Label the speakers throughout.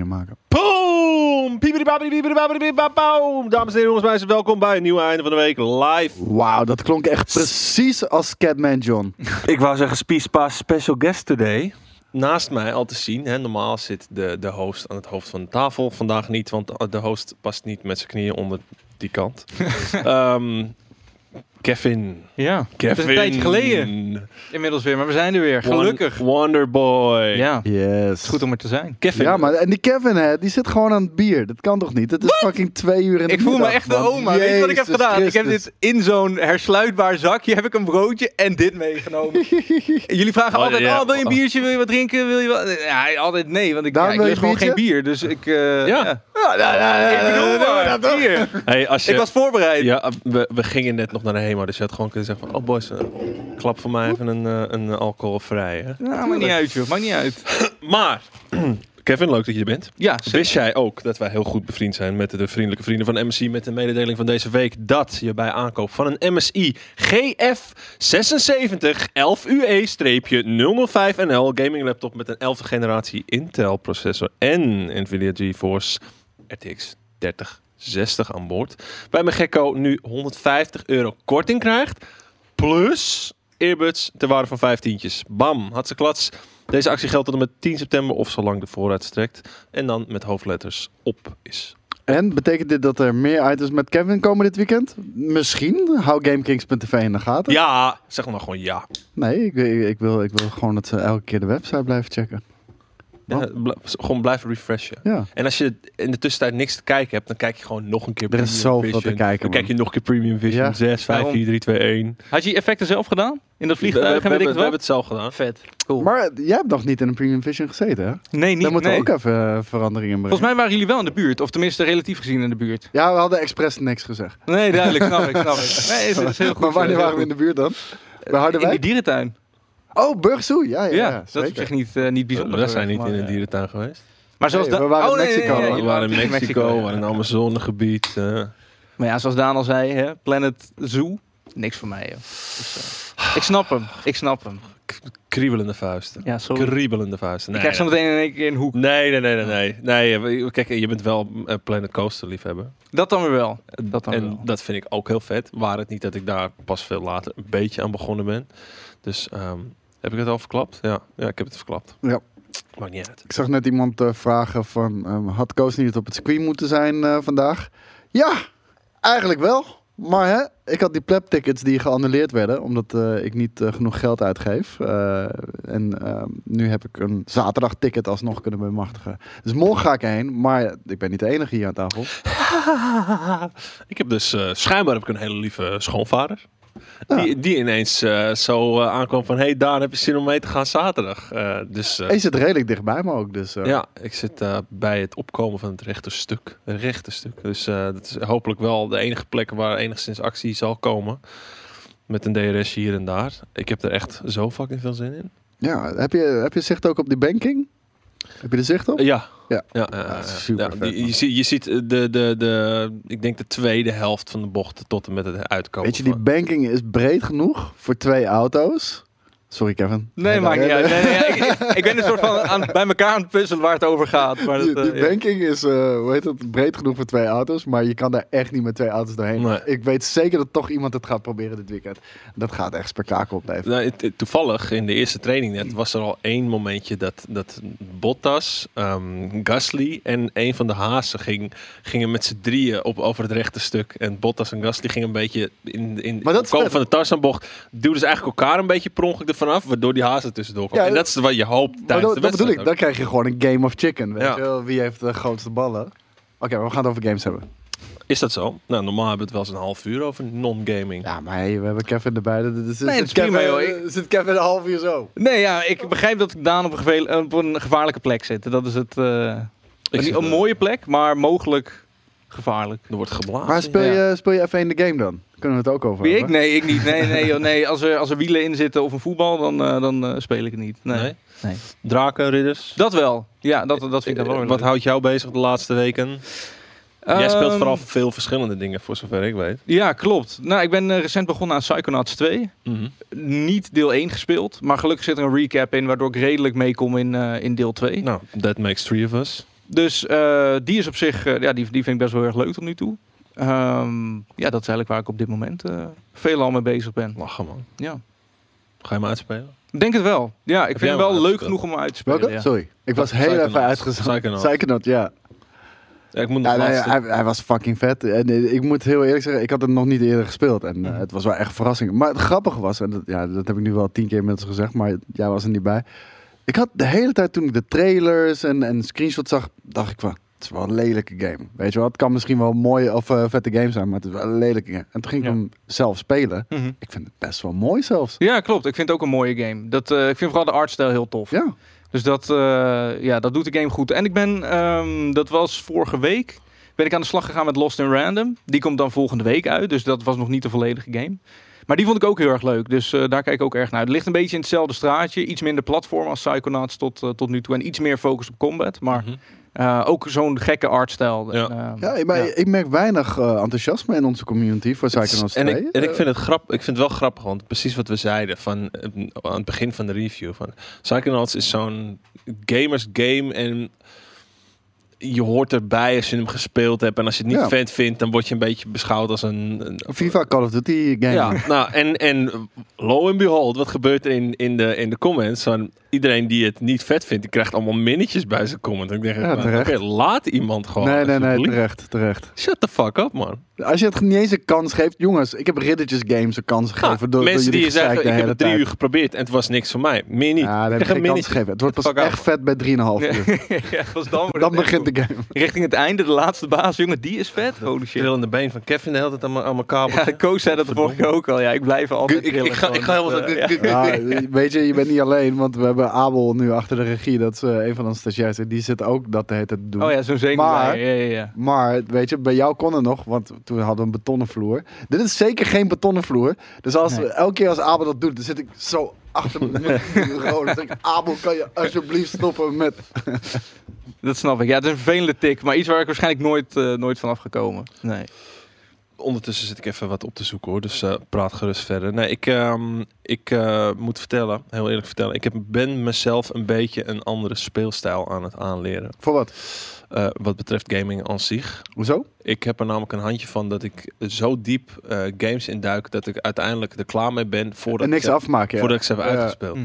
Speaker 1: hier maken.
Speaker 2: Boom! Piepidi-babidi, piepidi-babidi-babauw. Dames en heren, jongens, meisjes, welkom bij een nieuw einde van de week live.
Speaker 1: Wauw, dat klonk echt precies als Catman John.
Speaker 3: Ik wou zeggen, Spiespaas special guest today.
Speaker 2: Naast mij al te zien, hè, normaal zit de, de host aan het hoofd van de tafel. Vandaag niet, want eh, de host past niet met zijn knieën onder die kant. Ehm, Kevin.
Speaker 4: Ja,
Speaker 2: Kevin.
Speaker 4: een tijdje geleden. inmiddels weer, maar we zijn er weer. Gelukkig.
Speaker 2: Won- Wonderboy.
Speaker 4: Ja, het
Speaker 1: Yes.
Speaker 4: is goed om er te zijn.
Speaker 2: Kevin.
Speaker 1: Ja, maar en die Kevin, hè, die zit gewoon aan het bier. Dat kan toch niet? Het is fucking twee uur in de
Speaker 4: Ik voel me
Speaker 1: middag,
Speaker 4: echt de
Speaker 1: man.
Speaker 4: oma. Weet je wat ik heb
Speaker 1: Jezus
Speaker 4: gedaan? Ik heb
Speaker 1: Christus.
Speaker 4: dit in zo'n hersluitbaar zakje, heb ik een broodje en dit meegenomen. Jullie vragen
Speaker 2: Oh,
Speaker 4: altijd,
Speaker 2: ja.
Speaker 4: oh, wil je een biertje, wil je wat drinken, wil je wat? Ja, altijd nee, want ik, ja,
Speaker 1: Daarom
Speaker 4: ik
Speaker 1: wil je
Speaker 4: lust gewoon
Speaker 1: biertje? Eh, nou,
Speaker 4: geen bier, dus ik... eh,
Speaker 2: Ja.
Speaker 4: Ik bedoel maar, bier.
Speaker 2: Hey, als je,
Speaker 4: Ik was voorbereid.
Speaker 2: ja, we, we gingen net nog naar de HEMA, dus je had gewoon kunnen zeggen van... Oh boys, eh, klap voor mij even een, eh, een alcoholvrije.
Speaker 4: Nou, maakt niet uit joh, maakt niet uit.
Speaker 2: Maar, Kevin, leuk dat je er bent.
Speaker 4: Ja, zeker.
Speaker 2: Wist jij ook dat wij heel goed bevriend zijn met de vriendelijke vrienden van MSI met de mededeling van deze week dat je bij aankoop van een MSI GF 76 E 11UE-005 NL gaming laptop met een 11e generatie Intel processor en Nvidia GeForce RTX 3060 aan boord bij mijn gekko nu 150 euro korting krijgt plus earbuds ter waarde van 15'tjes. Bam, had ze klats. Deze actie geldt tot en met 10 september of zolang de voorraad strekt. En dan met hoofdletters op is.
Speaker 1: En betekent dit dat er meer items met Kevin komen dit weekend? Misschien. Hou GameKings.tv in de gaten.
Speaker 2: Ja, zeg maar gewoon ja.
Speaker 1: Nee, ik, ik, ik wil, ik wil gewoon dat ze elke keer de website blijven checken. Wat?
Speaker 2: Ja, bl- gewoon blijven refreshen.
Speaker 1: Ja.
Speaker 2: En als je in de tussentijd niks te kijken hebt, dan kijk je gewoon nog een keer
Speaker 1: Er
Speaker 2: Premium
Speaker 1: is zoveel
Speaker 2: Vision.
Speaker 1: te kijken,
Speaker 2: Dan
Speaker 1: man.
Speaker 2: kijk je nog een keer Premium Vision.
Speaker 1: Ja.
Speaker 2: 6, 5,
Speaker 4: Daarom.
Speaker 2: 4, 3, 2, 1.
Speaker 4: Had je je effecten zelf gedaan? In dat
Speaker 2: We, we, we,
Speaker 4: vliegtuig en weet ik
Speaker 2: hebben- we hebben
Speaker 4: het wat?
Speaker 2: het zelf gedaan.
Speaker 4: Vet. Cool.
Speaker 1: Maar jij hebt nog niet in een Premium Vision gezeten, hè?
Speaker 4: nee, niet,
Speaker 1: Daar moeten
Speaker 4: nee.
Speaker 1: we ook even eh, verandering in brengen.
Speaker 4: Volgens mij waren jullie wel in de buurt, of tenminste relatief gezien in de buurt.
Speaker 1: Ja, we hadden expres niks gezegd.
Speaker 4: Nee, duidelijk, snap ik, snap ik. Nee, is, is heel goed. eh,
Speaker 1: maar wanneer
Speaker 4: heel
Speaker 1: waren we in
Speaker 4: goed.
Speaker 1: de buurt dan? Bij
Speaker 4: In die
Speaker 1: Harderwijk?
Speaker 4: dierentuin.
Speaker 1: Oh, Burgsoe. Ja, ja,
Speaker 4: Ja,
Speaker 1: ja,
Speaker 4: dat is op zich niet, eh, niet bijzonder.
Speaker 2: We zijn
Speaker 4: geweest,
Speaker 2: niet in
Speaker 4: maar,
Speaker 2: een
Speaker 4: eh,
Speaker 2: dierentuin geweest.
Speaker 4: Maar zoals
Speaker 1: Nee, we
Speaker 4: Da-
Speaker 1: waren in
Speaker 4: Oh, nee, nee,
Speaker 1: Mexico,
Speaker 4: nee,
Speaker 1: hoor.
Speaker 4: nee,
Speaker 2: we
Speaker 4: je
Speaker 2: waren in
Speaker 4: was
Speaker 2: Mexico, we
Speaker 4: ja.
Speaker 2: waren in een Amazonegebied. eh.
Speaker 4: Maar ja, zoals Daan al zei, hè, Planet Zoo, niks voor mij. joh. Dus, eh, ik snap hem, ik snap hem.
Speaker 2: kriebelende vuisten.
Speaker 4: Ja, sorry.
Speaker 2: Kriebelende vuisten.
Speaker 4: ik
Speaker 2: Nee,
Speaker 4: krijg zo
Speaker 2: nee.
Speaker 4: meteen in één keer een hoek.
Speaker 2: Nee, nee, nee, nee, nee. nee. eh, we- Kijk, je bent wel eh, Planet Coaster liefhebber.
Speaker 4: Dat dan weer wel. Dat dan
Speaker 2: en
Speaker 4: wel.
Speaker 2: dat vind ik ook heel vet. Waar het niet dat ik daar pas veel later een beetje aan begonnen ben. Dus ehm, heb ik het al verklapt? Ja, ja ik heb het verklapt.
Speaker 1: Ja.
Speaker 2: Maakt niet uit.
Speaker 1: Ik zag net iemand eh, vragen van... ehm, had Koos niet op het screen moeten zijn eh, vandaag? Ja, eigenlijk wel. Maar hè, ik had die pleb tickets die geannuleerd werden... omdat eh, ik niet eh, genoeg geld uitgeef. Eh, en ehm, nu heb ik een zaterdagticket alsnog kunnen bemachtigen. Dus morgen ga ik heen, maar ik ben niet de enige hier aan tafel.
Speaker 2: ik heb dus eh, schijnbaar heb ik een hele lieve schoonvader.
Speaker 1: Ja.
Speaker 2: Die, die ineens eh, zo eh, aankwam van... hey, daar heb je zin om mee te gaan zaterdag. Eh, dus eh,
Speaker 1: Hij zit redelijk dichtbij me ook, dus... eh,
Speaker 2: ja, ik zit eh, bij het opkomen van het rechte stuk. Het rechte stuk. Dus eh, dat is hopelijk wel de enige plek waar enigszins actie zal komen. Met een DRS hier en daar. Ik heb er echt zo fucking veel zin in.
Speaker 1: Ja, heb je, heb je zicht ook op die banking? Heb je er zicht op?
Speaker 2: Ja.
Speaker 1: Ja.
Speaker 2: ja, ja,
Speaker 1: dat is
Speaker 2: ja.
Speaker 1: super
Speaker 2: Ja,
Speaker 1: vet,
Speaker 2: die-
Speaker 1: man.
Speaker 2: je, ziet- je ziet eh, de, de, de, ik denk de tweede helft van de bocht tot en met het uitkomen.
Speaker 1: Weet je, die
Speaker 2: van-
Speaker 1: banking is breed genoeg voor twee auto's. Sorry, Kevin.
Speaker 4: Nee, maakt niet uit. Nee, nee, ik, ik- ik ben een soort van aan, bij elkaar aan het puzzelen waar het over gaat. Maar dat,
Speaker 1: Die, die
Speaker 4: eh, ja.
Speaker 1: banking is, eh, hoe heet het, breed genoeg voor twee auto's. Maar je kan daar echt niet met twee auto's doorheen.
Speaker 2: Nee.
Speaker 1: Ik weet zeker dat toch iemand het gaat proberen dit weekend. Dat gaat echt spektakel opleveren.
Speaker 2: Nou, het- het- toevallig in de eerste training net was er al één momentje dat, dat Bottas, ehm, Gasly en een van de Hazen ging, gingen met z'n drieën op, over het rechte stuk. En Bottas en Gasly gingen een beetje in, in
Speaker 1: Maar dat is
Speaker 2: komen
Speaker 1: vet.
Speaker 2: van de Tarzanbocht. Duwden ze eigenlijk elkaar een beetje per ongeluk ervan af, waardoor die Hazen tussendoor kwam.
Speaker 1: Ja,
Speaker 2: en dat is wat je hoopt
Speaker 1: Maar
Speaker 2: tijdens
Speaker 1: dat,
Speaker 2: de
Speaker 1: dat bedoel
Speaker 2: wedstrijd
Speaker 1: ik,
Speaker 2: ook.
Speaker 1: dan krijg je gewoon een game of chicken. Weet
Speaker 2: Ja.
Speaker 1: je wel, wie heeft de grootste ballen? Oké, maar we gaan het over games hebben.
Speaker 2: Is dat zo? Nou, normaal hebben we het wel eens een half uur over non-gaming.
Speaker 1: Ja, maar hey, we hebben Kevin erbij. dus Dat- dat- dat-
Speaker 4: Nee, dat
Speaker 1: zit
Speaker 4: is prima,
Speaker 1: Kevin-
Speaker 4: joh. Ik-
Speaker 1: Zit Kevin een half uur zo?
Speaker 4: Nee, ja, ik begrijp dat Daan op een, geveel- op een gevaarlijke plek zit. Dat is het. eh,
Speaker 2: Ik
Speaker 4: niet
Speaker 2: zit,
Speaker 4: een
Speaker 2: eh,
Speaker 4: mooie plek, maar mogelijk gevaarlijk.
Speaker 2: Er wordt geblazen.
Speaker 1: Maar speel,
Speaker 4: Ja.
Speaker 1: je, speel je F1 de game dan? Kunnen we het ook over
Speaker 4: Wie ik?
Speaker 1: hebben?
Speaker 4: Nee, ik niet. Nee, nee, joh, nee. Als, er, als er wielen in zitten of een voetbal, dan, eh, dan eh, speel ik het niet. Nee.
Speaker 2: Nee?
Speaker 4: Nee.
Speaker 2: Draken, ridders.
Speaker 4: Dat wel. Ja, dat, dat vind ik dan wel
Speaker 2: Eh,
Speaker 4: weer
Speaker 2: Wat
Speaker 4: leuk.
Speaker 2: houdt jou bezig de laatste weken? Jij speelt
Speaker 4: Ehm,
Speaker 2: vooral veel verschillende dingen, voor zover ik weet.
Speaker 4: Ja, klopt. Nou, ik ben eh, recent begonnen aan Psychonauts 2. Niet deel 1 gespeeld, maar gelukkig zit er een recap in, waardoor ik redelijk meekom in, eh, in deel 2.
Speaker 2: Nou, that makes three of us.
Speaker 4: Dus eh, die is op zich, eh, ja, die, die vind ik best wel heel erg leuk tot nu toe. Ehm, ja, dat is eigenlijk waar ik op dit moment veel veelal mee bezig ben.
Speaker 2: Lachen, man.
Speaker 4: Ja.
Speaker 2: Ga je hem uitspelen?
Speaker 4: Ik Denk het wel. Ja, ik
Speaker 2: jij
Speaker 4: vind hem wel
Speaker 2: hem
Speaker 4: leuk
Speaker 2: uitgespeeld?
Speaker 4: genoeg om hem uit te spelen.
Speaker 1: Welke?
Speaker 4: ja.
Speaker 1: Sorry. Ik was heel
Speaker 2: Psychonauts.
Speaker 1: even uitgezakt.
Speaker 2: Psychonauts.
Speaker 1: Psychonaut, ja.
Speaker 2: Ja, ik moet nog
Speaker 1: ja nee,
Speaker 2: laatste-
Speaker 1: hij, hij was fucking vet. En eh, ik moet heel eerlijk zeggen, ik had het nog niet eerder gespeeld. En eh,
Speaker 2: Mm.
Speaker 4: Mhm.
Speaker 1: het was wel echt een verrassing. Maar het grappige was, en dat, ja, dat heb ik nu wel tien keer inmiddels gezegd, maar jij was er niet bij. Ik had de hele tijd toen ik de trailers en, en screenshots zag, dacht ik van, het is wel een lelijke game. Weet je wel, het kan misschien wel een mooie of eh, vette game zijn, maar het is wel een lelijke game. En toen ging ik
Speaker 4: Ja.
Speaker 1: hem zelf spelen.
Speaker 4: Mhm.
Speaker 1: Ik vind het best wel mooi zelfs.
Speaker 4: Ja, klopt. Ik vind het ook een mooie game. Dat, eh, ik vind vooral de artstijl heel tof.
Speaker 1: Ja.
Speaker 4: Dus dat, eh, ja, dat doet de game goed. En ik ben, ehm, dat was vorige week, ben ik aan de slag gegaan met Lost in Random. Die komt dan volgende week uit, dus dat was nog niet de volledige game. Maar die vond ik ook heel erg leuk, dus eh, daar kijk ik ook erg naar uit. Het ligt een beetje in hetzelfde straatje, iets minder platform als Psychonauts tot, eh, tot nu toe. En iets meer focus op combat, maar
Speaker 2: Mhm.
Speaker 4: eh, ook zo'n gekke artstijl.
Speaker 2: Ja.
Speaker 4: En, ehm,
Speaker 1: Ja, maar
Speaker 4: ja.
Speaker 1: ik merk weinig eh, enthousiasme in onze community voor Psychonauts 2.
Speaker 2: en ik, en ik,
Speaker 1: Eh,
Speaker 2: vind het grap, ik vind het wel grappig, want precies wat we zeiden van, eh, aan het begin van de review. Van, Psychonauts is zo'n gamers game en je hoort erbij als je hem gespeeld hebt. En als je het niet
Speaker 1: Ja.
Speaker 2: vet vindt, dan word je een beetje beschouwd als een... een-
Speaker 1: FIFA Call of Duty game.
Speaker 2: Ja, nou, en, en lo and behold, wat gebeurt er in, in, de, in de comments? Van iedereen die het niet vet vindt, die krijgt allemaal minnetjes bij zijn comment. En ik denk,
Speaker 1: Ja,
Speaker 2: nou,
Speaker 1: terecht.
Speaker 2: oké, laat iemand gewoon.
Speaker 1: nee, nee, nee,
Speaker 2: alsjeblieft.
Speaker 1: terecht, terecht.
Speaker 2: Shut the fuck up, man.
Speaker 1: Als je het niet eens een kans geeft, jongens, ik heb Riddertjes Games een kans gegeven.
Speaker 2: Ah,
Speaker 1: door, door
Speaker 2: mensen
Speaker 1: jullie
Speaker 2: die zeggen,
Speaker 1: gezeik de
Speaker 2: ik
Speaker 1: hele
Speaker 2: heb het drie
Speaker 1: tijd.
Speaker 2: uur geprobeerd en het was niks voor mij. Meer niet.
Speaker 1: Ja, dan heb
Speaker 2: Krijg
Speaker 1: je geen
Speaker 2: een
Speaker 1: kans
Speaker 2: minnetje.
Speaker 1: gegeven. Het wordt pas
Speaker 2: Fuck out.
Speaker 1: echt vet bij 3,5 uur.
Speaker 4: ja, pas dan, wordt het
Speaker 1: Dan
Speaker 4: echt
Speaker 1: begint
Speaker 4: goed.
Speaker 1: de game.
Speaker 4: Richting het einde, de laatste baas, jongen, die is vet. Holy shit.
Speaker 2: Trillende been van Kevin de hele tijd aan mijn- aan mijn kabel.
Speaker 4: Ja, Koos zei dat de vorige keer ook al. Ja, ik blijf altijd
Speaker 2: Ik- ik-
Speaker 4: trillen
Speaker 2: ik ga- ik ga
Speaker 4: gewoon.
Speaker 2: helemaal
Speaker 4: Dus,
Speaker 2: zo-
Speaker 4: eh, ja.
Speaker 1: Ja, weet je, je bent niet alleen, want we hebben Abel nu achter de regie. Dat is eh, een van onze stagiairs. En die zit ook dat de hele tijd te doen.
Speaker 4: Oh ja, zo'n zenuw.
Speaker 1: Maar-
Speaker 4: Ja, ja, ja.
Speaker 1: Maar weet je, bij jou kon het nog, want toen hadden we een betonnen vloer. Dit is zeker geen betonnen vloer. Dus als,
Speaker 4: Nee.
Speaker 1: elke keer als Abel dat doet, dan zit ik zo achter mijn bureau. Dan zeg ik, Abel, kan je alsjeblieft stoppen met...
Speaker 4: Dat snap ik. Ja, het is een vervelende tik, maar iets waar ik waarschijnlijk nooit, eh, nooit van afgekomen. Nee.
Speaker 2: Ondertussen zit ik even wat op te zoeken hoor, dus eh, praat gerust verder. Nee, ik, ehm, ik eh, moet vertellen, heel eerlijk vertellen, ik heb, ben mezelf een beetje een andere speelstijl aan het aanleren.
Speaker 1: Voor wat?
Speaker 2: Eh, wat betreft gaming aan zich.
Speaker 1: Hoezo?
Speaker 2: Ik heb er namelijk een handje van dat ik zo diep eh, games induik dat ik uiteindelijk er klaar mee ben voordat,
Speaker 1: en
Speaker 2: ik
Speaker 1: niks
Speaker 2: ze,
Speaker 1: afmaken.
Speaker 2: voordat ik ze heb
Speaker 1: Ja.
Speaker 4: Hm.
Speaker 2: uitgespeeld.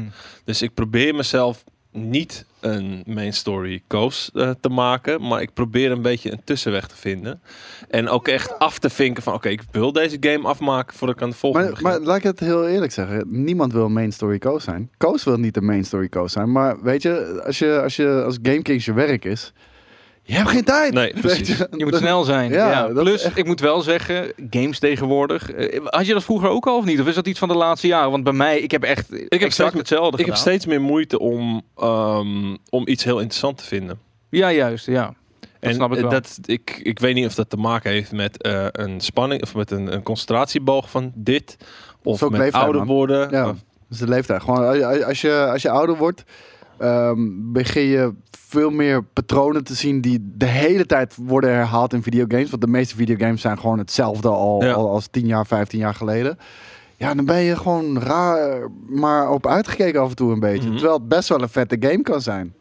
Speaker 2: Dus ik probeer mezelf niet een main story coast eh, te maken, maar ik probeer een beetje een tussenweg te vinden. En ook echt af te vinken van oké, ik wil deze game afmaken voordat ik aan de volgende
Speaker 1: Maar,
Speaker 2: begin.
Speaker 1: maar laat ik het heel eerlijk zeggen. Niemand wil een main story coach zijn. Coach wil niet de main story coach zijn. Maar weet je, als je als, je, als Game Kings je werk is, je hebt geen tijd.
Speaker 2: Nee, precies.
Speaker 1: Weet dus
Speaker 4: Je moet snel zijn.
Speaker 1: Ja,
Speaker 4: Ja,
Speaker 1: dat is
Speaker 4: Plus, ik moet wel zeggen, games tegenwoordig. eh, had je dat vroeger ook al of niet? Of is dat iets van de laatste jaren? Want bij mij, ik heb echt ik heb exact
Speaker 2: steeds-
Speaker 4: hetzelfde
Speaker 2: Ik heb
Speaker 4: gedaan.
Speaker 2: steeds meer moeite om, ehm, om iets heel interessant te vinden.
Speaker 4: Ja, juist. Ja.
Speaker 2: en eh,
Speaker 4: snap ik wel.
Speaker 2: Dat, ik, ik weet niet of dat te maken heeft met eh, een spanning of met een, een concentratieboog van dit. Of
Speaker 1: ook
Speaker 2: met
Speaker 1: leeftijd,
Speaker 2: ouder
Speaker 1: man.
Speaker 2: worden.
Speaker 1: Ja, dat
Speaker 2: Of-
Speaker 1: is de leeftijd. Gewoon als je, als je, als je ouder wordt, ehm, begin je veel meer patronen te zien die de hele tijd worden herhaald in videogames. Want de meeste videogames zijn gewoon hetzelfde al,
Speaker 2: Ja.
Speaker 1: al als 10 jaar, 15 jaar geleden. Ja, dan ben je gewoon raar, maar op uitgekeken af en toe een beetje.
Speaker 2: Mhm.
Speaker 1: Terwijl het best wel een vette game kan zijn.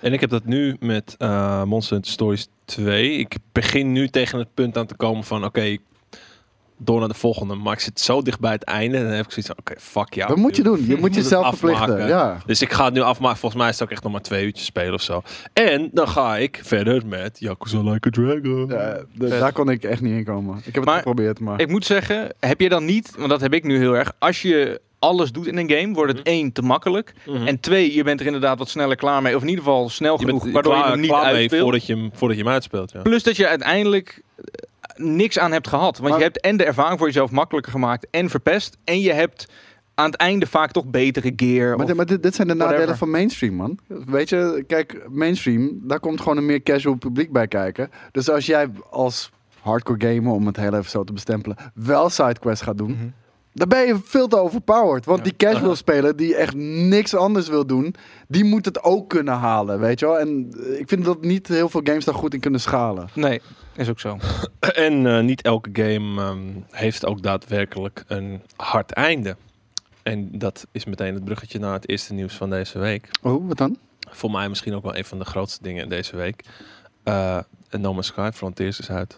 Speaker 2: En ik heb dat nu met eh, Monster Hunter Stories 2. Ik begin nu tegen het punt aan te komen van... oké, door naar de volgende. Maar ik zit zo dicht bij het einde. En dan heb ik zoiets van, oké, fuck jou.
Speaker 1: dat moet je
Speaker 2: dude.
Speaker 1: doen. Je moet
Speaker 2: het
Speaker 1: jezelf
Speaker 2: afmaken.
Speaker 1: verplichten. Ja.
Speaker 2: Dus ik ga het nu afmaken. Volgens mij is het ook echt nog maar twee uurtjes spelen of zo. En dan ga ik verder met Yakuza Like a Dragon.
Speaker 1: Ja,
Speaker 2: dus-
Speaker 1: dus- d- daar kon ik echt niet in komen. Ik heb het
Speaker 4: Maar-
Speaker 1: geprobeerd, maar...
Speaker 4: Ik moet zeggen, heb je dan niet, want dat heb ik nu heel erg. Als je alles doet in een game, wordt het één te makkelijk.
Speaker 2: Mhm.
Speaker 4: En twee, je bent er inderdaad wat sneller klaar mee. Of in ieder geval snel
Speaker 2: je
Speaker 4: genoeg,
Speaker 2: bent
Speaker 4: waardoor je
Speaker 2: klaar,
Speaker 4: hem niet
Speaker 2: klaar mee
Speaker 4: uitspeelt.
Speaker 2: voordat je hem, voordat je hem uitspeelt. Ja.
Speaker 4: Plus dat je uiteindelijk eh, niks aan hebt gehad. Want
Speaker 1: Maar-
Speaker 4: je hebt en de ervaring voor jezelf makkelijker gemaakt en verpest. En je hebt aan het einde vaak toch betere gear.
Speaker 1: Maar,
Speaker 4: of-
Speaker 1: dit, maar dit, dit zijn de
Speaker 4: Whatever.
Speaker 1: nadelen van mainstream, man. Weet je, kijk, mainstream, daar komt gewoon een meer casual publiek bij kijken. Dus als jij als hardcore gamer, om het heel even zo te bestempelen, wel sidequests gaat doen,
Speaker 4: Mhm.
Speaker 1: dan ben je veel te overpowered. Want
Speaker 4: Ja.
Speaker 1: die casual speler die echt niks anders wil doen, die moet het ook kunnen halen, weet je wel. En eh, ik vind dat niet heel veel games daar goed in kunnen schalen.
Speaker 4: Nee, is ook zo.
Speaker 2: En eh, niet elke game ehm, heeft ook daadwerkelijk een hard einde. En dat is meteen het bruggetje naar het eerste nieuws van deze week.
Speaker 1: Oh, wat dan?
Speaker 2: Voor mij misschien ook wel een van de grootste dingen deze week. Eh no Man's Sky Frontiers is uit.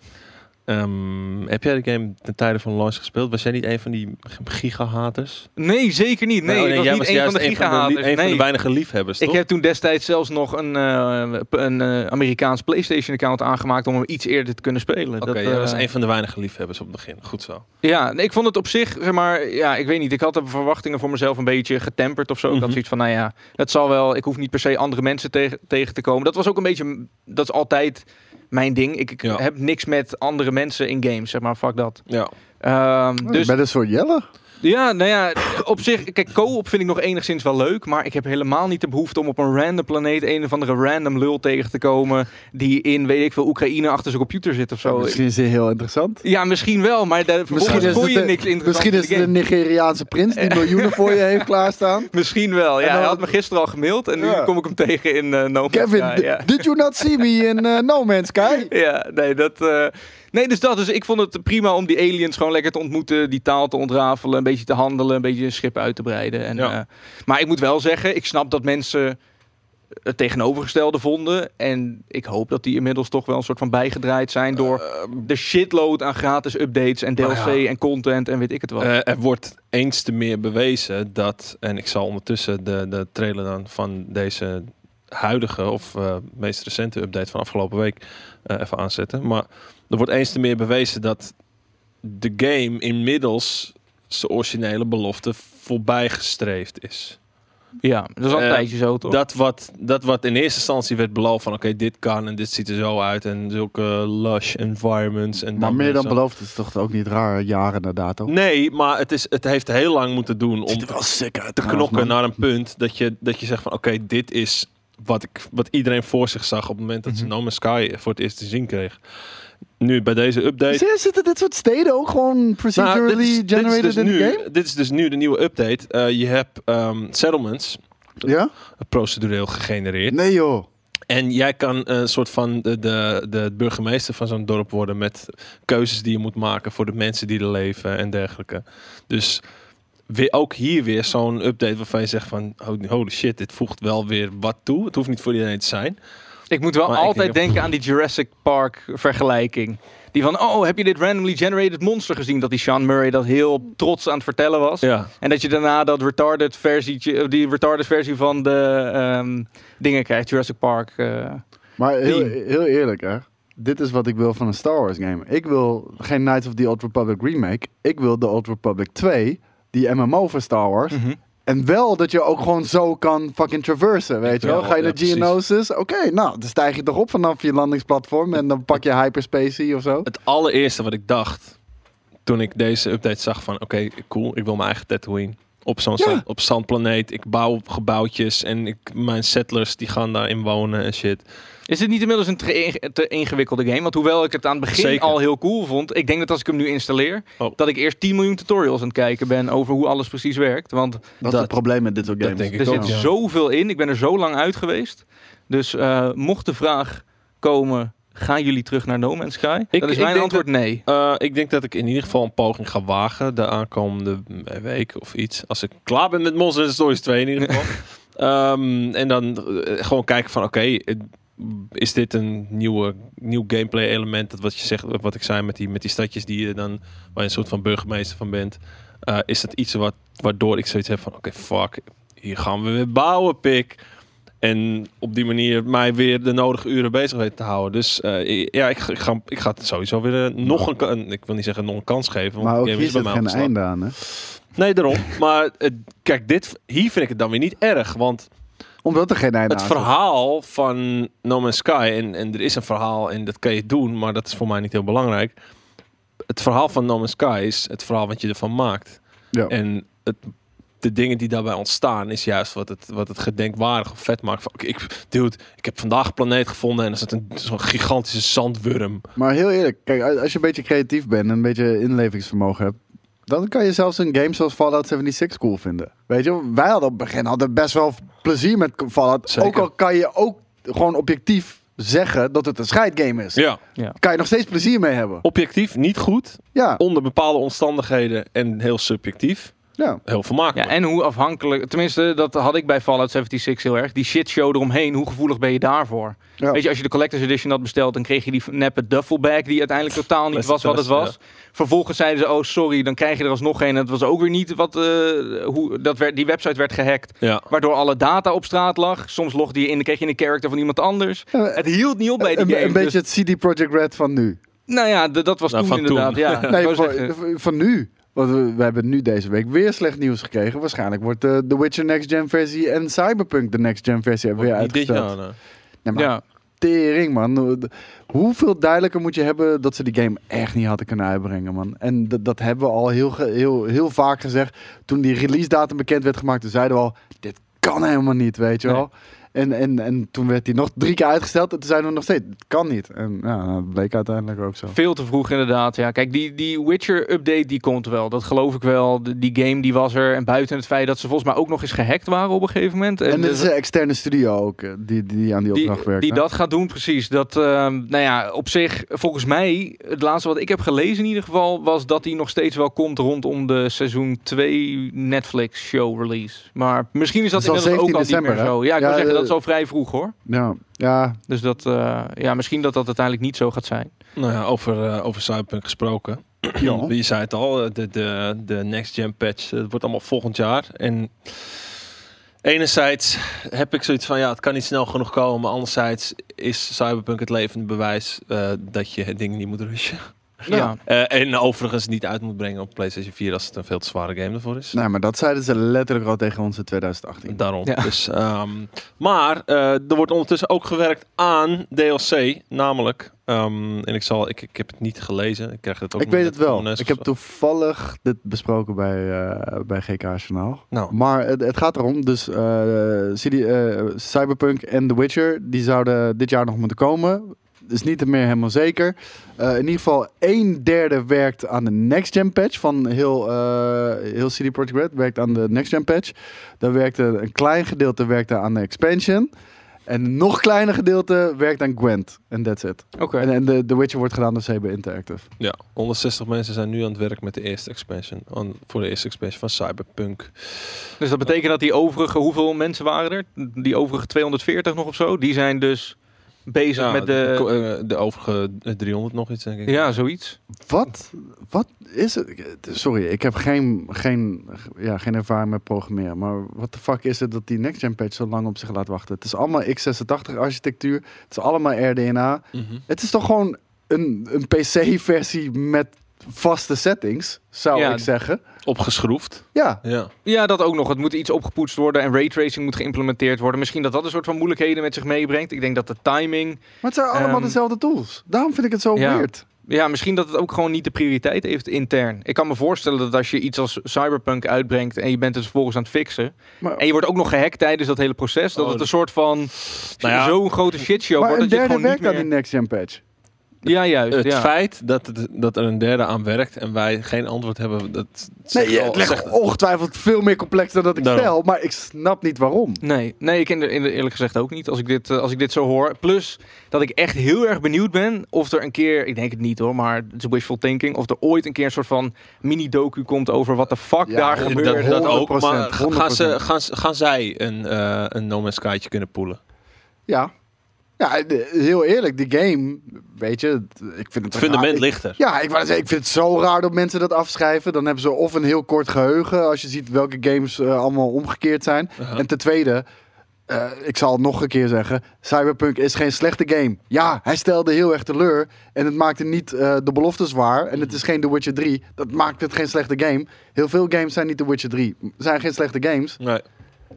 Speaker 2: Ehm, heb jij de game ten tijde van launch gespeeld? Was jij niet een van die gigahaters?
Speaker 4: Nee, zeker niet. Nee,
Speaker 2: Oh,
Speaker 4: ik was
Speaker 2: jij
Speaker 4: niet een van de
Speaker 2: juist li-
Speaker 4: gigahaters.
Speaker 2: een van de
Speaker 4: Nee.
Speaker 2: weinige liefhebbers,
Speaker 4: Ik
Speaker 2: toch?
Speaker 4: heb toen destijds zelfs nog een, eh, p- een eh, Amerikaans PlayStation-account aangemaakt om hem iets eerder te kunnen spelen.
Speaker 2: Oké,
Speaker 4: Dat,
Speaker 2: jij was
Speaker 4: eh,
Speaker 2: een van de weinige liefhebbers op het begin. Goed zo.
Speaker 4: Ja, nee, ik vond het op zich, zeg maar, ja, ik weet niet. Ik had de verwachtingen voor mezelf een beetje getemperd of zo. Ik
Speaker 2: Mhm.
Speaker 4: had zoiets van, nou ja, het zal wel. Ik hoef niet per se andere mensen tegen, tegen te komen. Dat was ook een beetje, dat is altijd mijn ding. Ik, ik
Speaker 2: Ja.
Speaker 4: heb niks met andere mensen in games, zeg maar, fuck dat.
Speaker 2: Ja.
Speaker 4: Ehm,
Speaker 1: Dus...
Speaker 4: dus
Speaker 1: Met een soort Jelle.
Speaker 4: ja, nou ja, op zich, kijk, co-op vind ik nog enigszins wel leuk, maar ik heb helemaal niet de behoefte om op een random planeet een of andere random lul tegen te komen die in, weet ik veel, Oekraïne achter zijn computer zit of zo.
Speaker 1: Misschien is hij heel interessant.
Speaker 4: Ja, misschien wel, maar daar
Speaker 1: Misschien
Speaker 4: vervolgens vond je
Speaker 1: het de-
Speaker 4: niks interessants
Speaker 1: Misschien
Speaker 4: in
Speaker 1: is
Speaker 4: de
Speaker 1: het de
Speaker 4: game.
Speaker 1: Nigeriaanse prins die miljoenen voor je heeft klaarstaan.
Speaker 4: Misschien wel, ja.
Speaker 1: En dan-
Speaker 4: Hij had me gisteren al gemaild en nu
Speaker 1: Ja.
Speaker 4: kom ik hem tegen in eh No Man's
Speaker 1: Kevin,
Speaker 4: Sky,
Speaker 1: d-
Speaker 4: ja.
Speaker 1: did you not see me in eh, No Man's Sky?
Speaker 4: Ja, nee, dat... eh, Nee, dus dat. Dus ik vond het prima om die aliens gewoon lekker te ontmoeten, die taal te ontrafelen, een beetje te handelen, een beetje een schip uit te breiden. En,
Speaker 2: Ja.
Speaker 4: eh, maar ik moet wel zeggen, ik snap dat mensen het tegenovergestelde vonden. En ik hoop dat die inmiddels toch wel een soort van bijgedraaid zijn door de shitload aan gratis updates en DLC
Speaker 2: Nou ja.
Speaker 4: en content en weet ik het wel.
Speaker 2: Eh, er wordt eens te meer bewezen dat, en ik zal ondertussen de, de trailer dan van deze huidige of eh, meest recente update van afgelopen week eh, even aanzetten. Maar er wordt eens te meer bewezen dat de game inmiddels zijn originele belofte voorbijgestreefd is.
Speaker 4: ja, dat is al een
Speaker 2: eh,
Speaker 4: tijdje zo, toch?
Speaker 2: Dat wat, dat wat in eerste instantie werd beloofd van oké, dit kan en dit ziet er zo uit en zulke lush environments. En
Speaker 1: Maar meer
Speaker 2: weer
Speaker 1: dan
Speaker 2: zo.
Speaker 1: beloofd is toch ook niet raar, jaren na dato.
Speaker 2: Nee, maar het, is, het heeft heel lang moeten doen om
Speaker 1: wel sick uit.
Speaker 2: te knokken naar een punt dat je, dat je zegt van oké, dit is wat, ik, wat iedereen voor zich zag op het moment dat
Speaker 4: Mhm.
Speaker 2: ze No Man's Sky voor het eerst te zien kreeg. Nu bij deze update.
Speaker 1: Zitten dit soort steden ook gewoon
Speaker 2: Nou,
Speaker 1: procedurally generated
Speaker 2: dus
Speaker 1: in
Speaker 2: nu,
Speaker 1: de game?
Speaker 2: dit is dus nu de nieuwe update. Eh, je hebt ehm, settlements eh,
Speaker 1: Ja?
Speaker 2: procedureel gegenereerd.
Speaker 1: Nee joh.
Speaker 2: En jij kan eh, een soort van de, de, de burgemeester van zo'n dorp worden met keuzes die je moet maken voor de mensen die er leven en dergelijke. Dus weer, ook hier weer zo'n update waarvan je zegt van ho- holy shit, dit voegt wel weer wat toe. Het hoeft niet voor iedereen te zijn.
Speaker 4: Ik moet wel
Speaker 2: Maar ik
Speaker 4: altijd
Speaker 2: denk dat-
Speaker 4: denken aan die Jurassic Park vergelijking. Die van, oh, heb je dit randomly generated monster gezien? Dat die Sean Murray dat heel trots aan het vertellen was.
Speaker 2: Ja.
Speaker 4: En dat je daarna dat retarded versietje, eh, die retarded versie van de ehm, dingen krijgt, Jurassic Park. eh.
Speaker 1: Maar heel,
Speaker 4: Team.
Speaker 1: heel eerlijk hè. Dit is wat ik wil van een Star Wars game. Ik wil geen Knights of the Old Republic remake. Ik wil de Old Republic 2, die MMO van Star Wars.
Speaker 2: Mhm.
Speaker 1: En wel dat je ook gewoon zo kan fucking traversen, weet je wel.
Speaker 2: Ja,
Speaker 1: Ga je
Speaker 2: ja,
Speaker 1: naar
Speaker 2: precies.
Speaker 1: Geonosis? Oké, nou, dan stijg je toch op vanaf je landingsplatform en dan pak je hyperspace hier of zo.
Speaker 2: Het allereerste wat ik dacht toen ik deze update zag van oké, cool, ik wil mijn eigen Tatooine. Op zo'n
Speaker 1: Ja.
Speaker 2: zand- op zandplaneet. Ik bouw gebouwtjes en ik, mijn settlers die gaan daarin wonen en shit.
Speaker 4: Is het niet inmiddels een te, ing- te ingewikkelde game? Want hoewel ik het aan het begin
Speaker 2: Zeker.
Speaker 4: al heel cool vond, ik denk dat als ik hem nu installeer,
Speaker 2: Oh.
Speaker 4: dat ik eerst 10 miljoen tutorials aan het kijken ben over hoe alles precies werkt. Want
Speaker 1: Dat, is
Speaker 2: Dat-
Speaker 1: het probleem met dit soort
Speaker 2: dat
Speaker 1: games. Dus
Speaker 2: denk ik
Speaker 4: er
Speaker 2: ook,
Speaker 4: zit
Speaker 2: ja.
Speaker 4: zoveel in. Ik ben er zo lang uit geweest. Dus eh, mocht de vraag komen, gaan jullie terug naar No Man's Sky?
Speaker 2: Ik-
Speaker 4: dan
Speaker 2: ik
Speaker 4: is mijn
Speaker 2: denk
Speaker 4: antwoord nee.
Speaker 2: Eh, ik denk dat ik in ieder geval een poging ga wagen de aankomende week of iets. Als ik klaar ben met Monster Stories 2 in ieder geval. Ehm, en dan eh, gewoon kijken van oké, eh, is dit een nieuwe, nieuw gameplay element? Dat wat, je zegt, wat ik zei met die, met die stadjes die je dan, waar je een soort van burgemeester van bent. Eh, is dat iets wat, waardoor ik zoiets heb van oké, fuck, hier gaan we weer bouwen, pik. En op die manier mij weer de nodige uren bezig weten te houden. Dus eh, ja, ik, ga- ik, ga, ik ga het sowieso weer eh, nog een, ka- een- ik wil niet zeggen nog een kans geven. Want
Speaker 1: Maar
Speaker 2: de
Speaker 1: ook
Speaker 2: game
Speaker 1: hier
Speaker 2: is bij
Speaker 1: zit
Speaker 2: mij
Speaker 1: geen
Speaker 2: opgeslagen.
Speaker 1: einde aan, hè?
Speaker 2: Nee, daarom. Maar eh, kijk, dit, hier vind ik het dan weer niet erg. Want
Speaker 1: Omdat er geen einde
Speaker 2: het
Speaker 1: aan zit.
Speaker 2: verhaal van No Man's Sky, en, en er is een verhaal en dat kan je doen, maar dat is voor mij niet heel belangrijk. Het verhaal van No Man's Sky is het verhaal wat je ervan maakt.
Speaker 1: Ja.
Speaker 2: En het, de dingen die daarbij ontstaan is juist wat het, wat het gedenkwaardig of vet maakt. Van, oké, ik, dude, ik heb vandaag een planeet gevonden en er zit een, zo'n gigantische zandwurm.
Speaker 1: Maar heel eerlijk, kijk, als als je een beetje creatief bent en een beetje inlevingsvermogen hebt, dan kan je zelfs een game zoals Fallout 76 cool vinden. Weet je, wij hadden op het begin hadden best wel plezier met Fallout.
Speaker 2: Zeker.
Speaker 1: Ook al kan je ook gewoon objectief zeggen dat het een scheidgame is.
Speaker 2: Ja.
Speaker 1: Kan je nog steeds plezier mee hebben.
Speaker 2: Objectief niet goed,
Speaker 1: Ja,
Speaker 2: onder bepaalde omstandigheden en heel subjectief.
Speaker 1: Ja.
Speaker 2: Heel vermakelijk.
Speaker 4: Ja, en hoe afhankelijk, tenminste, dat had ik bij Fallout 76 heel erg. Die shitshow eromheen, hoe gevoelig ben je daarvoor?
Speaker 1: Ja.
Speaker 4: Weet je, als je de Collector's Edition had besteld, dan kreeg je die neppe duffelbag, die uiteindelijk totaal niet
Speaker 2: Plastic
Speaker 4: was wat het
Speaker 2: tas,
Speaker 4: was. Vervolgens zeiden ze, oh sorry, dan krijg je er alsnog een. En dat was ook weer niet wat, eh, hoe, dat werd, die website werd gehackt.
Speaker 2: Ja.
Speaker 4: Waardoor alle data op straat lag. Soms logde je in, dan kreeg je een character van iemand anders.
Speaker 1: Ja,
Speaker 4: Het hield niet op bij die
Speaker 1: een,
Speaker 4: game.
Speaker 1: een beetje
Speaker 4: Dus,
Speaker 1: het CD Projekt Red van nu.
Speaker 4: nou ja, d- dat was
Speaker 2: Nou,
Speaker 4: toen
Speaker 2: van
Speaker 4: inderdaad.
Speaker 2: toen.
Speaker 4: Ja, Ik
Speaker 1: Nee,
Speaker 4: wou
Speaker 1: voor,
Speaker 4: zeggen,
Speaker 1: v- van nu. Want we, we hebben nu deze week weer slecht nieuws gekregen. Waarschijnlijk wordt eh, The Witcher Next Gen versie en Cyberpunk de Next Gen versie hebben weer
Speaker 2: Niet dit
Speaker 1: uitgesteld.
Speaker 2: jaar, nee.
Speaker 1: Nee, maar
Speaker 4: ja.
Speaker 1: tering, man. Hoeveel duidelijker moet je hebben dat ze die game echt niet hadden kunnen uitbrengen, man. En dat, dat hebben we al heel, ge- heel, heel vaak gezegd. Toen die release datum bekend werd gemaakt, toen zeiden we al... Dit kan helemaal niet, weet je
Speaker 4: Nee.
Speaker 1: wel. En, en, en toen werd die nog drie keer uitgesteld. En toen zeiden we nog steeds, het kan niet. En ja, dat bleek uiteindelijk ook zo.
Speaker 4: Veel te vroeg inderdaad. Ja, kijk, die, die Witcher-update die komt wel. Dat geloof ik wel. De- die game die was er. En buiten het feit dat ze volgens mij ook nog eens gehackt waren op een gegeven moment.
Speaker 1: En dit
Speaker 4: dus-
Speaker 1: is een externe studio ook, eh, die, die aan die
Speaker 4: die,
Speaker 1: opdracht werkt.
Speaker 4: die
Speaker 1: hè?
Speaker 4: dat gaat doen, precies. Dat, ehm, nou ja, op zich, volgens mij, het laatste wat ik heb gelezen in ieder geval, was dat die nog steeds wel komt rondom de seizoen 2 Netflix show release. Maar misschien is dat
Speaker 1: Dat is al
Speaker 4: inderdaad ook
Speaker 1: 17
Speaker 4: al niet
Speaker 1: december,
Speaker 4: meer
Speaker 1: hè?
Speaker 4: zo. Ja, ik
Speaker 1: Ja,
Speaker 4: wil zeggen,
Speaker 1: eh,
Speaker 4: dat is al vrij vroeg hoor.
Speaker 1: Ja, ja,
Speaker 4: Dus dat, eh, ja, misschien dat dat uiteindelijk niet zo gaat zijn.
Speaker 2: Nou ja, over, eh, over Cyberpunk gesproken.
Speaker 1: Ja.
Speaker 2: Je zei het al, eh, de, de, de Next Gen patch, eh, het wordt allemaal volgend jaar. En enerzijds heb ik zoiets van, ja, het kan niet snel genoeg komen. Maar anderzijds is Cyberpunk het levende bewijs eh, dat je het ding niet moet rushen.
Speaker 1: Ja.
Speaker 4: ja.
Speaker 2: Eh, en overigens niet uit moet brengen op PlayStation 4 als het een veel te zware game ervoor is.
Speaker 1: nee, maar dat zeiden ze letterlijk al tegen ons in 2018.
Speaker 2: Daarom.
Speaker 4: Ja.
Speaker 2: Dus, ehm, maar eh, er wordt ondertussen ook gewerkt aan DLC, namelijk. ehm, en ik, zal, ik, ik heb het niet gelezen. Ik krijg het ook
Speaker 1: Ik weet
Speaker 2: net
Speaker 1: het
Speaker 2: van,
Speaker 1: wel.
Speaker 2: eh,
Speaker 1: Ik heb toevallig dit besproken bij, eh, bij GK Journaal.
Speaker 2: Nou,
Speaker 1: Maar het, het gaat erom, dus eh, CD, eh, Cyberpunk en The Witcher, die zouden dit jaar nog moeten komen. Is niet meer helemaal zeker. Eh, in ieder geval een derde werkt aan de Next Gen patch van heel, eh, heel CD Projekt Red. Werkt aan de Next Gen patch. Dan werkte een klein gedeelte werkte aan de expansion. En een nog kleiner gedeelte werkt aan Gwent. En that's it.
Speaker 4: Oké.
Speaker 1: En, en de, The Witcher wordt gedaan door CB Interactive.
Speaker 2: ja, 160 mensen zijn nu aan het werk met de eerste expansion. aan- voor de eerste expansion van Cyberpunk.
Speaker 4: Dus dat betekent dat die overige, hoeveel mensen waren er? Die overige 240 nog of zo, die zijn dus bezig
Speaker 2: Ja,
Speaker 4: met
Speaker 2: ko-
Speaker 4: de...
Speaker 2: eh, de overige eh, 300 nog iets, denk ik.
Speaker 4: Ja, zoiets.
Speaker 1: Wat, wat is het? Ik- Sorry, ik heb geen, geen, ja, geen ervaring met programmeren. Maar wat de fuck is het dat die next-gen patch zo lang op zich laat wachten? Het is allemaal x86-architectuur. Het is allemaal RDNA.
Speaker 2: Mhm.
Speaker 1: Het is toch gewoon een, een PC-versie met vaste settings, zou
Speaker 4: Ja.
Speaker 1: ik zeggen.
Speaker 2: Opgeschroefd.
Speaker 1: Ja,
Speaker 2: Ja.
Speaker 4: Ja, dat ook nog. Het moet iets opgepoetst worden en raytracing moet geïmplementeerd worden. Misschien dat dat een soort van moeilijkheden met zich meebrengt. Ik denk dat de timing...
Speaker 1: maar het zijn allemaal
Speaker 4: Ehm,
Speaker 1: dezelfde tools. Daarom vind ik het zo
Speaker 4: ja.
Speaker 1: weird.
Speaker 4: Ja, misschien dat het ook gewoon niet de prioriteit heeft intern. Ik kan me voorstellen dat als je iets als Cyberpunk uitbrengt en je bent het vervolgens aan het fixen...
Speaker 1: Maar-
Speaker 4: en je wordt ook nog gehackt tijdens dat hele proces,
Speaker 2: Oh,
Speaker 4: dat het een
Speaker 2: dat-
Speaker 4: soort van...
Speaker 2: Nou ja.
Speaker 4: Zo'n grote shitshow
Speaker 1: Maar
Speaker 4: wordt
Speaker 1: een
Speaker 4: dat je
Speaker 1: derde
Speaker 4: het gewoon niet
Speaker 1: werkt aan
Speaker 4: meer...
Speaker 1: die next-gen patch.
Speaker 4: Ja, juist.
Speaker 2: Het
Speaker 4: ja.
Speaker 2: feit dat, het- dat er een derde aan werkt en wij geen antwoord hebben, dat
Speaker 1: Nee,
Speaker 2: zegt al-
Speaker 1: het ligt
Speaker 2: zegt-
Speaker 1: ongetwijfeld veel meer complex dan dat ik
Speaker 2: Daarom.
Speaker 1: stel. Maar ik snap niet waarom.
Speaker 4: Nee, nee ik ken er eerlijk eerlijk gezegd ook niet als ik, dit, eh, als ik dit zo hoor. Plus dat ik echt heel erg benieuwd ben of er een keer, ik denk het niet hoor, maar het is wishful thinking, of er ooit een keer een soort van mini-docu komt over wat de fuck
Speaker 1: Ja,
Speaker 4: daar
Speaker 1: dat-
Speaker 4: gebeurt.
Speaker 2: Eh, dat, dat ook,
Speaker 1: 100%,
Speaker 2: maar ga- gaan, ze,
Speaker 1: 100%.
Speaker 2: gaan, ze- gaan zij een, eh een No Man's Sky'tje kunnen poelen?
Speaker 1: Ja. Ja, de- heel eerlijk, die game, weet je, het- ik vind het...
Speaker 2: Het fundament
Speaker 1: raar- ik-
Speaker 2: ligt er.
Speaker 1: Ja, ik, wou net zeggen, ik vind het zo raar dat mensen dat afschrijven. Dan hebben ze of een heel kort geheugen, als je ziet welke games eh, allemaal omgekeerd zijn.
Speaker 2: Aha.
Speaker 1: En ten tweede, eh, ik zal het nog een keer zeggen, Cyberpunk is geen slechte game. Ja, hij stelde heel erg teleur en het maakte niet eh, de beloftes waar. En het is geen The Witcher 3, dat maakt het geen slechte game. Heel veel games zijn niet The Witcher 3, zijn geen slechte games.
Speaker 2: Nee.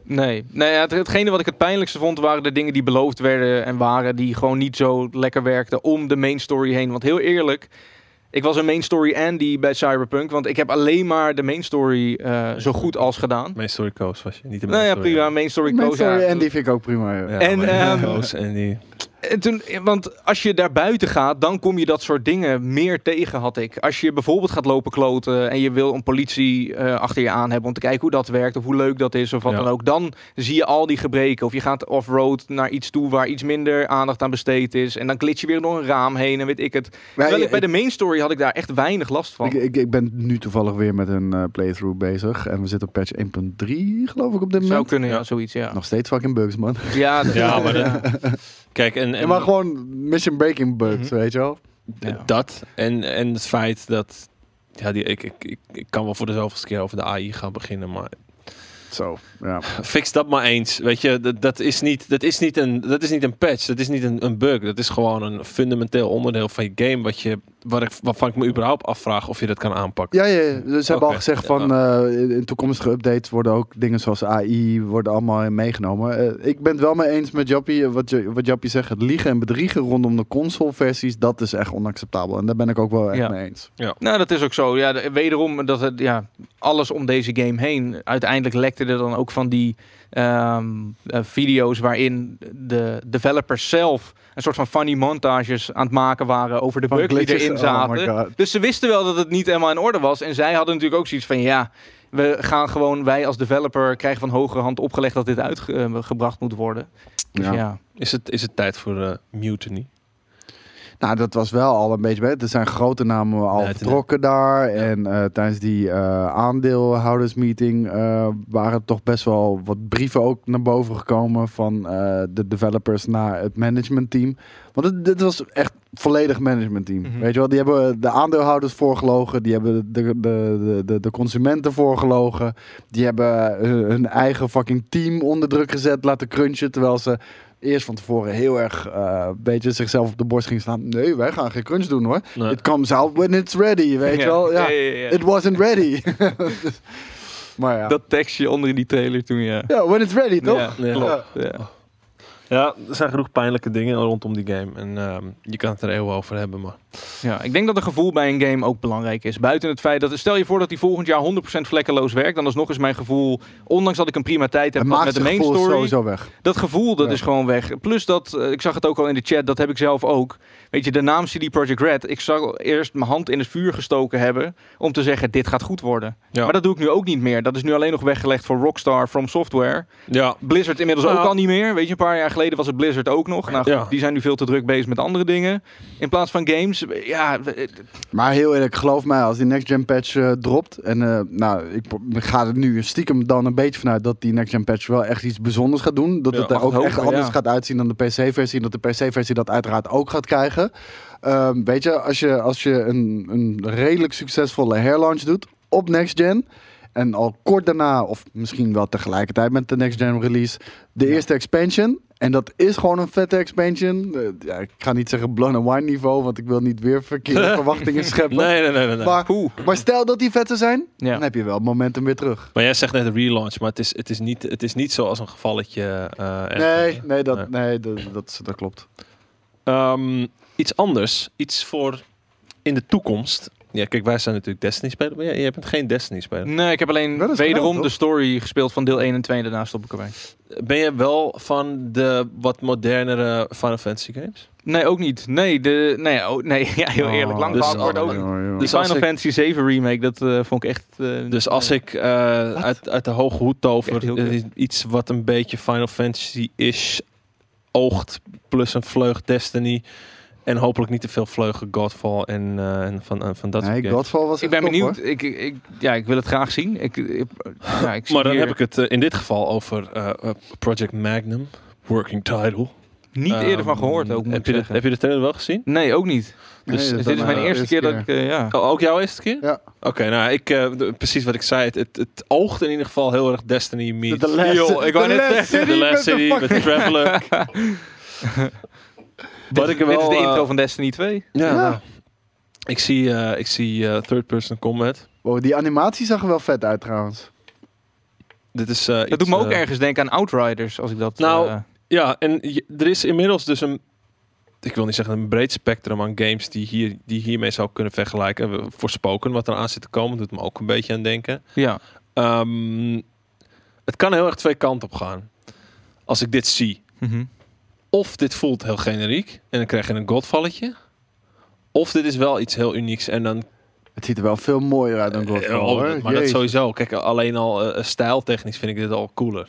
Speaker 4: Nee, nee ja, het, hetgene wat ik het pijnlijkste vond waren de dingen die beloofd werden en waren die gewoon niet zo lekker werkten om de main story heen. Want heel eerlijk, ik was een main story Andy bij Cyberpunk, want ik heb alleen maar de main story eh, zo goed als gedaan.
Speaker 2: Mijn story coach was je, niet de
Speaker 4: Nou ja,
Speaker 2: main story.
Speaker 4: prima, main story
Speaker 1: Mijn
Speaker 4: koos, ja.
Speaker 1: story en die vind ik ook prima. joh.
Speaker 2: Ja,
Speaker 4: En,
Speaker 2: mijn
Speaker 4: ehm,
Speaker 2: coach en die...
Speaker 4: En toen, want als je daar buiten gaat, dan kom je dat soort dingen meer tegen, had ik. Als je bijvoorbeeld gaat lopen kloten en je wil een politie eh, achter je aan hebben om te kijken hoe dat werkt of hoe leuk dat is of wat
Speaker 2: Ja.
Speaker 4: dan ook, dan zie je al die gebreken. Of je gaat off-road naar iets toe waar iets minder aandacht aan besteed is en dan klits je weer door een raam heen en weet ik het.
Speaker 1: Maar
Speaker 4: Terwijl ik bij
Speaker 1: ik-
Speaker 4: de main story had ik daar echt weinig last van.
Speaker 1: ik, ik, ik ben nu toevallig weer met een eh, playthrough bezig. En we zitten op patch 1.3, geloof ik, op dit
Speaker 4: Zou
Speaker 1: moment.
Speaker 4: kunnen, ja,
Speaker 2: Ja.
Speaker 4: zoiets, ja.
Speaker 1: Nog steeds fucking bugs, man.
Speaker 4: Ja, dat-
Speaker 2: Ja, maar de- Kijk, en, en
Speaker 1: Ja, maar gewoon mission breaking bugs,
Speaker 2: Mhm.
Speaker 1: weet je wel.
Speaker 4: Ja.
Speaker 2: dat en, en het feit dat... Ja, die, ik, ik, ik, ik kan wel voor de zoveelste keer over de AI gaan beginnen, maar
Speaker 1: Zo, ja.
Speaker 2: fix dat maar eens. Weet je, dat, dat, is, niet, dat, is, niet een, dat is niet een patch, dat is niet een, een bug. Dat is gewoon een fundamenteel onderdeel van je game wat je, waar ik, waarvan ik me überhaupt afvraag of je dat kan aanpakken.
Speaker 1: Ja, ja, ja. Dus ze hebben al
Speaker 2: Oké,
Speaker 1: gezegd
Speaker 2: ja.
Speaker 1: van eh, in- in toekomstige updates worden ook dingen zoals AI worden allemaal meegenomen. Eh, ik ben het wel mee eens met Jappie, eh, wat, Ja- wat Jappie zegt, het liegen en bedriegen rondom de consoleversies, dat is echt onacceptabel. En daar ben ik ook wel echt
Speaker 4: Ja.
Speaker 1: mee eens.
Speaker 4: Nou, dat is ook zo. Ja, de- wederom, dat het, ja, alles om deze game heen. Uiteindelijk lekte er dan ook van die ehm, eh, video's waarin de developers zelf een soort van funny montages aan het maken waren over de
Speaker 1: Van
Speaker 4: bug die
Speaker 1: glitches,
Speaker 4: erin
Speaker 1: oh
Speaker 4: zaten.
Speaker 1: my god.
Speaker 4: dus ze wisten wel dat het niet helemaal in orde was. En zij hadden natuurlijk ook zoiets van, ja, we gaan gewoon, wij als developer krijgen van hogere hand opgelegd dat dit uitgebracht moet worden. Dus ja.
Speaker 1: Ja.
Speaker 2: Is, het, is het tijd voor eh, mutiny?
Speaker 1: Nou, dat was wel al een beetje. bij- Er zijn grote namen al
Speaker 2: Ja, het-
Speaker 1: vertrokken daar. En eh, tijdens die eh, aandeelhoudersmeeting eh, waren toch best wel wat brieven ook naar boven gekomen van eh, de developers naar het managementteam. Want het- dit was echt volledig managementteam.
Speaker 4: Mhm.
Speaker 1: Weet je wel, die hebben eh, de aandeelhouders voorgelogen, die hebben de, de, de, de, de consumenten voorgelogen, die hebben eh, hun eigen fucking team onder druk gezet, laten crunchen, terwijl ze eerst van tevoren heel erg eh, een beetje zichzelf op de borst ging staan. Nee, wij gaan geen crunch doen hoor.
Speaker 2: Nee.
Speaker 1: It comes out when it's ready, weet je wel. Ja. It wasn't ready. Dus- maar ja.
Speaker 4: Dat tekstje onder in die trailer toen, ja.
Speaker 1: ja, when it's ready, toch?
Speaker 4: Ja,
Speaker 2: Ja.
Speaker 4: klopt. Ja.
Speaker 2: Ja, er zijn genoeg pijnlijke dingen rondom die game. En ehm, je kan het er eeuwen over hebben, maar...
Speaker 4: Ja, ik denk dat een gevoel bij een game ook belangrijk is. Buiten het feit dat, stel je voor dat die volgend jaar 100% vlekkeloos werkt, dan alsnog is mijn gevoel, ondanks dat ik een prima tijd heb
Speaker 1: Het
Speaker 4: gehad
Speaker 1: maakt
Speaker 4: met de
Speaker 1: het
Speaker 4: main
Speaker 1: gevoel
Speaker 4: story,
Speaker 1: sowieso weg.
Speaker 4: dat gevoel dat
Speaker 1: Ja.
Speaker 4: is gewoon weg. Plus dat, eh, ik zag het ook al in de chat, dat heb ik zelf ook. Weet je, de naam CD Projekt Red, ik zou eerst mijn hand in het vuur gestoken hebben om te zeggen, dit gaat goed worden.
Speaker 2: Ja.
Speaker 4: Maar dat doe ik nu ook niet meer. Dat is nu alleen nog weggelegd voor Rockstar, From Software.
Speaker 2: Ja,
Speaker 4: Blizzard inmiddels
Speaker 2: Nou.
Speaker 4: ook al niet meer. Weet je, een paar jaar geleden was het Blizzard ook nog. Nou, goed,
Speaker 2: Ja.
Speaker 4: die zijn nu veel te druk bezig met andere dingen. In plaats van games, ja, we-
Speaker 1: Maar heel eerlijk, geloof mij, als die next gen patch eh, dropt. En eh, nou, ik pro- ik ga er nu stiekem dan een beetje vanuit dat die next gen patch wel echt iets bijzonders gaat doen. Dat
Speaker 2: Ja,
Speaker 1: het er
Speaker 4: mag
Speaker 1: ook
Speaker 4: het
Speaker 1: echt
Speaker 4: hopen,
Speaker 1: anders
Speaker 4: ja.
Speaker 1: gaat uitzien dan de PC-versie. En dat de PC-versie dat uiteraard ook gaat krijgen. Ehm, weet je, als je, als je een, een redelijk succesvolle herlaunch doet op next gen. En al kort daarna, of misschien wel tegelijkertijd met de next gen release, de eerste expansion. En dat is gewoon een vette expansion. Eh, ja, ik ga niet zeggen blown and wine niveau, want ik wil niet weer verkeerde verwachtingen scheppen.
Speaker 2: nee, nee, nee, nee. nee. Maar,
Speaker 1: Maar, maar stel dat die vet zou zijn,
Speaker 4: Ja.
Speaker 1: dan heb je wel het momentum weer terug.
Speaker 2: jij zegt net een relaunch, maar het is, het is, niet, het is niet zoals een gevalletje. eh, ergens.
Speaker 1: Nee, nee,
Speaker 2: Nee.
Speaker 1: dat, nee, dat, dat, dat klopt.
Speaker 2: Ehm, iets anders, iets voor in de toekomst. Ja, kijk, wij zijn natuurlijk Destiny-speler, maar jij, jij bent geen Destiny-speler.
Speaker 4: Nee, ik heb alleen
Speaker 1: Dat is
Speaker 4: wederom
Speaker 1: gedaan,
Speaker 4: de
Speaker 1: toch?
Speaker 4: story gespeeld van deel 1 en 2 en daarna stop ik erbij.
Speaker 2: Ben je wel van de wat modernere Final Fantasy games?
Speaker 4: Nee, ook niet. Nee, de, nee, oh, nee ja, heel eerlijk. Lang
Speaker 2: dus-
Speaker 4: verhaal wordt ook
Speaker 2: oh,
Speaker 4: niet.
Speaker 2: Dus
Speaker 4: Die Final
Speaker 2: als ik-
Speaker 4: Fantasy 7 remake, dat eh, vond ik echt... eh,
Speaker 2: Dus als
Speaker 4: nee.
Speaker 2: ik eh, uit, uit de hoge hoed
Speaker 4: Echt
Speaker 2: tover
Speaker 4: heel kut.
Speaker 2: eh, iets wat een beetje Final Fantasy-ish oogt, plus een vleug Destiny en hopelijk niet te veel vleugen Godfall en, eh, en van, en van dat soort
Speaker 1: nee,
Speaker 2: games.
Speaker 1: Godfall was
Speaker 4: Ik ben
Speaker 1: echt top,
Speaker 4: benieuwd. Ik, ik, ja, ik wil het graag zien. Ik, ik, ja, ik zie
Speaker 2: Maar dan
Speaker 4: hier
Speaker 2: heb ik het eh, in dit geval over eh, eh, Project Magnum, working title.
Speaker 4: niet eerder
Speaker 2: Ehm,
Speaker 4: van gehoord ook, moet
Speaker 2: heb
Speaker 4: ik
Speaker 2: je, de,
Speaker 4: zeggen.
Speaker 2: heb je de trailer wel gezien?
Speaker 4: Nee, ook niet.
Speaker 1: Nee,
Speaker 2: Dus
Speaker 1: dat
Speaker 4: Dus
Speaker 1: dan,
Speaker 4: dit is mijn
Speaker 1: eh,
Speaker 4: eerste keer dat ik... eh, ja.
Speaker 2: Oh, ook jouw eerste keer?
Speaker 1: Ja.
Speaker 2: Oké, nou, ik, eh, d- precies wat ik zei. Het, het, het oogt in ieder geval heel erg Destiny meets...
Speaker 1: De Last-
Speaker 2: Yo, ik wou
Speaker 1: The
Speaker 2: net
Speaker 1: Last
Speaker 2: zeggen,
Speaker 1: City
Speaker 2: The Last
Speaker 1: met de
Speaker 2: City met
Speaker 1: fucking-
Speaker 2: Traveler. wat ik er
Speaker 4: Dit is
Speaker 2: wel...
Speaker 4: de
Speaker 2: eh,
Speaker 4: intro van Destiny 2.
Speaker 2: ja,
Speaker 1: Ja.
Speaker 2: nou, ik zie, eh, ik zie eh, third-person combat.
Speaker 1: Wow, Oh, die animatie zag er wel vet uit trouwens.
Speaker 2: Dit is, eh,
Speaker 4: Dat
Speaker 2: iets,
Speaker 4: doet me ook
Speaker 2: eh,
Speaker 4: ergens denken aan Outriders, als ik dat...
Speaker 2: Nou,
Speaker 4: eh,
Speaker 2: Ja, en je- er is inmiddels dus een. Ik wil niet zeggen een breed spectrum aan games die, hier, die hiermee zou kunnen vergelijken. We- Voorspoken, wat eraan zit te komen, doet me ook een beetje aan denken.
Speaker 4: ja.
Speaker 2: Ehm, het kan heel erg twee kanten op gaan. Als ik dit zie.
Speaker 4: Mhm.
Speaker 2: of dit voelt heel generiek en dan krijg je een godvalletje. Of dit is wel iets heel unieks en dan...
Speaker 1: Het ziet er wel veel mooier uit dan
Speaker 2: Eh,
Speaker 1: Godfall,
Speaker 2: oh,
Speaker 1: hoor.
Speaker 2: maar dat
Speaker 1: Jezus.
Speaker 2: sowieso. Kijk, alleen al eh, stijltechnisch vind ik dit al cooler.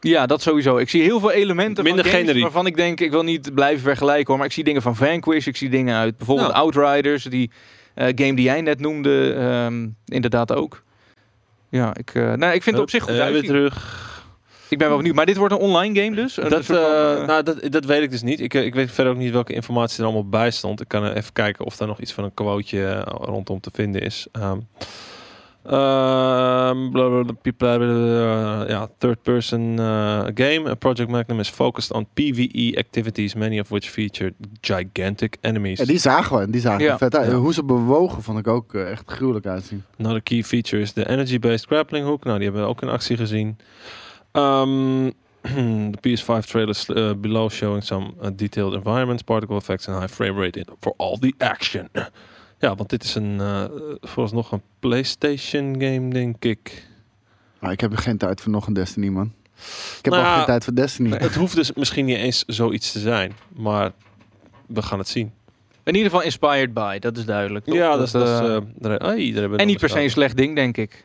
Speaker 4: Ja, dat sowieso. Ik zie heel veel elementen
Speaker 2: Minder
Speaker 4: van games
Speaker 2: generiek.
Speaker 4: waarvan ik denk, ik wil niet blijven vergelijken hoor. Maar ik zie dingen van Vanquish, ik zie dingen uit bijvoorbeeld
Speaker 2: Nou.
Speaker 4: Outriders, die eh, game die jij net noemde, ehm, inderdaad ook. Ja, ik, eh, nou, ik vind het op zich goed
Speaker 2: Eh, weer
Speaker 4: uitzien.
Speaker 2: terug.
Speaker 4: Ik ben wel benieuwd. Maar dit wordt een online game dus? Een
Speaker 2: Dat,
Speaker 4: soort van,
Speaker 2: eh,
Speaker 4: eh,
Speaker 2: nou, dat, dat weet ik dus niet. Ik, eh, ik weet verder ook niet welke informatie er allemaal bij stond. Ik kan eh, even kijken of daar nog iets van een quoteje eh, rondom te vinden is. Ehm, ehm, blablabla, blablabla, ja, third person eh, game. A Project Magnum is focused on PvE activities, many of which feature gigantic enemies.
Speaker 1: Ja, die zagen we, die zagen we
Speaker 4: Ja.
Speaker 1: vet uit.
Speaker 2: Ja.
Speaker 1: Hoe ze bewogen vond ik ook eh, echt gruwelijk uitzien.
Speaker 2: Another key feature is de energy-based grappling hook. Nou, die hebben we ook in actie gezien. Ehm, De PS5 trailers eh, below showing some eh, detailed environments, particle effects en high frame rate in for all the action. Ja, want dit is een eh vooralsnog een PlayStation game, denk ik.
Speaker 1: Maar ik heb geen tijd voor nog een Destiny, man. Ik heb
Speaker 2: Nou
Speaker 1: al
Speaker 2: ja,
Speaker 1: geen tijd voor Destiny.
Speaker 2: Het hoeft dus misschien niet eens zoiets te zijn, maar we gaan het zien.
Speaker 4: In ieder geval inspired by, dat is duidelijk. toch?
Speaker 2: Ja, dat is... dat is,
Speaker 4: eh,
Speaker 2: eh, daar- ai, daar hebben we
Speaker 4: en
Speaker 2: nog
Speaker 4: niet per se een
Speaker 2: eens
Speaker 4: slecht ding, denk ik.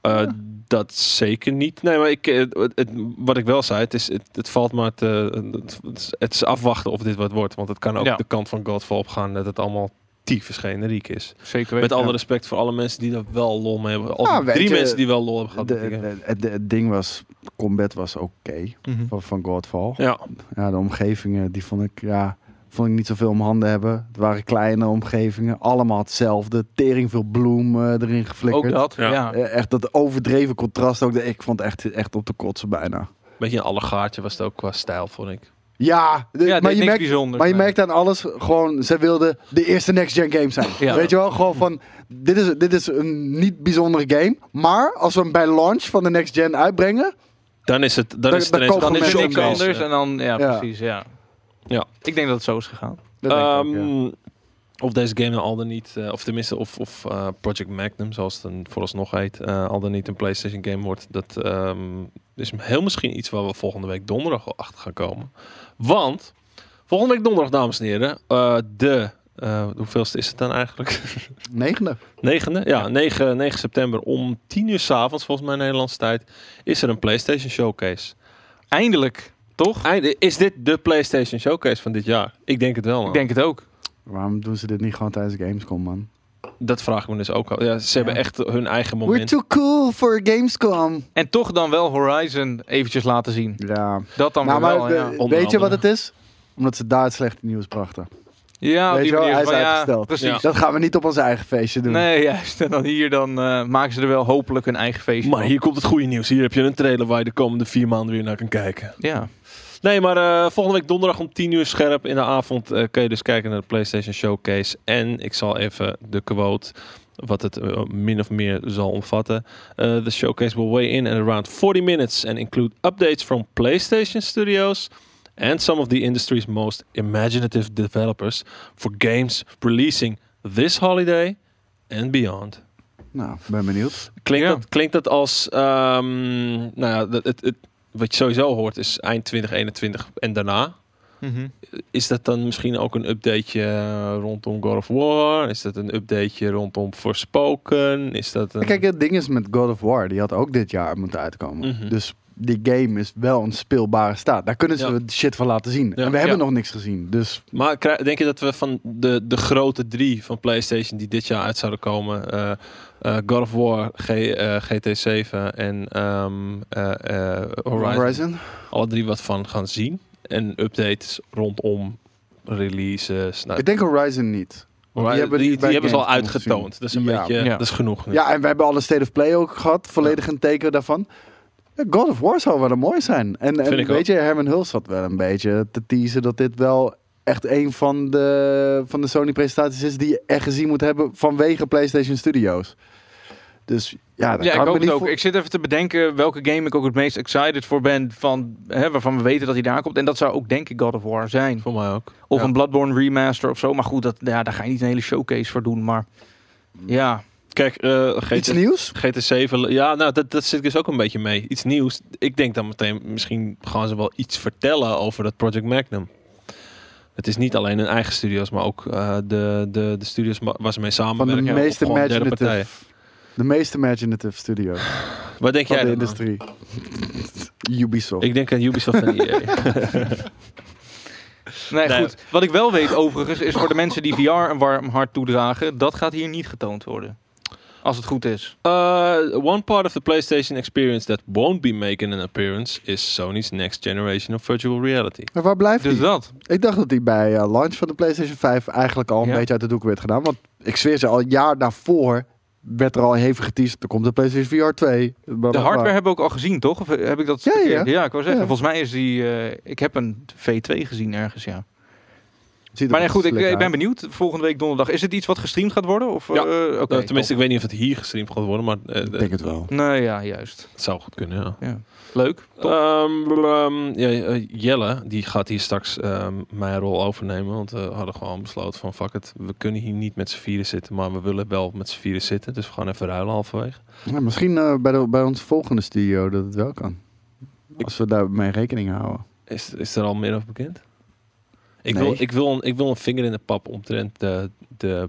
Speaker 2: Eh, Dat zeker niet. Nee, maar ik, eh, het, het- wat ik wel zei, het, is, het, het valt maar te, het, het is- het is afwachten of dit wat wordt. Want het kan ook
Speaker 4: Ja.
Speaker 2: de kant van Godfall opgaan dat het allemaal tyfus generiek is.
Speaker 4: Zeker weten.
Speaker 2: Met alle
Speaker 1: ja.
Speaker 2: respect voor alle mensen die daar wel lol mee hebben. Al
Speaker 1: Ja,
Speaker 2: die
Speaker 1: weet
Speaker 2: drie
Speaker 1: je,
Speaker 2: mensen die wel lol hebben gehad.
Speaker 1: De-
Speaker 2: met die game.
Speaker 1: de- het- de- het ding was, combat was oké
Speaker 4: Mhm.
Speaker 1: van, van Godfall.
Speaker 2: ja,
Speaker 1: Ja, de omgevingen, die vond ik, ja, vond ik niet zoveel om handen hebben. Het waren kleine omgevingen, allemaal hetzelfde. Tering veel bloem eh, erin
Speaker 4: Ook
Speaker 1: geflikkerd.
Speaker 4: dat,
Speaker 2: Ja.
Speaker 4: ja.
Speaker 1: Eh, Echt dat overdreven contrast ook. Ik vond het echt, echt op de kotsen bijna.
Speaker 2: een beetje een allegaartje was het ook qua stijl, vond ik.
Speaker 1: Ja, de-
Speaker 4: Ja,
Speaker 1: maar,
Speaker 4: dit is
Speaker 1: je
Speaker 4: niks
Speaker 1: merkt,
Speaker 4: bijzonders.
Speaker 1: maar je
Speaker 4: nee.
Speaker 1: merkt aan alles gewoon, ze wilden de eerste next-gen game zijn.
Speaker 4: Ja.
Speaker 1: Weet je wel, gewoon van, dit is, dit is een niet bijzondere game. Maar als we hem bij launch van de next-gen uitbrengen,
Speaker 2: Dan is het, dan
Speaker 1: Dan-
Speaker 2: is het
Speaker 1: dan
Speaker 2: ineens
Speaker 1: kopen
Speaker 4: Dan is
Speaker 1: mensen
Speaker 4: er
Speaker 2: een
Speaker 4: niks
Speaker 1: ook mee.
Speaker 2: showcase.
Speaker 4: anders en dan, ja,
Speaker 1: Ja.
Speaker 4: precies, ja.
Speaker 2: Ja.
Speaker 4: Ik denk dat het zo is gegaan.
Speaker 1: dat denk ik ook, ja.
Speaker 2: Ehm, Of deze game nou al dan niet, eh, of tenminste, of, of eh, Project Magnum, zoals het dan vooralsnog heet, eh, al dan niet een PlayStation game wordt, dat ehm, is heel misschien iets waar we volgende week donderdag wel achter gaan komen. Want, volgende week donderdag, dames en heren, eh, de, eh, hoeveelste is het dan eigenlijk?
Speaker 1: Negende.
Speaker 2: Negende? Ja, 9, 9 september om 10 uur s'avonds, volgens mij Nederlandse tijd, is er een PlayStation Showcase.
Speaker 4: Eindelijk, toch?
Speaker 2: Einde, is dit de PlayStation Showcase van dit jaar? Ik denk het wel. man.
Speaker 4: Ik denk het ook.
Speaker 1: Waarom doen ze dit niet gewoon tijdens Gamescom, man?
Speaker 2: Dat vraag ik me dus ook al. Ja, ze hebben
Speaker 1: Ja.
Speaker 2: echt hun eigen
Speaker 1: We're
Speaker 2: moment.
Speaker 1: too cool for Gamescom.
Speaker 4: En toch dan wel Horizon eventjes laten zien.
Speaker 1: Ja,
Speaker 4: Dat dan
Speaker 1: nou,
Speaker 4: weer
Speaker 1: maar
Speaker 4: wel,
Speaker 1: we-
Speaker 4: ja.
Speaker 1: weet
Speaker 2: Onder
Speaker 1: je wat
Speaker 2: andere.
Speaker 1: het is? Omdat ze daar het slechte nieuws brachten.
Speaker 4: Ja, op
Speaker 1: weet
Speaker 4: die
Speaker 1: je wel,
Speaker 4: manier.
Speaker 1: hij is
Speaker 4: van, ja,
Speaker 1: uitgesteld.
Speaker 4: Precies.
Speaker 2: Ja.
Speaker 1: Dat gaan we niet op ons eigen feestje doen.
Speaker 4: Nee, juist. En dan hier dan eh, maken ze er wel hopelijk een eigen feestje
Speaker 2: Maar
Speaker 4: van.
Speaker 2: hier komt het goede nieuws. Hier heb je een trailer waar je de komende vier maanden weer naar kan kijken.
Speaker 4: Ja.
Speaker 2: Nee, maar eh, volgende week donderdag om 10 uur scherp in de avond eh, kun je dus kijken naar de PlayStation Showcase. En ik zal even de quote, wat het eh, min of meer zal omvatten. Eh, the showcase will weigh in at around 40 minutes and include updates from PlayStation Studios and some of the industry's most imaginative developers for games releasing this holiday and beyond.
Speaker 1: Nou, ben benieuwd.
Speaker 2: Klinkt,
Speaker 4: Ja.
Speaker 2: dat, klinkt dat als, ehm, nou ja, dat- het, het, wat je sowieso hoort is eind 2021 en daarna.
Speaker 4: Mhm.
Speaker 2: Is dat dan misschien ook een updateje eh, rondom God of War? Is dat een updateje rondom Forspoken? Is dat een...
Speaker 1: Kijk, het ding is met God of War, die had ook dit jaar moeten uitkomen.
Speaker 2: Mhm.
Speaker 1: Dus die game is wel een speelbare staat. Daar kunnen ze
Speaker 2: Ja.
Speaker 1: shit van laten zien.
Speaker 2: Ja.
Speaker 1: En we hebben
Speaker 2: Ja.
Speaker 1: nog niks gezien. Dus
Speaker 2: Maar krij- denk je dat we van de, de grote drie van PlayStation die dit jaar uit zouden komen, eh, eh, God of War, G, eh, GT7 en ehm, eh, eh,
Speaker 1: Horizon.
Speaker 2: Horizon, alle drie wat van gaan zien? En updates rondom releases. Nou,
Speaker 1: Ik denk Horizon niet.
Speaker 2: Maar die,
Speaker 1: Die hebben
Speaker 2: die,
Speaker 1: die bij
Speaker 2: hebben ze al
Speaker 1: Gamescom
Speaker 2: uitgetoond.
Speaker 1: gezien.
Speaker 2: Dat is een
Speaker 1: Ja.
Speaker 2: beetje,
Speaker 4: Ja.
Speaker 2: dat is genoeg. nu.
Speaker 1: Ja, en we hebben alle State of Play ook gehad. Volledig een teken daarvan. Ja, God of War zou wel een mooi zijn. En, en
Speaker 2: Vind ik
Speaker 1: weet je, Herman Hulst zat wel een beetje te teasen dat dit wel echt een van de, van de Sony-presentaties is die je echt gezien moet hebben vanwege PlayStation Studios. Dus ja, dat
Speaker 4: Ja,
Speaker 1: kan
Speaker 4: ik
Speaker 1: me
Speaker 4: hoop
Speaker 1: niet
Speaker 4: het ook.
Speaker 1: voor-
Speaker 4: Ik zit even te bedenken welke game ik ook het meest excited voor ben. Van, hè, waarvan we weten dat hij daar komt. En dat zou ook denk ik God of War zijn.
Speaker 2: Voor mij ook.
Speaker 4: Of
Speaker 2: Ja.
Speaker 4: een Bloodborne remaster of zo. Maar goed, dat, ja, daar ga je niet een hele showcase voor doen. Maar ja,
Speaker 2: Kijk, eh,
Speaker 1: Iets
Speaker 2: GT,
Speaker 1: nieuws?
Speaker 2: GT7, ja, nou, dat, dat zit dus ook een beetje mee. Iets nieuws. Ik denk dan meteen, misschien gaan ze wel iets vertellen over dat Project Magnum. Het is niet alleen hun eigen studio's, maar ook eh, de, de, de studios wa- waar ze mee
Speaker 1: Van de
Speaker 2: samenwerken. of
Speaker 1: meest
Speaker 2: gewoon derde
Speaker 1: imaginative.
Speaker 2: partijen.
Speaker 1: De meest imaginative studio van
Speaker 2: Wat denk jij
Speaker 1: de
Speaker 2: dan?
Speaker 1: industrie. Ubisoft.
Speaker 2: Ik denk aan Ubisoft en E EA.
Speaker 4: Nee,
Speaker 2: Nee.
Speaker 4: goed. Wat ik wel weet overigens, is voor de mensen die VR een warm hart toedragen, dat gaat hier niet getoond worden. Als het goed is.
Speaker 2: Uh, one part of the PlayStation experience that won't be making an appearance is Sony's next generation of virtual reality.
Speaker 1: Maar waar blijft
Speaker 4: Dus
Speaker 1: die?
Speaker 4: dat.
Speaker 1: Ik dacht dat die bij eh, launch van de PlayStation 5 eigenlijk al een
Speaker 4: Ja.
Speaker 1: beetje uit de doek werd gedaan. Want ik zweer ze, al een jaar daarvoor werd er al hevig geteased. Er komt de PlayStation VR 2. bla, bla,
Speaker 4: De
Speaker 1: bla.
Speaker 4: hardware hebben we ook al gezien, toch? Of eh, heb ik dat
Speaker 1: Ja, ja.
Speaker 4: verkeerd? ja, ik wou zeggen.
Speaker 1: Ja.
Speaker 4: Volgens mij is die... eh, ik heb een V2 gezien ergens, ja.
Speaker 1: Ziet er
Speaker 4: Maar nee, goed, ik, eh,
Speaker 1: slick
Speaker 4: ik ben
Speaker 1: uit.
Speaker 4: benieuwd. Volgende week donderdag. Is het iets wat gestreamd gaat worden? Of,
Speaker 2: Ja.
Speaker 4: eh, oké,
Speaker 1: Nou,
Speaker 2: Eh, tenminste,
Speaker 4: top.
Speaker 2: ik weet niet of het hier gestreamd gaat worden, maar eh,
Speaker 1: Ik denk het wel.
Speaker 4: Nee, Nou ja, juist.
Speaker 2: het zou goed kunnen. Ja.
Speaker 4: Ja. Leuk. Top.
Speaker 2: Ehm, ehm, ja, eh, Jelle, die gaat hier straks ehm, mijn rol overnemen. Want we hadden gewoon besloten van fuck it, we kunnen hier niet met z'n vieren zitten. Maar we willen wel met z'n vieren zitten. Dus we gaan even ruilen halverwege.
Speaker 1: Ja, misschien eh, bij, de, bij ons volgende studio dat het wel kan. Als we daarmee rekening houden.
Speaker 2: Is, is er al meer over bekend? Ik,
Speaker 1: Nee.
Speaker 2: wil, ik, wil een, ik wil een vinger in de pap omtrent de, de,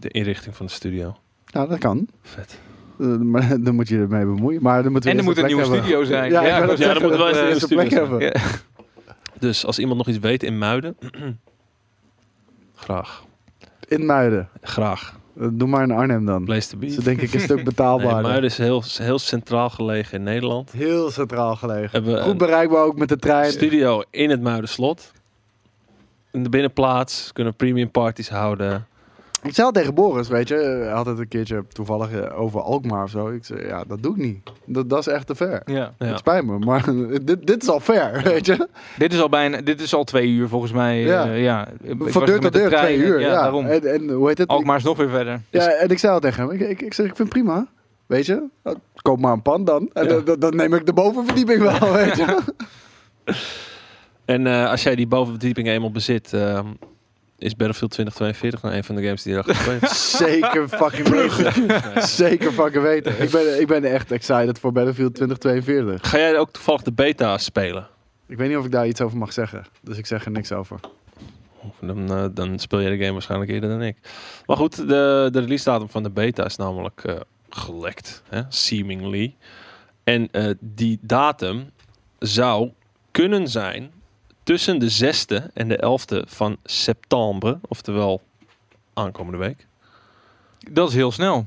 Speaker 2: de inrichting van de studio.
Speaker 1: Ja, dat kan.
Speaker 2: Vet.
Speaker 1: Eh, maar dan moet je ermee bemoeien. Maar dan moeten we
Speaker 4: En er
Speaker 1: eerst
Speaker 4: moet een
Speaker 1: plek
Speaker 4: nieuwe
Speaker 1: hebben.
Speaker 4: studio zijn.
Speaker 1: Ja,
Speaker 4: Ja, eh,
Speaker 1: ik wou
Speaker 4: goed.
Speaker 1: dat
Speaker 2: Ja, er
Speaker 1: zeggen,
Speaker 2: moet wel eens
Speaker 1: we
Speaker 2: een
Speaker 1: eerst
Speaker 2: nieuwe
Speaker 1: plek
Speaker 2: studio
Speaker 1: hebben.
Speaker 4: Ja.
Speaker 2: Dus als iemand nog iets weet in Muiden, graag.
Speaker 1: In Muiden.
Speaker 2: Graag.
Speaker 1: Eh, Doe maar in Arnhem dan.
Speaker 2: Place to be.
Speaker 1: Dat is denk ik een stuk
Speaker 2: Nee,
Speaker 1: betaalbaarder.
Speaker 2: Muiden is heel, heel centraal gelegen in Nederland.
Speaker 1: Heel centraal gelegen.
Speaker 2: Hebben we
Speaker 1: Goed bereikbaar ook met de
Speaker 2: een
Speaker 1: trein.
Speaker 2: studio in het Muiderslot. In de binnenplaats kunnen we premium parties houden.
Speaker 1: Ik zei al tegen Boris, weet je, hij had het een keertje toevallig eh, over Alkmaar of zo. Ik zei, ja, dat doe ik niet. Dat, dat is echt te ver.
Speaker 4: Ja.
Speaker 1: Het
Speaker 2: Ja.
Speaker 1: spijt me, maar dit, dit is al ver, weet je.
Speaker 4: Dit is al bijna, dit is al twee uur volgens mij. eh,
Speaker 1: Ja.
Speaker 4: Ja. ja. Ik was
Speaker 1: Van
Speaker 4: er
Speaker 1: deur
Speaker 4: met
Speaker 1: tot
Speaker 4: de
Speaker 1: deur,
Speaker 4: trein,
Speaker 1: twee uur. Ja,
Speaker 4: daarom.
Speaker 1: En, en hoe heet het?
Speaker 4: Alkmaar is nog weer verder.
Speaker 1: Ja, en ik zei al tegen hem, ik, ik, ik zeg, ik vind het prima, weet je. Nou, Koop maar een pand dan. En dan, dan- dan neem ik de bovenverdieping wel, weet je.
Speaker 2: En eh, als jij die bovenverdieping eenmaal bezit, ehm, is Battlefield 2042 nou een van de games die je erachter speelt.
Speaker 1: Zeker fucking weten. Zeker fucking weten. Ik ben, ik ben echt excited voor Battlefield 2042.
Speaker 2: Ga jij ook toevallig de beta spelen?
Speaker 1: Ik weet niet of ik daar iets over mag zeggen, dus ik zeg er niks over.
Speaker 2: Dan, eh, dan speel jij de game waarschijnlijk eerder dan ik. Maar goed, de, de release datum van de beta is namelijk eh, gelekt, hè? seemingly. En eh, die datum zou kunnen zijn tussen de 6e en de 11e van september, oftewel aankomende week.
Speaker 4: Dat is heel snel.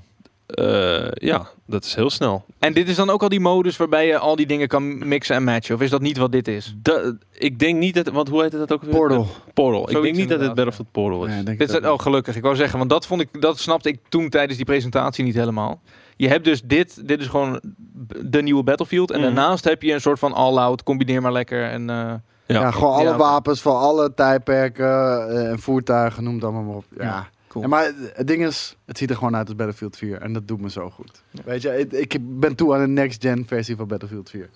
Speaker 2: Eh, ja, dat is heel snel.
Speaker 4: En dit is dan ook al die modus waarbij je al die dingen kan mixen en matchen. Of is dat niet wat dit is?
Speaker 2: Da- ik denk niet dat, want hoe heet dat ook weer?
Speaker 1: Portal.
Speaker 2: Portal. ik
Speaker 4: Zoiets
Speaker 2: denk niet dat het
Speaker 4: inderdaad,
Speaker 2: Battlefield Portal is.
Speaker 1: Nee, ik denk
Speaker 4: Dit
Speaker 1: het
Speaker 4: is,
Speaker 1: ook
Speaker 4: oh,
Speaker 1: niet.
Speaker 4: gelukkig. Ik wou zeggen, want dat, vond ik, dat snapte ik toen tijdens die presentatie niet helemaal. Je hebt dus dit, dit is gewoon b- de nieuwe Battlefield. En
Speaker 2: Mhm.
Speaker 4: daarnaast heb je een soort van all-out, combineer maar lekker. En, eh,
Speaker 2: Ja.
Speaker 1: Ja, gewoon alle
Speaker 4: Ja, oké.
Speaker 1: wapens van alle tijdperken eh, en voertuigen, noem het allemaal maar op. Ja.
Speaker 4: Ja, cool.
Speaker 1: Ja, maar het ding is, het ziet er gewoon uit als Battlefield 4 en dat doet me zo goed. Weet je, ik, ik ben toe aan een next-gen versie van Battlefield 4.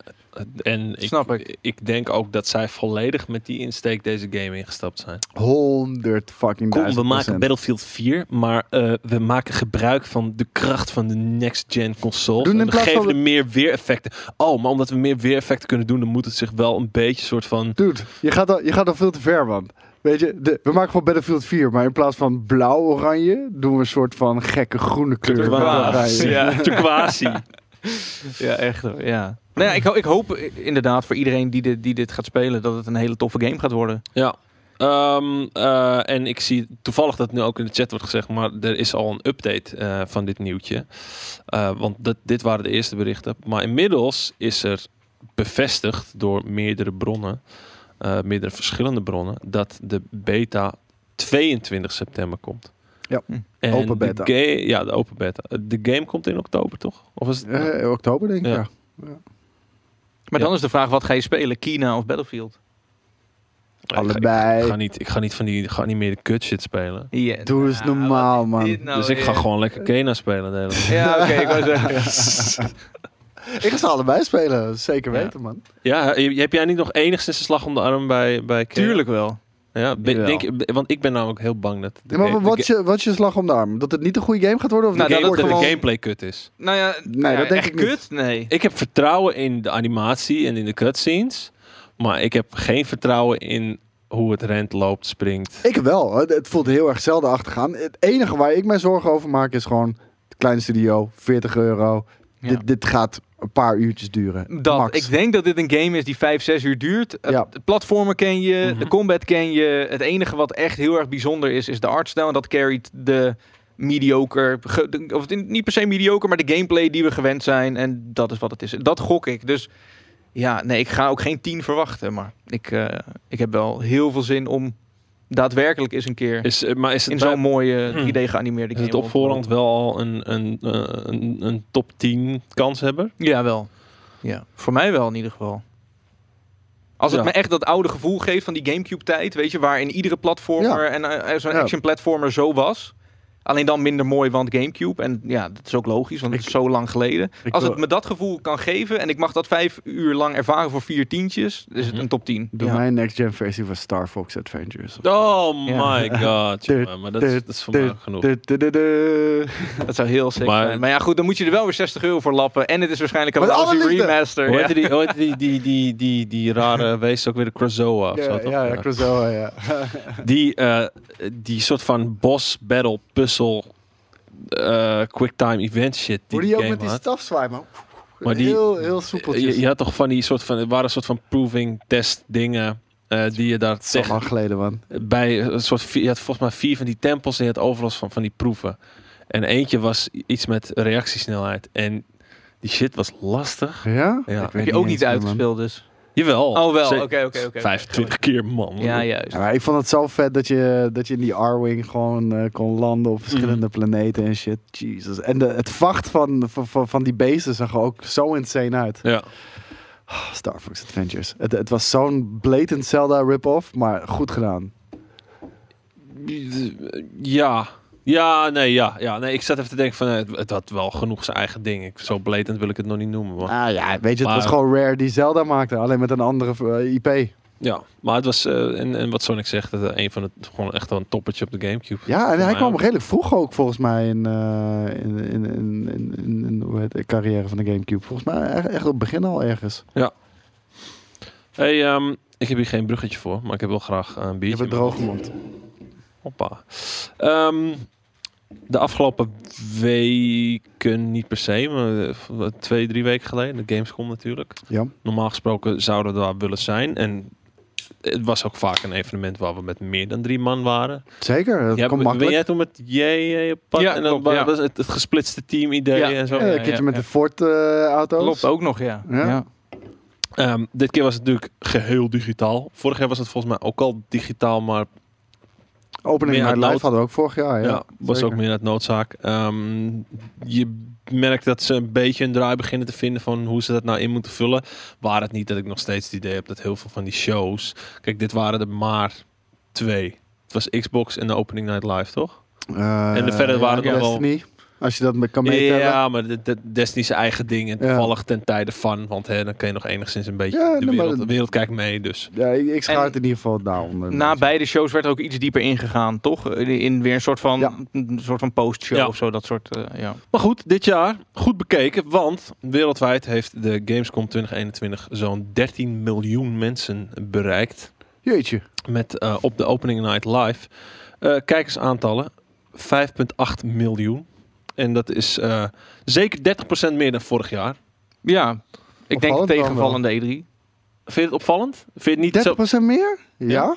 Speaker 2: En ik,
Speaker 4: Snap ik.
Speaker 2: ik denk ook dat zij volledig met die insteek deze game ingestapt zijn.
Speaker 1: 100 fucking
Speaker 2: Kom, we
Speaker 1: duizend
Speaker 2: maken
Speaker 1: procent.
Speaker 2: Battlefield 4, maar eh, we maken gebruik van de kracht van de next-gen consoles.
Speaker 1: Doen in
Speaker 2: en we
Speaker 1: plaats
Speaker 2: geven
Speaker 1: van-
Speaker 2: er meer weereffecten. Oh, maar omdat we meer weereffecten kunnen doen, dan moet het zich wel een beetje soort van...
Speaker 1: Dude, je gaat, al, je gaat al veel te ver, man. Weet je, de- we maken gewoon Battlefield 4, maar in plaats van blauw-oranje doen we een soort van gekke groene kleur. met
Speaker 2: Turquoise.
Speaker 1: oranje.
Speaker 2: Ja, turquoise.
Speaker 4: ja echt hoor, ja. Nou ja, ik, ho- ik hoop i- inderdaad voor iedereen die dit, die dit gaat spelen... dat het een hele toffe game gaat worden.
Speaker 2: Ja. Ehm, eh, en ik zie toevallig dat nu ook in de chat wordt gezegd, maar er is al een update eh, van dit nieuwtje. Eh, want dat, dit waren de eerste berichten. Maar inmiddels is er bevestigd door meerdere bronnen, eh, meerdere verschillende bronnen, dat de beta 22 september komt.
Speaker 1: Ja.
Speaker 4: Hm.
Speaker 2: En
Speaker 1: Open
Speaker 2: de
Speaker 1: beta.
Speaker 2: ga- ja, de open beta. Eh, De game komt in oktober, toch? Of is het...
Speaker 1: Eh, oktober denk ik,
Speaker 2: Ja.
Speaker 1: ja.
Speaker 4: Maar
Speaker 2: Ja.
Speaker 4: dan is de vraag, wat ga je spelen? Kina of Battlefield?
Speaker 2: Ik ga-
Speaker 1: Allebei.
Speaker 2: Ik, ga niet, ik ga niet van die geanimeerde kut shit spelen.
Speaker 4: Ja,
Speaker 1: Doe eens
Speaker 4: nou,
Speaker 1: normaal,
Speaker 4: wat is
Speaker 1: man.
Speaker 4: dit nou
Speaker 2: dus ik ga
Speaker 4: weer?
Speaker 2: gewoon lekker Kena spelen de hele dag.
Speaker 4: Ja, oké, ik wou zeggen.
Speaker 1: Ik ga ze allebei spelen, zeker
Speaker 2: Ja. eh,
Speaker 1: weten, man.
Speaker 2: Ja, he- heb jij niet nog enigszins de slag om de arm bij, bij Kea?
Speaker 4: Tuurlijk wel.
Speaker 2: Ja, ben-
Speaker 1: Jawel.
Speaker 2: denk, je- want ik ben namelijk heel bang dat. de
Speaker 1: Ja, maar
Speaker 2: ga- Eh, de
Speaker 1: wat is
Speaker 2: ga-
Speaker 1: je, wat is je slag om de arm? Dat het niet een goede game gaat worden? Of
Speaker 4: Nou,
Speaker 1: dat
Speaker 2: de
Speaker 1: het
Speaker 2: game- dat
Speaker 1: wordt
Speaker 2: de
Speaker 1: gewoon...
Speaker 2: gameplay kut is.
Speaker 4: Nou ja,
Speaker 1: Nee, dat denk
Speaker 4: echt
Speaker 1: ik niet.
Speaker 4: Kut? Nee.
Speaker 2: Ik heb vertrouwen in de animatie en in de cutscenes. Maar ik heb geen vertrouwen in hoe het rent, loopt, springt.
Speaker 1: Ik wel. Het- Het voelt heel erg zelden achtergaan. Het enige waar ik mij zorgen over maak is gewoon... Klein studio, 40 euro.
Speaker 4: Ja.
Speaker 1: Dit, dit gaat een paar uurtjes duren.
Speaker 4: Dat.
Speaker 1: Max.
Speaker 4: Ik denk dat dit een game is die 5, 6 uur duurt. Het
Speaker 1: Ja.
Speaker 4: de platformen ken je, de
Speaker 2: Mhm.
Speaker 4: combat ken je. Het enige wat echt heel erg bijzonder is, is de artstijl. En dat carryt de mediocre, ge- de- of in- niet per se mediocre, maar de gameplay die we gewend zijn. En dat is wat het is. Dat gok ik. Dus ja, nee, ik ga ook geen 10 verwachten. Maar ik, eh, ik heb wel heel veel zin om daadwerkelijk eens een keer
Speaker 2: Is, eh, maar is
Speaker 4: in
Speaker 2: het, bij-
Speaker 4: zo'n mooie
Speaker 2: Hm.
Speaker 4: 3D geanimeerde
Speaker 2: is
Speaker 4: game.
Speaker 2: het op
Speaker 4: rond-
Speaker 2: voorhand wel al een, een, eh, een, een top 10 kanshebber?
Speaker 4: Ja, wel. Ja, voor mij wel in ieder geval. Als het
Speaker 2: Ja.
Speaker 4: me echt dat oude gevoel geeft van die Gamecube-tijd, weet je, waar in iedere platformer en eh, eh, zo'n
Speaker 1: Ja.
Speaker 4: action-platformer zo was. Alleen dan minder mooi, want Gamecube. En ja, dat is ook logisch, want het is zo lang geleden.
Speaker 1: Ik
Speaker 4: Als
Speaker 1: wil-
Speaker 4: het me dat gevoel kan geven en ik mag dat vijf uur lang ervaren voor vier tientjes, is het
Speaker 2: Mhm.
Speaker 4: een top 10.
Speaker 1: Doe
Speaker 4: Ja.
Speaker 1: mijn next-gen versie van Star Fox Adventures.
Speaker 2: Oh
Speaker 4: Ja.
Speaker 2: my god.
Speaker 1: Tut,
Speaker 2: jongen, maar dat is,
Speaker 1: tut,
Speaker 2: dat is voor mij
Speaker 1: tut,
Speaker 2: ook genoeg.
Speaker 1: Du- du- du- du.
Speaker 4: Dat zou heel sick
Speaker 2: Maar-
Speaker 4: zijn. Maar ja, goed, dan moet je er wel weer 60 euro voor lappen. En het is waarschijnlijk een
Speaker 1: Met alle
Speaker 4: lousy
Speaker 1: liefde.
Speaker 4: remaster.
Speaker 2: Hoe
Speaker 4: Ja.
Speaker 2: heette die, hoe heette die, die, die, die, die rare wees ook weer? De Crozoa of zo,
Speaker 1: Ja,
Speaker 2: toch?
Speaker 1: ja, ja, Crozoa, ja.
Speaker 2: Die, eh, die soort van boss battle puzzel eh quicktime event shit
Speaker 1: Hoe
Speaker 2: die die
Speaker 1: die ook
Speaker 2: game
Speaker 1: met die
Speaker 2: had.
Speaker 1: stafzwaai, man.
Speaker 2: Maar die-
Speaker 1: heel, heel
Speaker 2: je,
Speaker 1: soepeltjes.
Speaker 2: je had toch van die soort van, het waren een soort van proving test dingen eh, die je daar
Speaker 1: Dat is al
Speaker 2: tegen,
Speaker 1: lang geleden, man.
Speaker 2: bij een soort, vi- je had volgens mij vier van die tempels en je had overal van, van die proeven. En eentje was iets met reactiesnelheid en die shit was lastig.
Speaker 1: Ja?
Speaker 2: Ja.
Speaker 4: Heb je ook niet uitgespeeld dus.
Speaker 2: Jawel.
Speaker 4: Oh wel,
Speaker 2: Ze-
Speaker 4: oké, oké, oké, oké.
Speaker 2: 25 keer man.
Speaker 4: Ja, juist.
Speaker 1: Ja, maar ik vond het zo vet dat je, dat je in die R-Wing gewoon eh, kon landen op verschillende
Speaker 2: Mhm.
Speaker 1: planeten en shit. Jesus. En de, het vacht van, van, van, van die beesten zag er ook zo insane uit.
Speaker 2: Ja.
Speaker 1: Ah, Star Fox Adventures. Het, het was zo'n blatant Zelda rip-off, maar goed gedaan.
Speaker 2: Ja. Ja, nee, ja. ja. Nee, ik zat even te denken van, eh, het, het had wel genoeg zijn eigen ding. Ik, zo blatend wil ik het nog niet noemen. Maar,
Speaker 1: Ah ja, weet je, het
Speaker 2: Maar-
Speaker 1: was gewoon Rare die Zelda maakte, alleen met een andere eh, IP.
Speaker 2: ja, maar het was, eh, en, en wat Sonic zegt, het, eh, een van het, gewoon echt wel een toppertje op de Gamecube.
Speaker 1: Ja, en hij
Speaker 2: mij
Speaker 1: kwam
Speaker 2: ook.
Speaker 1: redelijk vroeg ook volgens mij in, eh, in, in, in, in, in- in- hoe heet, de carrière van de Gamecube. Volgens mij e-, echt, echt op het begin al ergens.
Speaker 2: Hey, ehm, ik heb hier geen bruggetje voor, maar ik heb wel graag eh, een
Speaker 1: Je
Speaker 2: biertje.
Speaker 1: hebt een droge mond.
Speaker 2: Hoppa. Ehm, de afgelopen weken niet per se, maar eh, twee, drie weken geleden, de Gamescom natuurlijk.
Speaker 1: Ja.
Speaker 2: Normaal gesproken zouden we daar willen zijn en... Het was ook vaak een evenement waar we met meer dan drie man waren.
Speaker 1: Zeker, dat
Speaker 2: Ja,
Speaker 1: komt
Speaker 2: ben- ben
Speaker 1: makkelijk.
Speaker 2: jij toen met JJ op pad?
Speaker 4: Ja,
Speaker 2: en dan
Speaker 4: klopt,
Speaker 2: wa-
Speaker 4: ja.
Speaker 2: was het, het gesplitste team idee
Speaker 4: Ja.
Speaker 2: en zo.
Speaker 1: Ja,
Speaker 4: Ja,
Speaker 1: Eh, een keertje
Speaker 4: ja,
Speaker 1: met
Speaker 4: ja.
Speaker 1: de Ford-auto's.
Speaker 4: Klopt ook nog, ja.
Speaker 1: Ja.
Speaker 2: Ehm, dit keer was het natuurlijk geheel digitaal. Vorig jaar was het volgens mij ook al digitaal, maar
Speaker 1: Opening
Speaker 2: Meer
Speaker 1: Night
Speaker 2: uit
Speaker 1: Live
Speaker 2: nood.
Speaker 1: hadden we ook vorig jaar.
Speaker 2: ja,
Speaker 1: Ja,
Speaker 2: was
Speaker 1: zeker.
Speaker 2: ook meer uit noodzaak. Ehm, je merkt dat ze een beetje een draai beginnen te vinden van hoe ze dat nou in moeten vullen. Waar het niet dat ik nog steeds het idee heb dat heel veel van die shows... Kijk, dit waren er maar twee. Het was Xbox en de Opening Night Live, toch?
Speaker 1: Eh,
Speaker 2: En de verder
Speaker 1: ja,
Speaker 2: waren er wel-
Speaker 1: Destiny, als je dat me- kan meetellen.
Speaker 2: Ja, maar de, de Destiny's eigen ding en
Speaker 1: Ja.
Speaker 2: toevallig ten tijde van, want hè, dan kan je nog enigszins een beetje
Speaker 1: Ja,
Speaker 2: de,
Speaker 1: nee, maar
Speaker 2: wereld,
Speaker 1: dat-
Speaker 2: de wereld kijkt mee, dus
Speaker 1: Ja, ik, ik schaar
Speaker 4: En-
Speaker 1: het in ieder geval daaronder.
Speaker 4: Na beide shows werd er ook iets dieper ingegaan, toch? In weer een soort van,
Speaker 1: Ja.
Speaker 4: een soort van postshow
Speaker 2: Ja.
Speaker 4: of zo, dat soort. eh, ja.
Speaker 2: Maar goed, dit jaar goed bekeken, want wereldwijd heeft de Gamescom 2021 zo'n 13 miljoen mensen bereikt
Speaker 1: Jeetje.
Speaker 2: met eh, op de opening night live. Eh, kijkersaantallen 5,8 miljoen. En dat is eh, zeker 30% meer dan vorig jaar.
Speaker 4: ja, ik denk de
Speaker 1: Opvallend dan
Speaker 4: tegenvallende E E3.
Speaker 2: Vind je het opvallend? Vind je het niet zo,
Speaker 1: 30% meer? Ja?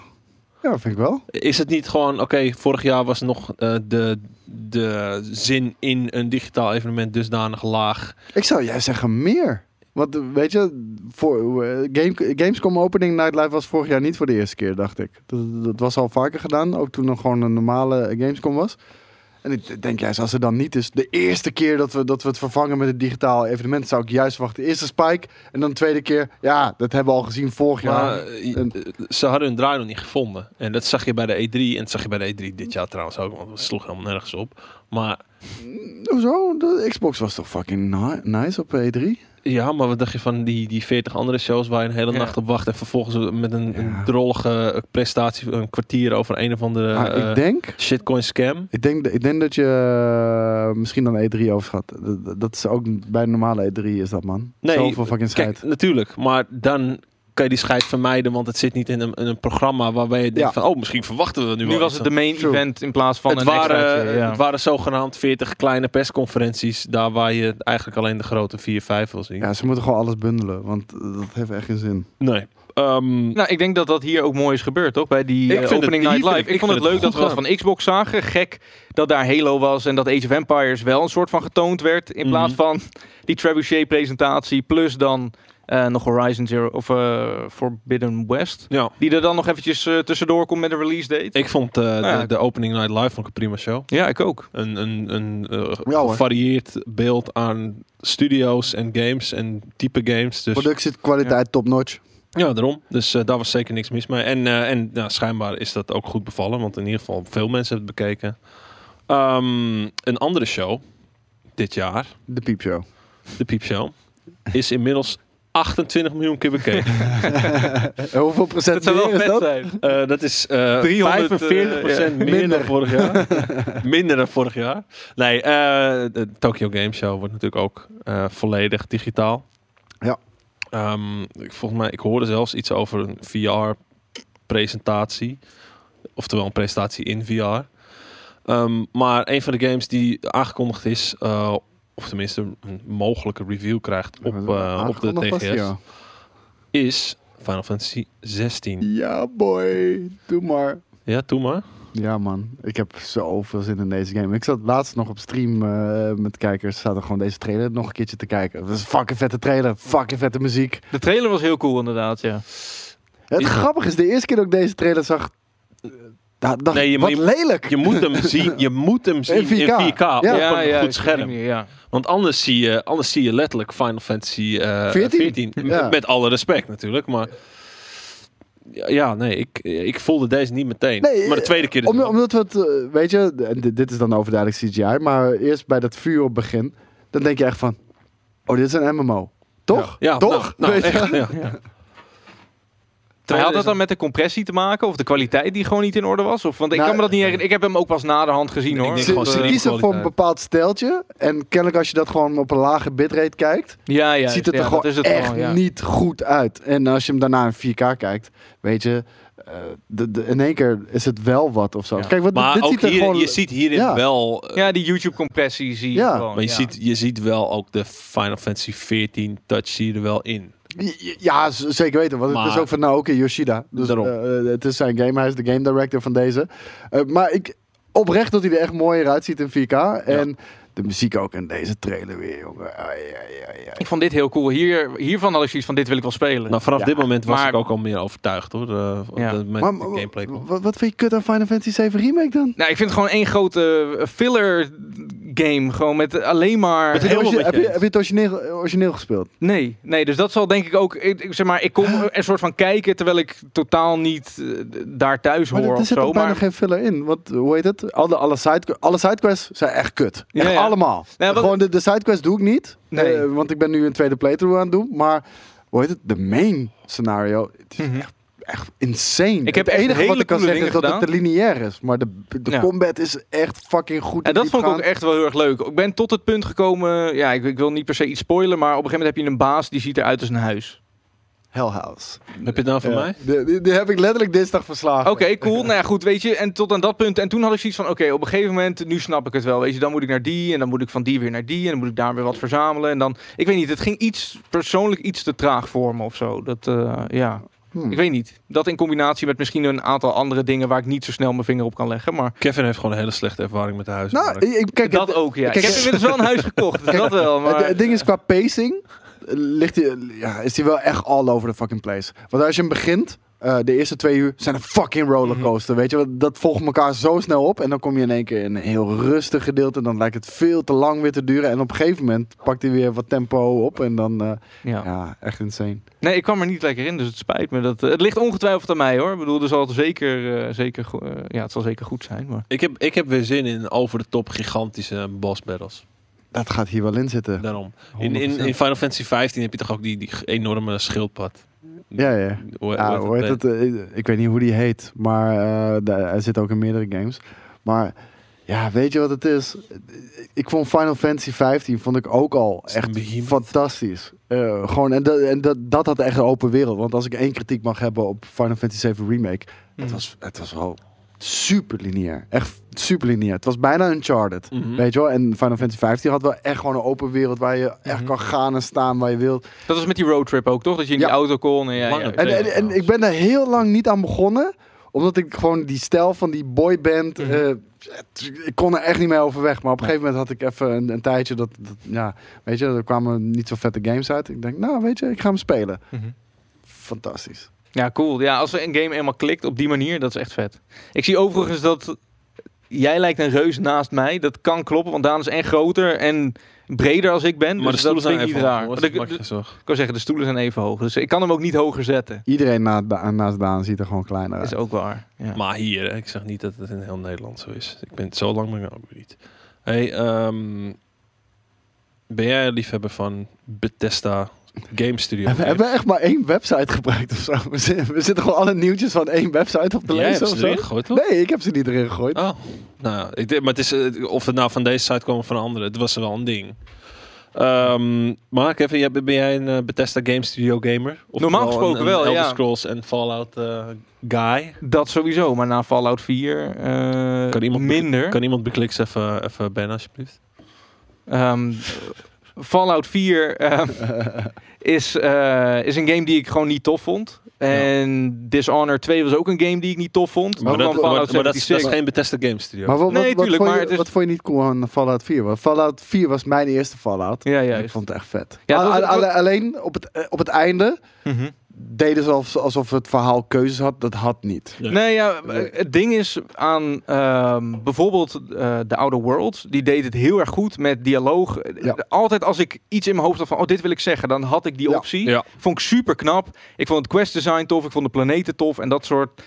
Speaker 1: Ja, vind ik wel.
Speaker 2: Is het niet gewoon, oké, vorig jaar was nog eh, de, de zin in een digitaal evenement dusdanig laag.
Speaker 1: Ik zou jij zeggen meer. Want eh, weet je, voor, eh, Game, Gamescom Opening Night Live was vorig jaar niet voor de eerste keer, dacht ik. Dat, dat was al vaker gedaan, ook toen nog gewoon een normale Gamescom was. En ik denk juist, als er dan niet is, de eerste keer dat we, dat we het vervangen met een digitaal evenement, zou ik juist wachten. Eerst een spike en dan de tweede keer, ja, dat hebben we al gezien vorig
Speaker 2: Maar
Speaker 1: jaar.
Speaker 2: eh,
Speaker 1: En-
Speaker 2: ze hadden hun draai nog niet gevonden. En dat zag je bij de E3. En dat zag je bij de E3 dit jaar trouwens ook, want het sloeg helemaal nergens op. Maar
Speaker 1: Hoezo? De Xbox was toch fucking ni- nice op E E3?
Speaker 2: Ja, maar wat dacht je van die, die 40 andere shows waar je een hele
Speaker 4: Ja.
Speaker 2: nacht op wacht en vervolgens met een,
Speaker 1: Ja.
Speaker 2: een drollige prestatie een kwartier over een of andere
Speaker 1: Maar
Speaker 2: eh,
Speaker 1: ik denk...
Speaker 2: shitcoin scam?
Speaker 1: Ik denk, ik denk dat je eh, misschien dan E3 overschat. Dat, dat is ook bij een normale E3 is dat, man.
Speaker 2: Nee,
Speaker 4: eh,
Speaker 1: Zoveel fucking
Speaker 2: Kijk,
Speaker 1: scheid.
Speaker 2: natuurlijk, maar dan kan je die scheid vermijden, want het zit niet in een, in een programma waarbij je denkt
Speaker 1: Ja.
Speaker 2: van oh, misschien verwachten we nu,
Speaker 4: Nu
Speaker 2: wel
Speaker 4: was
Speaker 2: iets
Speaker 4: het de main
Speaker 1: True.
Speaker 4: event in plaats van
Speaker 2: het,
Speaker 4: een
Speaker 2: waren,
Speaker 4: extraatje, ja.
Speaker 2: het waren zogenaamd 40 kleine persconferenties, daar waar je eigenlijk alleen de grote 4, 5 wil zien.
Speaker 1: Ja, ze moeten gewoon alles bundelen, want eh, dat heeft echt geen zin.
Speaker 2: Nee. Ehm,
Speaker 4: Nou, ik denk dat dat hier ook mooi is gebeurd, toch? Bij die
Speaker 2: Ik
Speaker 4: eh,
Speaker 2: vind het-
Speaker 4: opening
Speaker 2: hier
Speaker 4: night
Speaker 2: vind
Speaker 4: live.
Speaker 2: ik-
Speaker 4: Ik,
Speaker 2: ik
Speaker 4: vond
Speaker 2: vind
Speaker 4: het
Speaker 2: het
Speaker 4: leuk dat we
Speaker 2: goed
Speaker 4: wat van Xbox zagen. Gek dat daar Halo was en dat Age of Empires wel een soort van getoond werd. In
Speaker 2: Mhm.
Speaker 4: plaats van die Trebuchet-presentatie plus dan eh, nog Horizon Zero of eh, Forbidden West.
Speaker 2: ja.
Speaker 4: Die er dan nog eventjes eh, tussendoor komt met een release date.
Speaker 2: Ik vond eh,
Speaker 4: Nou ja,
Speaker 2: de,
Speaker 4: ik-
Speaker 2: de opening night live vond ik een prima show.
Speaker 4: Ja, ik ook.
Speaker 2: een, een, een eh,
Speaker 1: Ja, hoor.
Speaker 2: gevarieerd beeld aan studio's en games en type games. Dus
Speaker 1: Productiekwaliteit top notch.
Speaker 2: ja, daarom. Dus eh, daar was zeker niks mis mee. En, eh, en nou, schijnbaar is dat ook goed bevallen, want in ieder geval veel mensen hebben het bekeken. Ehm, een andere show dit jaar,
Speaker 1: De piepshow.
Speaker 2: de Piep Show, is inmiddels 28 miljoen keer bekeken.
Speaker 1: En hoeveel procent
Speaker 4: Dat zou wel
Speaker 1: meer is
Speaker 4: vet
Speaker 1: dat?
Speaker 4: zijn.
Speaker 2: Eh, dat is eh
Speaker 4: 300,
Speaker 2: 45% meer
Speaker 1: eh, Minder.
Speaker 2: dan vorig jaar. Minder dan vorig jaar. Nee, eh, de Tokyo Game Show wordt natuurlijk ook eh, volledig digitaal.
Speaker 1: Ja.
Speaker 2: Ehm, ik, volgens mij, ik hoorde zelfs iets over een VR-presentatie. Oftewel een presentatie in VR. Ehm, maar een van de games die aangekondigd is, eh, of tenminste een mogelijke review krijgt op, eh, op de
Speaker 1: Aangekondigd was
Speaker 2: TGS,
Speaker 1: die, ja.
Speaker 2: is Final Fantasy 16.
Speaker 1: Ja, boy. Doe maar.
Speaker 2: Ja, doe maar.
Speaker 1: Ja, man. Ik heb zoveel zin in deze game. Ik zat laatst nog op stream eh, met kijkers. Zaten gewoon deze trailer nog een keertje te kijken. Dat is een fucking vette trailer. Fucking vette muziek.
Speaker 4: De trailer was heel cool inderdaad, ja.
Speaker 1: Het
Speaker 2: Ja.
Speaker 1: grappige is, de eerste keer dat ik deze trailer zag... eh, da- dacht
Speaker 2: Nee,
Speaker 1: ik,
Speaker 2: je-
Speaker 1: wat
Speaker 2: je-
Speaker 1: lelijk.
Speaker 2: Je moet hem zien, je moet hem zien in 4K,
Speaker 1: 4K. Ja,
Speaker 2: op een
Speaker 4: op
Speaker 2: goed
Speaker 4: die
Speaker 2: scherm.
Speaker 4: manier, Ja.
Speaker 2: Want anders zie je, anders zie je letterlijk Final Fantasy eh, 14.
Speaker 1: 14.
Speaker 2: Met,
Speaker 1: Ja.
Speaker 2: met alle respect natuurlijk, maar ja, ja, nee, ik, ik voelde deze niet meteen.
Speaker 1: Nee,
Speaker 2: maar de tweede keer is
Speaker 1: Om,
Speaker 2: wel-
Speaker 1: omdat we het, eh, weet je, en dit, dit is dan overduidelijk CGI, maar eerst bij dat vuur op begin, dan denk je echt van, oh, dit is een MMO. Toch?
Speaker 2: ja,
Speaker 1: Toch?
Speaker 2: Nou, nou,
Speaker 1: Weet je?
Speaker 2: echt, ja.
Speaker 4: Maar had
Speaker 2: is
Speaker 4: dat dan met de compressie te maken? Of de kwaliteit die gewoon niet in orde was? Of, want ik
Speaker 1: Nou,
Speaker 4: kan me dat niet herinneren. Ik heb hem ook pas naderhand gezien
Speaker 2: Ik
Speaker 4: hoor. eh,
Speaker 2: denk
Speaker 1: Ze,
Speaker 2: gewoon
Speaker 1: ze
Speaker 2: streamkwaliteit.
Speaker 1: kiezen voor een bepaald steltje en kennelijk als je dat gewoon op een lage bitrate kijkt,
Speaker 4: Ja, ja.
Speaker 1: ziet het
Speaker 4: ja,
Speaker 1: er gewoon
Speaker 4: dat is het
Speaker 1: echt
Speaker 4: gewoon, ja.
Speaker 1: niet goed uit. En als je hem daarna in 4K kijkt, weet je, eh, de, de, in één keer is het wel wat of zo.
Speaker 4: Ja.
Speaker 1: Kijk, want
Speaker 2: Maar
Speaker 1: dit
Speaker 2: ook
Speaker 1: ziet er
Speaker 2: hier-
Speaker 1: gewoon...
Speaker 2: je ziet hierin
Speaker 1: Ja.
Speaker 2: wel... eh,
Speaker 4: Ja, die YouTube-compressie zie je
Speaker 1: Ja.
Speaker 4: gewoon.
Speaker 2: maar je,
Speaker 4: ja.
Speaker 2: ziet, je ziet wel ook de Final Fantasy 14 touch zie je er wel in.
Speaker 1: Ja, z- zeker weten. Want het
Speaker 2: Maar-
Speaker 1: is ook van Naoki Yoshida. Dus
Speaker 2: Daarom.
Speaker 1: eh, het is zijn game. Hij is de game director van deze. Eh, maar ik, oprecht dat hij er echt mooier uitziet in 4K. En de muziek ook in deze trailer weer, jongen. Ai, ai, ai, ai.
Speaker 4: Ik vond dit heel cool. Hier, hiervan had ik zoiets van, dit wil ik wel spelen.
Speaker 2: Nou, vanaf
Speaker 1: Ja.
Speaker 2: dit moment was
Speaker 4: Maar-
Speaker 2: ik ook al meer overtuigd hoor. eh,
Speaker 4: Ja.
Speaker 2: de- met
Speaker 1: Maar,
Speaker 2: de gameplay.
Speaker 1: w- wat, wat vind je kut aan Final Fantasy 7 Remake dan?
Speaker 4: Nou, ik vind het gewoon één grote filler game. Gewoon met alleen maar...
Speaker 2: Met heel-
Speaker 1: Heb je,
Speaker 2: met je
Speaker 1: heb, je,
Speaker 2: eens.
Speaker 1: heb je het origineel, origineel gespeeld?
Speaker 4: Nee, nee, dus dat zal denk ik ook... Ik, ik zeg maar, ik kom een soort van kijken terwijl ik totaal niet eh, daar thuis
Speaker 1: Maar
Speaker 4: hoor
Speaker 1: er
Speaker 4: of
Speaker 1: zit
Speaker 4: zo.
Speaker 1: ook bijna
Speaker 4: Maar
Speaker 1: geen filler in. Want eh, hoe heet het? Alle, alle, side, alle sidequests zijn echt kut.
Speaker 4: Ja,
Speaker 1: echt
Speaker 4: ja.
Speaker 1: allemaal.
Speaker 4: Ja, wat-
Speaker 1: Gewoon de, de sidequests doe ik niet.
Speaker 4: Nee.
Speaker 1: eh, want ik ben nu een tweede playthrough aan het doen. Maar hoe heet het? De main scenario. Het is
Speaker 4: Mhm.
Speaker 1: echt, echt insane.
Speaker 4: Ik heb
Speaker 1: het
Speaker 4: echt
Speaker 1: enige wat
Speaker 4: hele
Speaker 1: ik kan
Speaker 4: coole
Speaker 1: zeggen is dat
Speaker 4: dingen
Speaker 1: het te lineair is. Maar de, de
Speaker 4: Ja.
Speaker 1: combat is echt fucking goed.
Speaker 4: En dat vond ik ook
Speaker 1: diepgaand.
Speaker 4: echt wel heel erg leuk. Ik ben tot het punt gekomen... Ja, ik, ik wil niet per se iets spoilen, maar op een gegeven moment heb je een baas die ziet eruit als een huis.
Speaker 1: Hell House.
Speaker 2: Heb je het nou van
Speaker 1: Ja.
Speaker 2: mij?
Speaker 1: Die, die- die heb ik letterlijk dinsdag verslagen.
Speaker 4: Oké, cool. Nou ja, goed, weet je. En tot aan dat punt. En toen had ik zoiets van, oké, op een gegeven moment, nu snap ik het wel. Weet je, dan moet ik naar die en dan moet ik van die weer naar die en dan moet ik daar weer wat verzamelen. En dan, ik weet niet, het ging iets, persoonlijk iets te traag voor me of zo. Dat, eh, ja,
Speaker 1: Hmm.
Speaker 4: ik weet niet. Dat in combinatie met misschien een aantal andere dingen waar ik niet zo snel mijn vinger op kan leggen. Maar
Speaker 2: Kevin heeft gewoon een hele slechte ervaring met de huis.
Speaker 1: Nou, ik, ik- kijk,
Speaker 4: dat
Speaker 1: het-
Speaker 4: ook, ja.
Speaker 1: kijk,
Speaker 4: ik heb
Speaker 1: eh,
Speaker 4: inmiddels wel een huis gekocht, dus dat wel. Maar,
Speaker 1: Het, het ding is qua pacing eh, ligt die, ja, is die wel echt all over the fucking place. Want als je hem begint, eh, de eerste twee uur zijn een fucking rollercoaster.
Speaker 4: Mhm.
Speaker 1: Weet je, want dat volgt elkaar zo snel op. En dan kom je in één keer in een heel rustig gedeelte. En dan lijkt het veel te lang weer te duren. En op een gegeven moment pakt hij weer wat tempo op. En dan, eh,
Speaker 4: ja.
Speaker 1: ja, echt insane.
Speaker 4: Nee, ik kwam er niet lekker in, dus het spijt me. Dat, eh, het ligt ongetwijfeld aan mij, hoor. Ik bedoel, er zal het zeker, eh, zeker, go- eh, ja, het zal zeker goed zijn, maar...
Speaker 2: Ik heb, ik heb weer zin in over de top gigantische boss battles.
Speaker 1: Dat gaat hier wel in zitten.
Speaker 2: Daarom. In, in, in Final Fantasy 15 heb je toch ook die, die enorme schildpad.
Speaker 1: Ja, ja.
Speaker 2: Hoe-
Speaker 1: Ja, hoe heet het? Eh, Ik weet niet hoe die heet, maar eh, daar- hij zit ook in meerdere games. Maar ja, weet je wat het is? Ik vond Final Fantasy 15 vond ik ook al
Speaker 2: Is het een
Speaker 1: echt
Speaker 2: behemoth?
Speaker 1: fantastisch. Eh, gewoon, en dat, en dat, dat had echt een open wereld. Want als ik één kritiek mag hebben op Final Fantasy 7 Remake,
Speaker 2: Mm.
Speaker 1: het, was, het was wel super lineair. Echt super lineair. Het was bijna Uncharted.
Speaker 2: Mhm.
Speaker 1: Weet je wel? En Final Fantasy 15 had wel echt gewoon een open wereld waar je echt
Speaker 4: Mhm.
Speaker 1: kan gaan en staan waar je wilt.
Speaker 4: Dat was met die roadtrip ook, toch? Dat je in
Speaker 1: Ja.
Speaker 4: die auto kon. En, ja,
Speaker 2: Lange
Speaker 4: ja,
Speaker 2: trip.
Speaker 1: En, en, en ik ben daar heel lang niet aan begonnen. Omdat ik gewoon die stijl van die boyband...
Speaker 4: Mhm.
Speaker 1: eh, ik kon er echt niet mee overweg. Maar op een gegeven moment had ik even een, een tijdje dat, dat... Ja, weet je, er kwamen niet zo vette games uit. Ik denk, nou weet je, ik ga hem spelen.
Speaker 4: Mhm.
Speaker 1: Fantastisch.
Speaker 4: Ja, cool. Ja, als een game eenmaal klikt op die manier, dat is echt vet. Ik zie overigens dat jij lijkt een reus naast mij. Dat kan kloppen, want Daan is en groter en breder als ik ben.
Speaker 2: Maar de
Speaker 4: dus
Speaker 2: stoelen
Speaker 4: dat
Speaker 2: zijn
Speaker 4: vind ik
Speaker 2: even
Speaker 4: niet raar.
Speaker 2: hoog, hoor.
Speaker 4: Want
Speaker 2: Maak
Speaker 4: Ik,
Speaker 2: je geen zorgen.
Speaker 4: ik kan zeggen, de stoelen zijn even hoog. Dus ik kan hem ook niet hoger zetten.
Speaker 1: Iedereen na, da- naast Daan ziet er gewoon kleiner uit.
Speaker 4: Is ook waar. Ja.
Speaker 2: Maar hier, hè, ik zeg niet dat het in heel Nederland zo is. Ik ben het zo lang ben ik ook weer niet. Hey, ehm, ben jij een liefhebber van Bethesda Game Studio?
Speaker 1: We hebben echt maar één website gebruikt of zo. We zitten, we zitten gewoon alle nieuwtjes van één website op te
Speaker 2: Jij hebt
Speaker 1: lezen
Speaker 2: ze
Speaker 1: of zo.
Speaker 2: erin gegooid, toch?
Speaker 1: Nee, ik heb ze niet erin gegooid.
Speaker 2: Oh, nou ja. Ik denk, maar het is, eh, of het nou van deze site kwam of van een andere, het was wel een ding. Ehm Mark, even, jij- ben jij een eh, Bethesda Game Studio gamer? Of
Speaker 4: Normaal
Speaker 2: een-
Speaker 4: gesproken
Speaker 2: een
Speaker 4: wel,
Speaker 2: Elder
Speaker 4: ja.
Speaker 2: Scrolls en Fallout eh, guy.
Speaker 4: Dat sowieso, maar na Fallout 4 eh,
Speaker 2: Kan iemand-
Speaker 4: minder.
Speaker 2: Kan iemand bekliks even, even ben alsjeblieft?
Speaker 4: Ehm, Fallout 4 ehm, is, eh, is een game die ik gewoon niet tof vond. En Dishonored 2 was ook een game die ik niet tof vond.
Speaker 1: Maar
Speaker 4: Ook
Speaker 1: dat-
Speaker 4: dan
Speaker 2: maar,
Speaker 4: Fallout
Speaker 2: maar dat, is,
Speaker 4: 76.
Speaker 2: dat is geen Bethesda Game Studio.
Speaker 1: Maar wat,
Speaker 4: Nee,
Speaker 1: wat, wat,
Speaker 4: tuurlijk,
Speaker 1: vond
Speaker 4: maar
Speaker 1: je,
Speaker 4: het is-
Speaker 1: wat vond je niet cool aan Fallout 4? Want Fallout 4 was mijn eerste Fallout.
Speaker 4: Ja,
Speaker 1: En Ik
Speaker 4: juist.
Speaker 1: vond het echt vet.
Speaker 4: Ja,
Speaker 1: Al-
Speaker 4: het was-
Speaker 1: al- alle- alleen op het, eh, op het einde
Speaker 4: Mhm.
Speaker 1: deden ze alsof, alsof het verhaal keuzes had. Dat had niet.
Speaker 2: Ja.
Speaker 4: Nee, ja, eh, het ding is aan ehm, bijvoorbeeld eh The Outer Worlds. Die deed het heel erg goed met dialoog.
Speaker 1: Ja.
Speaker 4: Altijd als ik iets in mijn hoofd had van, oh, dit wil ik zeggen, dan had ik die
Speaker 1: Ja.
Speaker 4: optie.
Speaker 2: Ja.
Speaker 4: Vond ik super knap. Ik vond het quest design tof. Ik vond de planeten tof. En dat soort d-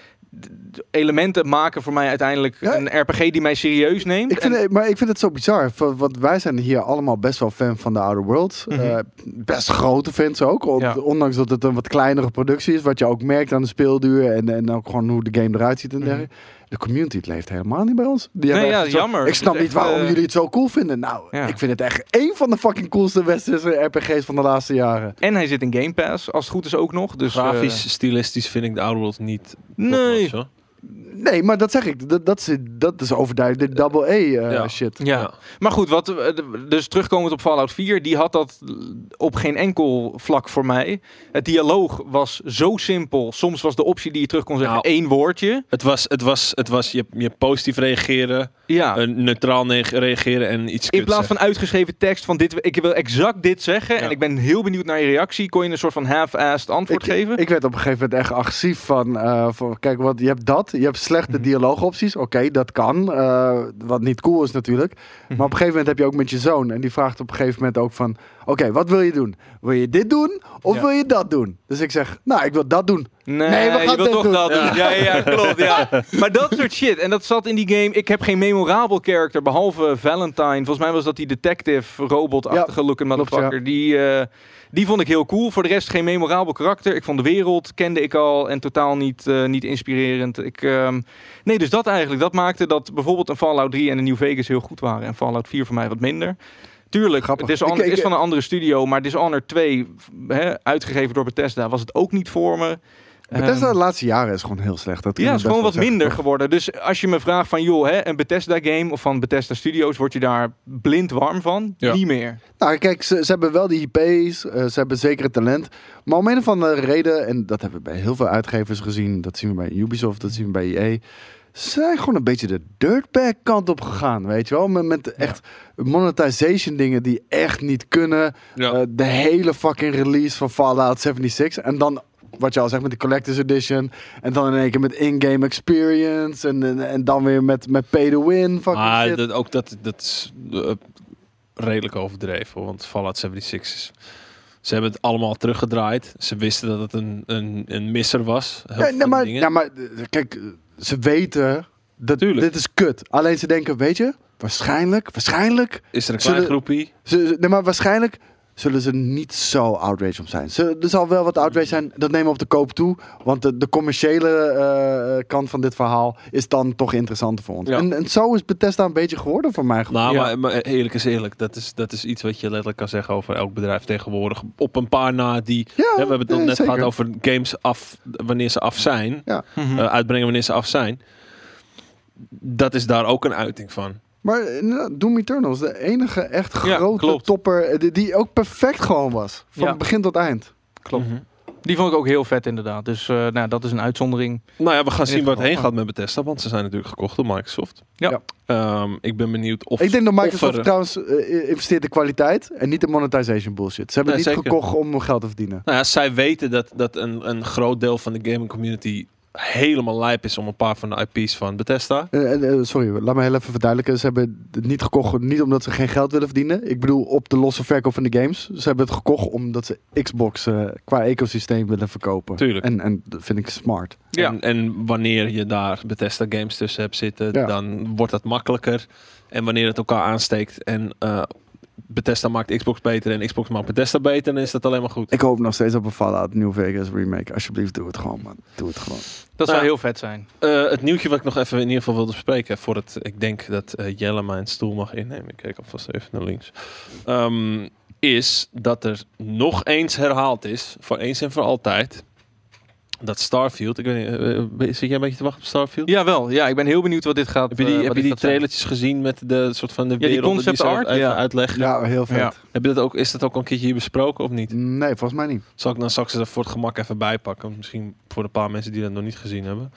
Speaker 4: d- elementen maken voor mij uiteindelijk
Speaker 1: Ja.
Speaker 4: een RPG die mij serieus neemt.
Speaker 1: Ik vind,
Speaker 4: En-
Speaker 1: het- maar ik vind het zo bizar. v- Want wij zijn hier allemaal best wel fan van de Outer Worlds.
Speaker 4: Mhm.
Speaker 1: Eh, best grote fans ook. on-
Speaker 4: Ja.
Speaker 1: Ondanks dat het een wat kleinere productie is. Wat je ook merkt aan de speelduur. En, en ook gewoon hoe de game eruit ziet en
Speaker 4: Mhm.
Speaker 1: dergelijke. De community het leeft helemaal niet bij ons. Die hebben echt
Speaker 4: Nee, ja,
Speaker 1: een soort-
Speaker 4: jammer.
Speaker 1: Ik snap
Speaker 4: Het is
Speaker 1: niet
Speaker 4: echt,
Speaker 1: waarom
Speaker 4: eh,
Speaker 1: jullie het zo cool vinden. Nou,
Speaker 4: Ja.
Speaker 1: ik vind het echt één van de fucking coolste westerse RPG's van de laatste jaren.
Speaker 4: en hij zit in Game Pass, als het goed is ook nog. Dus, eh,
Speaker 2: Grafisch, stilistisch vind ik de Outer Worlds niet.
Speaker 4: nee.
Speaker 2: top-notch, hoor.
Speaker 1: Nee, maar dat zeg ik. Dat, dat, is, dat is overduidelijk de double A eh,
Speaker 2: Ja.
Speaker 1: shit.
Speaker 4: Ja.
Speaker 2: Ja.
Speaker 4: Maar goed, wat, eh, de- dus terugkomend op Fallout 4, die had dat op geen enkel vlak voor mij. Het dialoog was zo simpel. Soms was de optie die je terug kon zeggen
Speaker 2: Nou.
Speaker 4: één woordje.
Speaker 2: Het was, het was, het was je, je positief reageren,
Speaker 4: Ja.
Speaker 2: eh, neutraal ne- reageren en iets kuts
Speaker 4: in plaats
Speaker 2: zeggen.
Speaker 4: van uitgeschreven tekst van dit, ik wil exact dit zeggen
Speaker 2: Ja.
Speaker 4: en ik ben heel benieuwd naar je reactie, kon je een soort van half-assed antwoord geven.
Speaker 1: Ik werd op een gegeven moment echt agressief van, eh, van kijk, want je hebt dat, je hebt slechte
Speaker 4: Mhm.
Speaker 1: dialoogopties, oké, dat kan, eh, wat niet cool is natuurlijk.
Speaker 4: Mhm.
Speaker 1: Maar op een gegeven moment heb je ook met je zoon en die vraagt op een gegeven moment ook van, oké, wat wil je doen? Wil je dit doen of
Speaker 4: Ja.
Speaker 1: wil je dat doen? Dus ik zeg, nou, ik wil dat doen.
Speaker 4: Nee,
Speaker 1: Nee, we gaan
Speaker 4: je wil
Speaker 1: dit
Speaker 4: toch
Speaker 1: doen.
Speaker 4: dat doen. Ja. Ja, ja, klopt. Ja. Maar dat soort shit. En dat zat in die game. Ik heb geen memorabel character, behalve Valentine. Volgens mij was dat die detective robotachtige looking
Speaker 1: klopt,
Speaker 4: motherfucker. Die, eh, die vond ik heel cool. Voor de rest geen memorabel karakter. Ik vond de wereld, kende ik al. En totaal niet, eh, niet inspirerend. Ik, ehm, nee, dus dat eigenlijk. Dat maakte dat bijvoorbeeld een Fallout 3 en een New Vegas heel goed waren. En Fallout 4 voor mij wat minder. Tuurlijk,
Speaker 1: Grappig.
Speaker 4: Dishonored
Speaker 1: Ik- ik-
Speaker 4: is van een andere studio, maar Dishonored 2, hè, uitgegeven door Bethesda, was het ook niet voor me.
Speaker 1: Bethesda
Speaker 4: Ehm,
Speaker 1: de laatste jaren is gewoon heel slecht. Dat kun
Speaker 4: ja,
Speaker 1: je
Speaker 4: het is gewoon wat
Speaker 1: best wel zeggen.
Speaker 4: minder geworden. Dus als je me vraagt van, joh, hè, een Bethesda-game of van Bethesda Studios, word je daar blind warm van?
Speaker 2: Ja.
Speaker 4: Niet meer.
Speaker 1: Nou, kijk, ze, ze hebben wel die IP's, eh, ze hebben zeker het talent. Maar om een of andere reden, en dat hebben we bij heel veel uitgevers gezien, dat zien we bij Ubisoft, dat zien we bij EA. Ze zijn gewoon een beetje de dirtbag kant op gegaan, weet je wel? Met, met echt monetization dingen die echt niet kunnen.
Speaker 2: Ja.
Speaker 1: Eh, de hele fucking release van Fallout 76. En dan, wat je al zegt, met de Collector's Edition. En dan in één keer met in-game experience. En, en, en dan weer met, met pay to win, fucking
Speaker 2: maar
Speaker 1: shit.
Speaker 2: dat, ook dat, dat is eh, redelijk overdreven. hoor, Want Fallout 76 is... Ze hebben het allemaal teruggedraaid. Ze wisten dat het een, een, een misser was. Heel
Speaker 1: Ja,
Speaker 2: veel
Speaker 1: nee, maar,
Speaker 2: dingen.
Speaker 1: ja, maar eh, kijk, eh, ze weten dat,
Speaker 2: Tuurlijk.
Speaker 1: dit is kut. Alleen ze denken, weet je, waarschijnlijk, waarschijnlijk,
Speaker 2: Is er een
Speaker 1: Zullen-
Speaker 2: klein groepie?
Speaker 1: ze, ze- nee, maar waarschijnlijk zullen ze niet zo outrage om zijn. Ze, er zal wel wat outrage zijn, dat nemen we op de koop toe. Want de, de commerciële eh, kant van dit verhaal is dan toch interessanter voor ons.
Speaker 2: Ja.
Speaker 1: En, en zo is Bethesda een beetje geworden voor mij.
Speaker 2: Nou,
Speaker 4: Ja.
Speaker 2: maar, maar eerlijk is eerlijk. Dat is, dat is iets wat je letterlijk kan zeggen over elk bedrijf tegenwoordig. Op een paar na die...
Speaker 1: Ja,
Speaker 2: hè, we hebben het nog
Speaker 1: nee,
Speaker 2: net
Speaker 1: zeker.
Speaker 2: gehad over games af, wanneer ze af zijn.
Speaker 4: Mhm.
Speaker 2: Eh, uitbrengen wanneer ze af zijn. Dat is daar ook een uiting van.
Speaker 1: Maar inderdaad, Doom Eternal is de enige echt
Speaker 4: Ja,
Speaker 1: grote
Speaker 4: klopt.
Speaker 1: topper eh, die, die ook perfect gewoon was. Van
Speaker 4: Ja.
Speaker 1: begin tot eind.
Speaker 4: Klopt.
Speaker 2: Mhm.
Speaker 4: Die vond ik ook heel vet inderdaad. Dus eh, nou, dat is een uitzondering.
Speaker 2: Nou ja, we gaan
Speaker 4: dit
Speaker 2: zien waar het
Speaker 4: geval.
Speaker 2: heen gaat met Bethesda, want ze zijn natuurlijk gekocht door Microsoft.
Speaker 4: Ja.
Speaker 1: Ja.
Speaker 2: Ehm, ik ben benieuwd of...
Speaker 1: Ik denk dat Microsoft
Speaker 2: of er-
Speaker 1: trouwens eh, investeert in kwaliteit en niet in monetization bullshit. Ze hebben
Speaker 2: Nee,
Speaker 1: het niet
Speaker 2: zeker.
Speaker 1: gekocht om geld te verdienen.
Speaker 2: Nou ja, zij weten dat, dat een, een groot deel van de gaming community helemaal lijp is om een paar van de IP's van Bethesda.
Speaker 1: Eh, eh, eh, sorry, laat me heel even verduidelijken. Ze hebben het niet gekocht, niet omdat ze geen geld willen verdienen. Ik bedoel, op de losse verkoop van de games. Ze hebben het gekocht omdat ze Xbox eh, qua ecosysteem willen verkopen.
Speaker 2: Tuurlijk.
Speaker 1: En, en dat vind ik smart.
Speaker 4: Ja.
Speaker 2: En, en wanneer je daar Bethesda games tussen hebt zitten,
Speaker 1: Ja.
Speaker 2: dan wordt dat makkelijker. En wanneer het elkaar aansteekt en eh, Bethesda maakt Xbox beter en Xbox maakt Bethesda beter, dan is dat alleen maar goed.
Speaker 1: Ik hoop nog steeds op een Fallout New Vegas remake. Alsjeblieft, doe het gewoon, man. Doe het gewoon.
Speaker 4: Dat zou
Speaker 2: Ja.
Speaker 4: heel vet zijn.
Speaker 2: Eh, het nieuwtje wat ik nog even in ieder geval wilde bespreken, voordat ik denk dat eh, Jelle mijn stoel mag innemen, ik kijk alvast even naar links, Ehm, is dat er nog eens herhaald is, voor eens en voor altijd, dat Starfield, ik weet niet, eh, eh, zit jij een beetje te wachten op Starfield?
Speaker 4: Jawel, ja, ik ben heel benieuwd wat dit gaat
Speaker 2: Heb je die,
Speaker 4: eh, wat
Speaker 2: heb je
Speaker 4: dit
Speaker 2: die
Speaker 4: gaat zijn.
Speaker 2: trailertjes gezien met de soort van de
Speaker 4: die
Speaker 2: werelden
Speaker 4: concept
Speaker 2: ze
Speaker 4: art,
Speaker 2: even
Speaker 4: ja.
Speaker 2: uitleggen?
Speaker 1: Ja, heel vet.
Speaker 4: Ja.
Speaker 2: Heb je dat ook, is dat ook al een keertje hier besproken of niet?
Speaker 1: Nee, volgens mij niet.
Speaker 2: Zal ik dan straks er voor het gemak even bijpakken? Misschien voor een paar mensen die dat nog niet gezien hebben.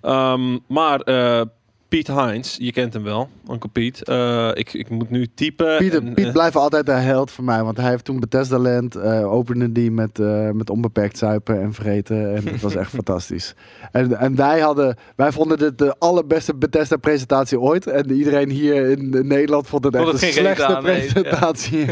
Speaker 2: Ehm, maar eh, Piet Heinz, je kent hem wel, Uncle Piet. Eh, ik, ik moet nu typen.
Speaker 1: Pieter,
Speaker 2: en,
Speaker 1: Piet
Speaker 2: eh,
Speaker 1: blijft altijd de held voor mij. Want hij heeft toen Bethesda Land, eh, opende die met, eh, met onbeperkt zuipen en vreten. En dat was echt fantastisch. En, en wij, hadden, wij vonden dit de allerbeste Bethesda presentatie ooit. En iedereen hier in, in Nederland vond het echt
Speaker 4: Vond
Speaker 1: de
Speaker 4: het geen reet
Speaker 1: slechtste
Speaker 4: aan, nee, ja.
Speaker 1: presentatie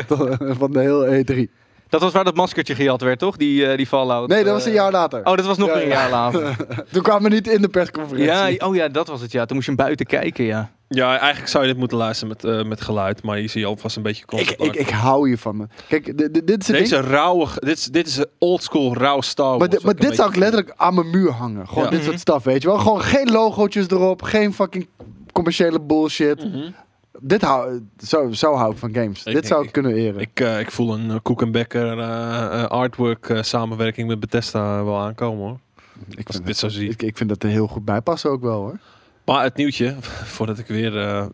Speaker 1: van de E hele E3.
Speaker 4: Dat was waar dat maskertje gejat werd, toch? Die, eh, die Fallout.
Speaker 1: Nee, dat was
Speaker 4: eh,
Speaker 1: een jaar later.
Speaker 4: Oh, dat was nog
Speaker 1: Ja, ja.
Speaker 4: een jaar later.
Speaker 1: Toen kwamen we niet in de persconferentie.
Speaker 4: ja, oh ja, dat was het. Ja, toen moest je hem buiten kijken, ja.
Speaker 2: Ja, eigenlijk zou je dit moeten luisteren met, eh, met geluid, maar hier zie je alvast een beetje
Speaker 1: ik,
Speaker 2: concept
Speaker 1: ik,
Speaker 2: art.
Speaker 1: ik hou hier van me. Kijk, dit, dit- dit is het ding.
Speaker 2: Deze rauwe, ge- dit is, dit is een oldschool rauw Star Wars.
Speaker 1: Maar, dit-
Speaker 2: Oh,
Speaker 1: maar
Speaker 2: wat ik een
Speaker 1: dit zou ik
Speaker 2: beetje-
Speaker 1: letterlijk aan mijn muur hangen. Gewoon
Speaker 2: Ja.
Speaker 1: dit soort stuff, weet je wel. Gewoon geen logootjes erop. Geen fucking commerciële bullshit.
Speaker 2: Mhm.
Speaker 1: Dit hou, zo, zo hou ik van games.
Speaker 2: Ik
Speaker 1: dit
Speaker 2: denk-
Speaker 1: zou ik
Speaker 2: ik-
Speaker 1: kunnen eren.
Speaker 2: Ik, eh, ik voel een Koek en Becker eh, eh, artwork eh, samenwerking met Bethesda wel aankomen hoor.
Speaker 1: ik,
Speaker 2: Als ik
Speaker 1: vind
Speaker 2: dit
Speaker 1: het,
Speaker 2: zo zie.
Speaker 1: ik, ik vind dat er heel goed bij passen ook wel, hoor.
Speaker 2: Maar het nieuwtje, voordat ik weer eh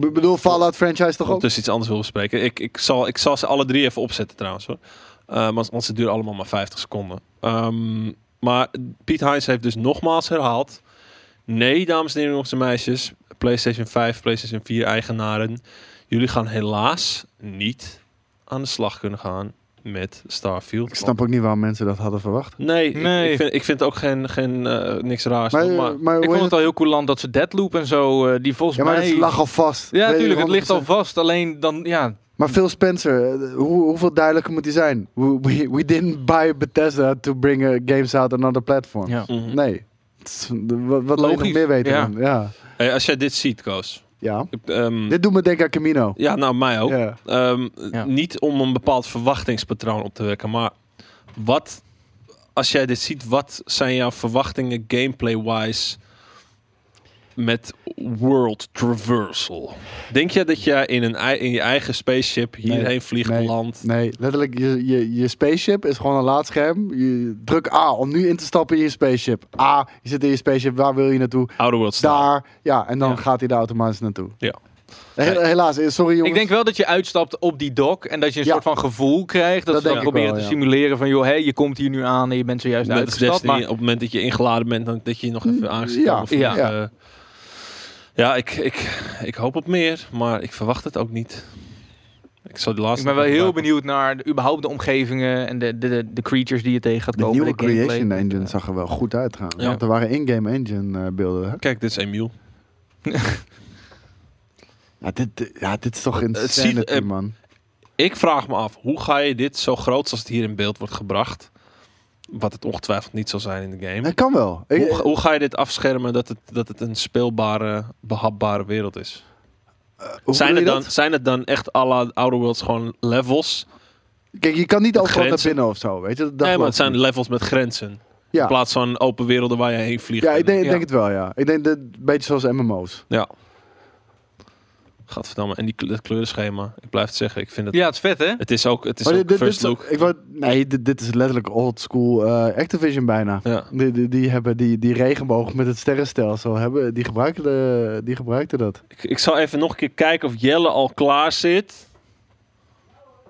Speaker 1: Ik bedoel, Fallout franchise toch ook?
Speaker 2: dus iets anders wil bespreken. Ik, ik, zal, ik zal ze alle drie even opzetten trouwens hoor. Eh, want, want ze duren allemaal maar 50 seconden. Ehm, maar Piet Heinz heeft dus nogmaals herhaald. Nee, dames en heren, jongens en meisjes. PlayStation 5, PlayStation 4 eigenaren. Jullie gaan helaas niet aan de slag kunnen gaan met Starfield.
Speaker 1: Ik snap ook niet waarom mensen dat hadden verwacht.
Speaker 2: Nee, ik- Ik,
Speaker 4: Nee.
Speaker 2: vind, ik vind ook geen, geen eh, niks raars.
Speaker 1: Maar,
Speaker 2: hoor,
Speaker 1: eh,
Speaker 2: maar,
Speaker 1: maar, hoe
Speaker 4: Ik vond
Speaker 1: heet
Speaker 4: het al heel coulant dat ze Deadloop en zo, eh, die volgens
Speaker 1: Ja, maar
Speaker 4: mij...
Speaker 1: het lag al vast.
Speaker 4: Ja,
Speaker 1: Weet je,
Speaker 4: natuurlijk, het ligt al
Speaker 1: 100%.
Speaker 4: vast. Alleen dan, ja,
Speaker 1: Maar Phil Spencer, eh, hoe, hoeveel duidelijker moet hij zijn? We, we, we didn't buy Bethesda to bring eh, games out on another platform.
Speaker 4: ja.
Speaker 2: Mhm.
Speaker 1: Nee. Het is- Wat, wat wil je nog
Speaker 4: Logisch,
Speaker 1: meer weten?
Speaker 4: ja.
Speaker 1: dan? ja.
Speaker 2: Hey, als jij dit ziet, Koos.
Speaker 1: ja.
Speaker 2: ik, ehm,
Speaker 1: Dit doet me denken aan Camino.
Speaker 2: Ja, nou, mij ook.
Speaker 1: Ja.
Speaker 2: Ehm,
Speaker 4: Ja.
Speaker 2: Niet om een bepaald verwachtingspatroon op te wekken, maar wat, als jij dit ziet, wat zijn jouw verwachtingen gameplay-wise met world traversal? Denk jij dat jij in, een, ei- in je eigen spaceship hierheen vliegt,
Speaker 1: nee.
Speaker 2: landt?
Speaker 1: Nee, letterlijk, je, je, je spaceship is gewoon een laadscherm. Je druk A om nu in te stappen in je spaceship. A, je zit in je spaceship, waar wil je naartoe?
Speaker 2: Outer World Star.
Speaker 1: Daar. Ja, en dan
Speaker 4: Ja.
Speaker 1: gaat hij daar automatisch naartoe.
Speaker 2: Ja.
Speaker 1: Hel-
Speaker 2: Nee.
Speaker 1: Helaas, eh, sorry jongens.
Speaker 4: Ik denk wel dat je uitstapt op die dock en dat je een
Speaker 1: Ja.
Speaker 4: soort van gevoel krijgt. Dat,
Speaker 1: Dat
Speaker 4: ze dan
Speaker 1: denk ik
Speaker 4: proberen
Speaker 1: wel,
Speaker 4: te
Speaker 1: ja.
Speaker 4: simuleren van, joh, hé, je komt hier nu aan en je bent zojuist
Speaker 2: Net als
Speaker 4: uitgestapt.
Speaker 2: Destiny,
Speaker 4: Maar
Speaker 2: op het moment dat je ingeladen bent, dan, dat je nog even aangezet
Speaker 1: ja,
Speaker 2: wordt.
Speaker 4: ja.
Speaker 2: ja. Eh, ja ik, ik, ik hoop op meer, maar ik verwacht het ook niet. Ik, zal die laatste
Speaker 4: ik ben wel
Speaker 2: nog
Speaker 4: heel
Speaker 2: even
Speaker 4: benieuwd naar de, überhaupt de omgevingen en de, de, de, de creatures die je tegen gaat
Speaker 1: de
Speaker 4: komen.
Speaker 1: nieuwe
Speaker 4: de gameplay.
Speaker 1: Creation Engine zag er wel goed uit gaan.
Speaker 2: Ja.
Speaker 1: Want er waren in-game engine eh, beelden. hè?
Speaker 2: Kijk, dit is Emiel.
Speaker 1: Ja, dit, eh, ja, dit is toch
Speaker 2: ziet,
Speaker 1: insanity,
Speaker 2: eh,
Speaker 1: man.
Speaker 2: Ik vraag me af, hoe ga je dit zo groot als het hier in beeld wordt gebracht, Wat het ongetwijfeld niet zal zijn in de game.
Speaker 1: Het kan wel. Ik- eh,
Speaker 2: Hoe, hoe ga je dit afschermen dat het, dat het een speelbare, behapbare wereld is?
Speaker 1: hoe bedoel
Speaker 2: zijn, het
Speaker 1: je
Speaker 2: dan,
Speaker 1: dat?
Speaker 2: zijn het dan echt à la Outer Worlds gewoon levels?
Speaker 1: Kijk, je kan niet overal naar
Speaker 2: grenzen?
Speaker 1: binnen of zo, weet je? Dat dacht
Speaker 2: Nee,
Speaker 1: ik
Speaker 2: maar het zijn
Speaker 1: niet.
Speaker 2: levels met grenzen.
Speaker 1: Ja.
Speaker 2: In plaats van open werelden waar je heen vliegt.
Speaker 1: Ja, ik denk, ik
Speaker 4: Ja.
Speaker 1: denk het wel, ja. Ik denk dat een beetje zoals MMO's.
Speaker 2: Ja. Gadverdamme. En die, kle- dat kleurenschema. Ik blijf het zeggen. Ik vind het...
Speaker 4: Ja, het is vet, hè?
Speaker 2: Het is ook... Het is
Speaker 1: Maar
Speaker 2: ook
Speaker 1: dit, dit- dit
Speaker 2: first
Speaker 1: is-
Speaker 2: look.
Speaker 1: ik wou- nee, dit, dit is letterlijk old school eh, Activision bijna.
Speaker 2: Ja.
Speaker 1: Die, die, die hebben die, die regenboog met het sterrenstelsel, hebben, die, gebruikten de, die gebruikten dat.
Speaker 2: Ik, ik zal even nog een keer kijken of Jelle al klaar zit.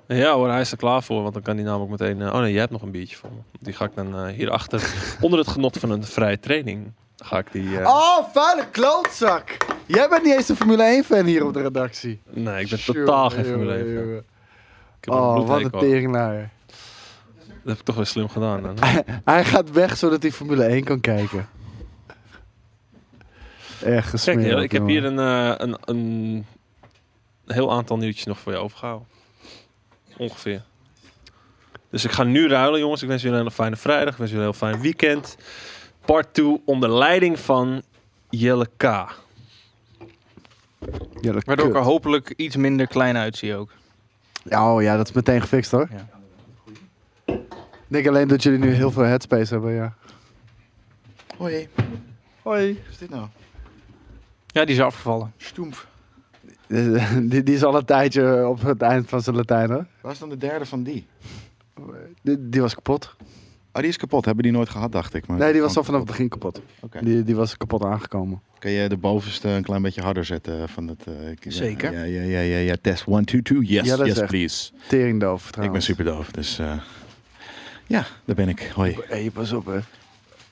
Speaker 2: Ja hoor, hij is er klaar voor, want dan kan hij namelijk meteen... eh, oh nee, jij hebt nog een biertje voor me. Die ga ik dan eh, hierachter, onder het genot van een vrije training, ga ik die... eh,
Speaker 1: Oh, vuile klootzak! Jij bent niet eens een Formule 1-fan hier op de redactie.
Speaker 2: Nee, ik ben totaal geen
Speaker 1: Jongen,
Speaker 2: Formule 1 fan.
Speaker 1: jongen, jongen.
Speaker 2: Ik heb een
Speaker 1: Oh, wat
Speaker 2: bloedhekel
Speaker 1: een
Speaker 2: aan.
Speaker 1: teringlaaier.
Speaker 2: Dat heb ik toch weer slim gedaan. Dan.
Speaker 1: Hij gaat weg zodat hij Formule 1 kan kijken. Echt
Speaker 2: Kijk,
Speaker 1: gesmeerd.
Speaker 2: Jelle, ik heb
Speaker 1: jongen.
Speaker 2: hier een, eh, een, een heel aantal nieuwtjes nog voor je overgehouden. Ongeveer. Dus ik ga nu ruilen, jongens. Ik wens jullie een hele fijne vrijdag. Ik wens jullie een heel fijn weekend. Part 2 onder leiding van Jelle K.
Speaker 1: Jelle,
Speaker 4: Waardoor ik
Speaker 1: kut.
Speaker 4: er hopelijk iets minder klein uitzie ook.
Speaker 1: Ja, oh ja, dat is meteen gefixt hoor.
Speaker 4: Ja.
Speaker 1: Ik denk alleen dat jullie nu heel veel headspace hebben, ja.
Speaker 5: Hoi,
Speaker 1: Hoi.
Speaker 5: wat is dit nou?
Speaker 4: Ja, die is afgevallen.
Speaker 5: Stoemp.
Speaker 1: Die, die is al een tijdje op het eind van zijn Latijn, hè?
Speaker 5: Waar is dan de derde van die?
Speaker 1: Die, die was kapot.
Speaker 5: Oh, die is kapot. Hebben die nooit gehad, dacht ik. Maar
Speaker 1: Nee, die was al
Speaker 5: Oké.
Speaker 1: vanaf het begin kapot.
Speaker 5: Oké.
Speaker 1: Die, die was kapot aangekomen.
Speaker 5: Kun je de bovenste een klein beetje harder zetten van het... eh, ik- ja,
Speaker 4: Zeker.
Speaker 5: Ja, ja, ja, ja, ja. Test 1, 2, 2. Yes,
Speaker 1: Ja, dat is
Speaker 5: yes,
Speaker 1: echt-
Speaker 5: please.
Speaker 1: Teringdoof,
Speaker 5: Ik ben
Speaker 1: trouwens.
Speaker 5: super doof, dus... eh, ja, daar ben ik. Hoi.
Speaker 1: Hé, pas op, hè.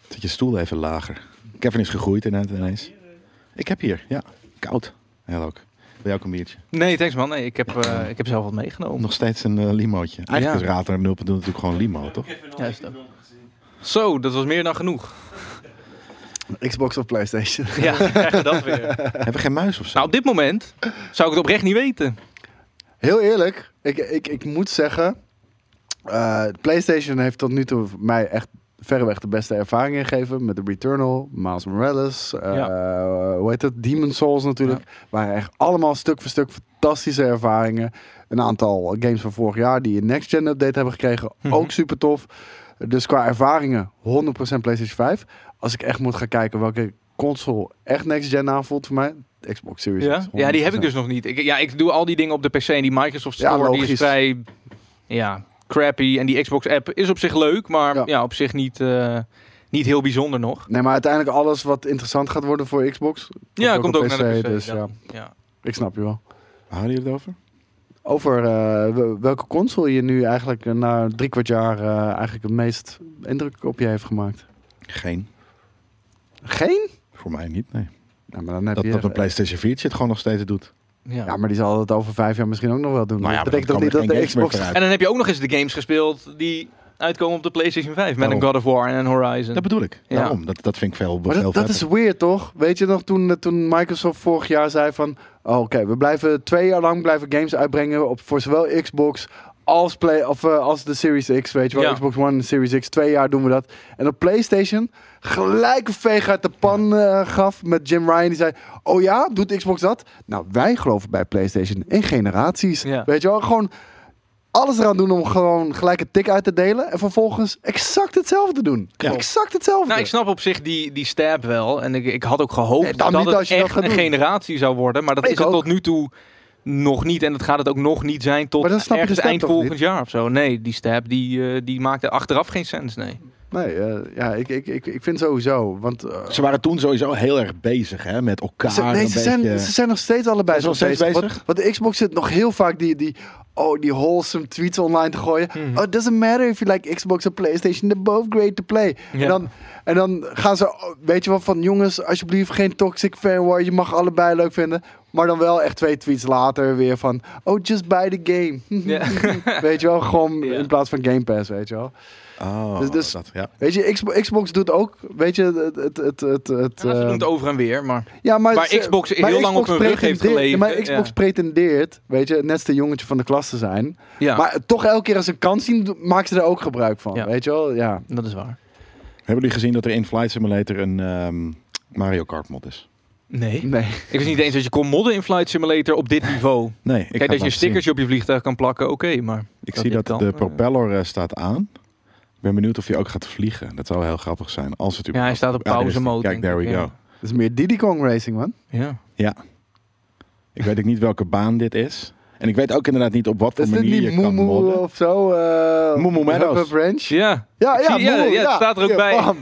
Speaker 5: Zet je stoel even lager. Kevin is gegroeid inderdaad ineens. Ik heb hier, ja. Koud. Heel ook. Wil jij ook een biertje?
Speaker 4: Nee, thanks man. Nee, ik, heb, eh, ik heb zelf wat meegenomen.
Speaker 5: Nog steeds een eh, limootje. Eigenlijk
Speaker 4: Ja.
Speaker 5: is Rater 0.0 natuurlijk gewoon limo, toch?
Speaker 4: Ja, is het ook. Zo, dat was meer dan genoeg.
Speaker 1: Xbox of Playstation.
Speaker 4: Ja, krijg je dat weer.
Speaker 5: Hebben we geen muis of zo?
Speaker 4: Nou, op dit moment zou ik het oprecht niet weten.
Speaker 1: Heel eerlijk, ik, ik, ik moet zeggen... eh, Playstation heeft tot nu toe mij echt verreweg de beste ervaring gegeven. Met de Returnal, Miles Morales, eh, hoe heet het? Demon's Souls natuurlijk. Waren echt allemaal stuk voor stuk fantastische ervaringen. Een aantal games van vorig jaar die een Next Gen update hebben gekregen.
Speaker 4: Mhm.
Speaker 1: Ook super tof. Dus qua ervaringen 100% PlayStation 5. Als ik echt moet gaan kijken welke console echt Next Gen aanvoelt voor mij... Xbox Series
Speaker 4: Ja?
Speaker 1: X,
Speaker 4: ja, die heb
Speaker 1: 100%.
Speaker 4: ik dus nog niet. Ik, ja, ik doe al die dingen op de PC en die Microsoft
Speaker 1: Ja,
Speaker 4: Store die
Speaker 1: logisch.
Speaker 4: is vrij ja, crappy. En die Xbox app is op zich leuk, maar
Speaker 1: Ja.
Speaker 4: ja. op zich niet, eh, niet heel bijzonder nog.
Speaker 1: Nee, maar uiteindelijk alles wat interessant gaat worden voor Xbox.
Speaker 4: ja, komt
Speaker 1: op
Speaker 4: ook naar de PC.
Speaker 1: Dus ja.
Speaker 4: ja. Ja.
Speaker 1: ik snap je wel.
Speaker 5: Waar Houden jullie het over?
Speaker 1: Over eh, wel- welke console je nu eigenlijk eh, na drie kwart jaar eh, eigenlijk het meest indruk op je heeft gemaakt.
Speaker 5: Geen.
Speaker 1: Geen?
Speaker 5: Voor mij niet, nee.
Speaker 1: Nou, maar dan heb
Speaker 5: Dat,
Speaker 1: je,
Speaker 5: dat een PlayStation 4 het gewoon nog steeds doet.
Speaker 4: Ja.
Speaker 1: Ja, maar die zal het over vijf jaar misschien ook nog wel doen.
Speaker 5: Nou ja,
Speaker 1: dat
Speaker 5: maar
Speaker 1: betekent toch
Speaker 5: dan
Speaker 1: niet
Speaker 5: komen
Speaker 1: dat
Speaker 5: er
Speaker 1: de
Speaker 5: geen
Speaker 1: Xbox...
Speaker 5: games meer vooruit.
Speaker 4: En dan heb je ook nog eens de games gespeeld die uitkomen op de PlayStation 5. Met een
Speaker 5: Daarom.
Speaker 4: God of War en een Horizon.
Speaker 5: Dat bedoel ik.
Speaker 4: Ja.
Speaker 5: Daarom. Dat, dat vind ik veel,
Speaker 1: Maar
Speaker 5: veel
Speaker 1: dat, dat is
Speaker 5: vetter.
Speaker 1: weird, toch? Weet je nog, toen, eh, toen Microsoft vorig jaar zei van... oh, Oké, we blijven twee jaar lang blijven games uitbrengen op, voor zowel Xbox als, play, of, eh, als de Series X. Weet je wel,
Speaker 4: Ja.
Speaker 1: Xbox One en Series X. Twee jaar doen we dat. En op PlayStation gelijk een veeg uit de pan eh, gaf met Jim Ryan. Die zei, oh ja, doet Xbox dat? Nou, wij geloven bij PlayStation in generaties.
Speaker 4: Ja.
Speaker 1: Weet je wel, gewoon... Alles eraan doen om gewoon gelijk een tik uit te delen. En vervolgens exact hetzelfde doen.
Speaker 5: Ja.
Speaker 1: Exact hetzelfde.
Speaker 4: Nou, ik snap op zich die, die stab wel. En ik, ik had ook gehoopt
Speaker 1: Nee, dan
Speaker 4: dat
Speaker 1: niet
Speaker 4: het
Speaker 1: als je dat
Speaker 4: echt
Speaker 1: gaat
Speaker 4: een
Speaker 1: doen.
Speaker 4: generatie zou worden. Maar dat
Speaker 1: Ik
Speaker 4: is het
Speaker 1: ook.
Speaker 4: tot nu toe nog niet. En dat gaat het ook nog niet zijn tot
Speaker 1: Maar dan snap je de
Speaker 4: ergens
Speaker 1: stab
Speaker 4: eind
Speaker 1: toch
Speaker 4: volgend jaar of zo. Nee, die stab die, eh, die maakte achteraf geen sens. Nee.
Speaker 1: Nee, eh, ja, ik, ik, ik, ik vind sowieso. Want, eh,
Speaker 5: Ze waren toen sowieso heel erg bezig hè, met elkaar.
Speaker 1: ze, nee,
Speaker 5: een
Speaker 1: ze, zijn,
Speaker 5: beetje-
Speaker 1: ze zijn nog steeds allebei
Speaker 5: Ze zijn
Speaker 1: zo
Speaker 5: nog steeds
Speaker 1: bezig. Want, want de Xbox zit nog heel vaak die, die, oh, die wholesome tweets online te gooien.
Speaker 5: Mhm.
Speaker 1: Oh, it doesn't matter if you like Xbox of PlayStation, they're both great to play. En,
Speaker 4: Ja.
Speaker 1: dan, en dan gaan ze, oh, weet je wel, van jongens, alsjeblieft geen toxic fanwar, je mag allebei leuk vinden. Maar dan wel echt twee tweets later weer van... Oh, just buy the game.
Speaker 4: Ja.
Speaker 1: weet je wel, gewoon
Speaker 4: Ja.
Speaker 1: in plaats van Game Pass, weet je wel.
Speaker 5: Oh,
Speaker 1: Dus- dus-
Speaker 5: dat, ja.
Speaker 1: Weet je, Xbox, Xbox doet ook, weet je, het... het, het, het, het,
Speaker 4: Ja, ze
Speaker 1: eh,
Speaker 4: doen het over en weer, maar...
Speaker 1: ja, maar
Speaker 4: waar
Speaker 1: ze-
Speaker 4: Xbox heel
Speaker 1: maar
Speaker 4: lang op hun rug heeft
Speaker 1: pretendeert-
Speaker 4: geleefd,
Speaker 1: Maar
Speaker 4: hè?
Speaker 1: Xbox
Speaker 4: Ja.
Speaker 1: pretendeert, weet je, net de jongetje van de klas te zijn.
Speaker 4: Ja,
Speaker 1: Maar toch elke keer als ze een kans zien, maken ze er ook gebruik van,
Speaker 4: Ja.
Speaker 1: weet je wel. Ja.
Speaker 4: dat is waar.
Speaker 5: Hebben jullie gezien dat er in Flight Simulator een ehm, Mario Kart mod is?
Speaker 4: Nee.
Speaker 1: Nee.
Speaker 4: Ik wist niet eens dat je kon modden in Flight Simulator op dit niveau.
Speaker 5: Nee, ik
Speaker 4: Kijk,
Speaker 5: had
Speaker 4: dat je
Speaker 5: laten zien.
Speaker 4: stickers op je vliegtuig kan plakken, oké, maar...
Speaker 5: Ik
Speaker 4: dat
Speaker 5: zie
Speaker 4: dit
Speaker 5: dat
Speaker 4: kan,
Speaker 5: de
Speaker 4: eh.
Speaker 5: propeller eh, staat aan. Ik ben benieuwd of hij ook gaat vliegen. Dat zou heel grappig zijn. Als het
Speaker 4: Ja, hij
Speaker 5: überhaupt-
Speaker 4: staat op
Speaker 5: Ja, daar is
Speaker 4: pauze
Speaker 5: hij.
Speaker 4: mode.
Speaker 5: Kijk,
Speaker 4: denk
Speaker 5: there
Speaker 4: ik,
Speaker 5: we
Speaker 4: ja.
Speaker 5: go.
Speaker 1: Dat is meer Diddy Kong Racing, man.
Speaker 4: Ja.
Speaker 5: Ik weet ook niet welke baan dit is. En ik weet ook inderdaad niet op wat voor
Speaker 1: Is dit
Speaker 5: manier
Speaker 1: niet
Speaker 5: je kan
Speaker 1: Moemoe
Speaker 5: modden.
Speaker 1: of zo? eh
Speaker 5: Moemoe Meadows.
Speaker 1: Hubba Branch?
Speaker 4: Ja.
Speaker 1: Ja,
Speaker 4: Ik
Speaker 1: ja,
Speaker 4: zie- ja,
Speaker 1: Moemoe,
Speaker 4: ja, het staat er ook
Speaker 1: Ja,
Speaker 4: bij.
Speaker 1: bam.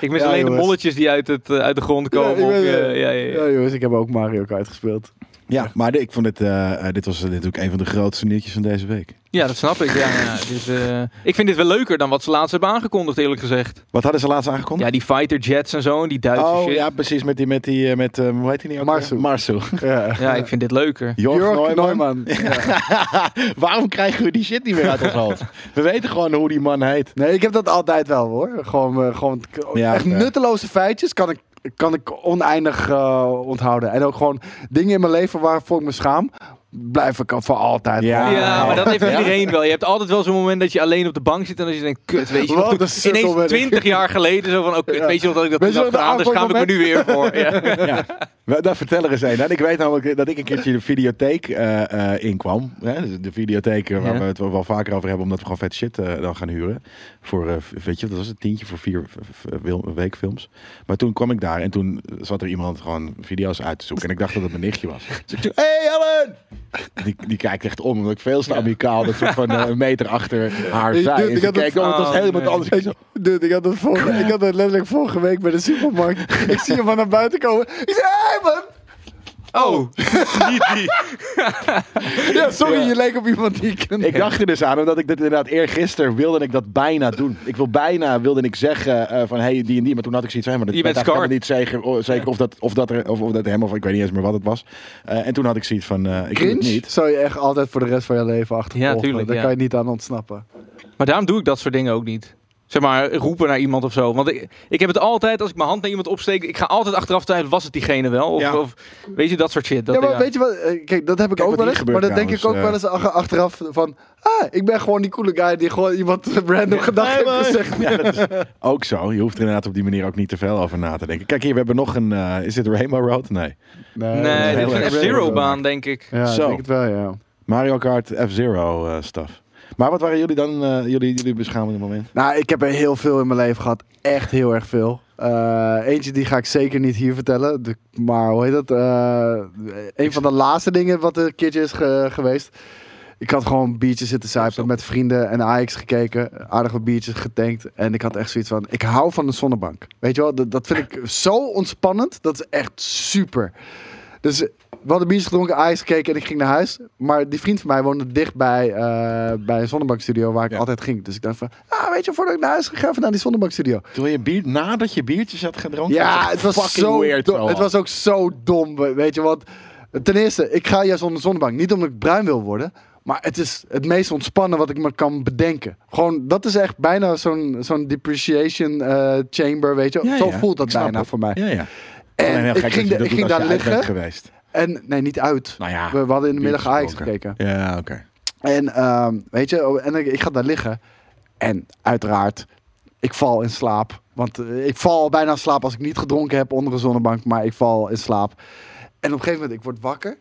Speaker 4: Ik mis
Speaker 1: Ja,
Speaker 4: alleen de
Speaker 1: jongens.
Speaker 4: molletjes die uit, het, eh, uit de grond komen.
Speaker 1: ik
Speaker 4: op,
Speaker 1: weet het.
Speaker 4: eh, ja, ja, ja.
Speaker 1: Ja, jongens, ik heb ook Mario Kart gespeeld.
Speaker 5: Ja, maar dit- ik vond dit, eh, eh, dit was eh, dit ook een van de grootste nieuwtjes van deze week.
Speaker 4: Ja, dat snap ik. Ja, ja. Dus, eh, ik vind dit wel leuker dan wat ze laatst hebben aangekondigd, eerlijk gezegd.
Speaker 5: Wat hadden ze laatst aangekondigd?
Speaker 4: Ja, die fighter jets en zo, en die Duitse
Speaker 5: oh
Speaker 4: shit.
Speaker 5: ja, precies. Met die, met die, eh, met, eh, hoe heet hij niet? ook
Speaker 1: Marsu.
Speaker 5: weer? Marsu.
Speaker 1: Ja,
Speaker 4: Ja, ik vind dit leuker.
Speaker 5: Jorg Neumann. Waarom krijgen we die shit niet meer uit ons hoofd? We weten gewoon hoe die man heet.
Speaker 1: Nee, ik heb dat altijd wel hoor. Gewoon, eh, gewoon k-
Speaker 5: Ja,
Speaker 1: echt
Speaker 5: oké.
Speaker 1: nutteloze feitjes kan ik, kan ik oneindig eh, onthouden. En ook gewoon dingen in mijn leven waarvoor ik me schaam, blijf ik al voor altijd.
Speaker 5: Ja.
Speaker 1: gewoon
Speaker 4: Ja, maar
Speaker 1: onthouden.
Speaker 4: dat heeft
Speaker 5: Ja.
Speaker 4: iedereen wel. Je hebt altijd wel zo'n moment dat je alleen op de bank zit en dat je denkt, kut, weet je
Speaker 1: Wat
Speaker 4: nog, toen-
Speaker 1: een sukkel ben
Speaker 4: ineens
Speaker 1: ik.
Speaker 4: 20 jaar geleden zo van, oh, kut,
Speaker 1: Ja.
Speaker 4: weet je nog dat ik dat
Speaker 1: Weet
Speaker 4: toen
Speaker 1: je
Speaker 4: had
Speaker 1: nog
Speaker 4: gedaan,
Speaker 1: dat
Speaker 4: dus schaam ik me nu weer voor. Ja.
Speaker 5: Ja. Wel, Daar vertel er eens een. En ik weet namelijk dat ik een keertje de videotheek eh, eh, inkwam. Hè? Dus De videotheek eh, waar
Speaker 4: Ja.
Speaker 5: we het wel wel vaker over hebben, omdat we gewoon vet shit eh, dan gaan huren. Voor, eh, v- weet je, dat was een tientje voor vier v- v- wil- weekfilms. Maar toen kwam ik daar en toen zat er iemand gewoon video's uit te zoeken. En ik dacht dat het mijn nichtje was. Dus ik zei, hey Ellen! Die, die kijkt echt om, omdat ik veel te amicaal, dat soort van eh, een meter achter haar
Speaker 1: Ik-
Speaker 5: zij.
Speaker 1: dude,
Speaker 5: En
Speaker 1: ik
Speaker 5: ze
Speaker 1: had het-
Speaker 5: kijkt om, het was
Speaker 4: Oh,
Speaker 5: helemaal
Speaker 4: nee.
Speaker 5: anders. Ik zo,
Speaker 1: Dude, ik had, dat vorige, ik had dat letterlijk vorige week bij de supermarkt. ik zie hem maar naar buiten komen. Ik zei, hey man!
Speaker 4: Oh,
Speaker 1: Ja, sorry, je leek op iemand die ik ken.
Speaker 5: Ik dacht er dus aan, omdat ik dit inderdaad eergisteren wilde en ik dat bijna doen. Ik wil bijna, wilde ik zeggen eh, van hey die en die, maar toen had ik zoiets van, hey, maar
Speaker 4: Je
Speaker 5: ik
Speaker 4: bent
Speaker 5: weet eigenlijk helemaal niet zeker, oh, zeker of, dat, of, dat er, of, of dat hem of ik weet niet eens meer wat het was. Eh, en toen had ik zoiets van, eh, ik doe het
Speaker 1: Cringe
Speaker 5: niet.
Speaker 1: zou je echt altijd voor de rest van je leven achtervolgen.
Speaker 4: Ja, tuurlijk,
Speaker 1: Daar
Speaker 4: ja.
Speaker 1: kan je niet aan ontsnappen.
Speaker 4: maar daarom doe ik dat soort dingen ook niet. Zeg maar, roepen naar iemand of zo. Want ik, ik heb het altijd, als ik mijn hand naar iemand opsteek, ik ga altijd achteraf twijfelen, was het diegene wel? Of,
Speaker 5: Ja.
Speaker 4: of weet je, dat soort shit. Dat,
Speaker 1: ja, maar weet je wat? eh, Kijk, dat heb ik
Speaker 5: Kijk
Speaker 1: ook
Speaker 5: wat
Speaker 1: wel eens.
Speaker 5: hier
Speaker 1: Maar
Speaker 5: gebeurt
Speaker 1: dat denk ik ook wel
Speaker 5: trouwens,
Speaker 1: eens ach- achteraf van... Ah, ik ben gewoon die coole guy die gewoon iemand random gedacht heeft gezegd.
Speaker 5: Ja, dat is ook zo. Je hoeft er inderdaad op die manier ook niet te veel over na te denken. Kijk hier, we hebben nog een, eh, is dit Rainbow Road? Nee.
Speaker 4: Nee,
Speaker 5: heel
Speaker 4: dit is
Speaker 5: erg
Speaker 4: een F-Zero-baan, denk ik.
Speaker 1: Ja, ik
Speaker 5: Zo.
Speaker 1: denk het wel, ja.
Speaker 5: Mario Kart F-Zero eh, stuff. Maar wat waren jullie dan, eh, jullie, jullie beschamende moment?
Speaker 1: Nou, ik heb er heel veel in mijn leven gehad. Echt heel erg veel. Eh, eentje die ga ik zeker niet hier vertellen. De- maar hoe heet dat? Eh, een van de laatste dingen wat er een keertje is ge- geweest. Ik had gewoon biertjes zitten zuipen met vrienden en Ajax gekeken. Aardig wat biertjes getankt. En ik had echt zoiets van, ik hou van een zonnebank. Weet je wel, dat, dat vind ik zo ontspannend. Dat is echt super. Dus we hadden biertjes gedronken, Ajax gekeken en ik ging naar huis. Maar die vriend van mij woonde dichtbij eh, bij een zonnebankstudio waar ik
Speaker 5: Ja.
Speaker 1: altijd ging. Dus ik dacht van, ah, weet je, voordat ik naar huis ging, ga even naar die zonnebankstudio.
Speaker 5: Toen je bier, nadat je biertjes had gedronken? Dat
Speaker 1: Ja,
Speaker 5: echt
Speaker 1: het was,
Speaker 5: fucking
Speaker 1: zo
Speaker 5: weird.
Speaker 1: dom-
Speaker 5: wel.
Speaker 1: het was ook zo dom, we- weet je. Want ten eerste, ik ga juist onder de zonnebank. Niet omdat ik bruin wil worden, maar het is het meest ontspannen wat ik me kan bedenken. Gewoon, dat is echt bijna zo'n zo'n depreciation eh, chamber, weet je.
Speaker 5: Ja,
Speaker 1: zo
Speaker 5: ja,
Speaker 1: voelt dat
Speaker 5: ik snap
Speaker 1: bijna
Speaker 5: het.
Speaker 1: voor mij.
Speaker 5: Ja, ja. Alleen heel
Speaker 1: En ik
Speaker 5: gek dat
Speaker 1: ging,
Speaker 5: je
Speaker 1: da-
Speaker 5: dat
Speaker 1: ik ging
Speaker 5: doet dus
Speaker 1: daar
Speaker 5: als je uit bent
Speaker 1: liggen
Speaker 5: geweest.
Speaker 1: en... Nee, niet uit.
Speaker 5: Nou ja.
Speaker 1: We, we hadden in de
Speaker 5: bier
Speaker 1: middag Ajax
Speaker 5: gedronken.
Speaker 1: gekeken.
Speaker 5: Ja, oké.
Speaker 1: En ehm, weet je, oh, en ik, ik ga daar liggen. En uiteraard, ik val in slaap. Want eh, ik val bijna in slaap als ik niet gedronken heb onder een zonnebank. Maar ik val in slaap. En op een gegeven moment, ik word wakker.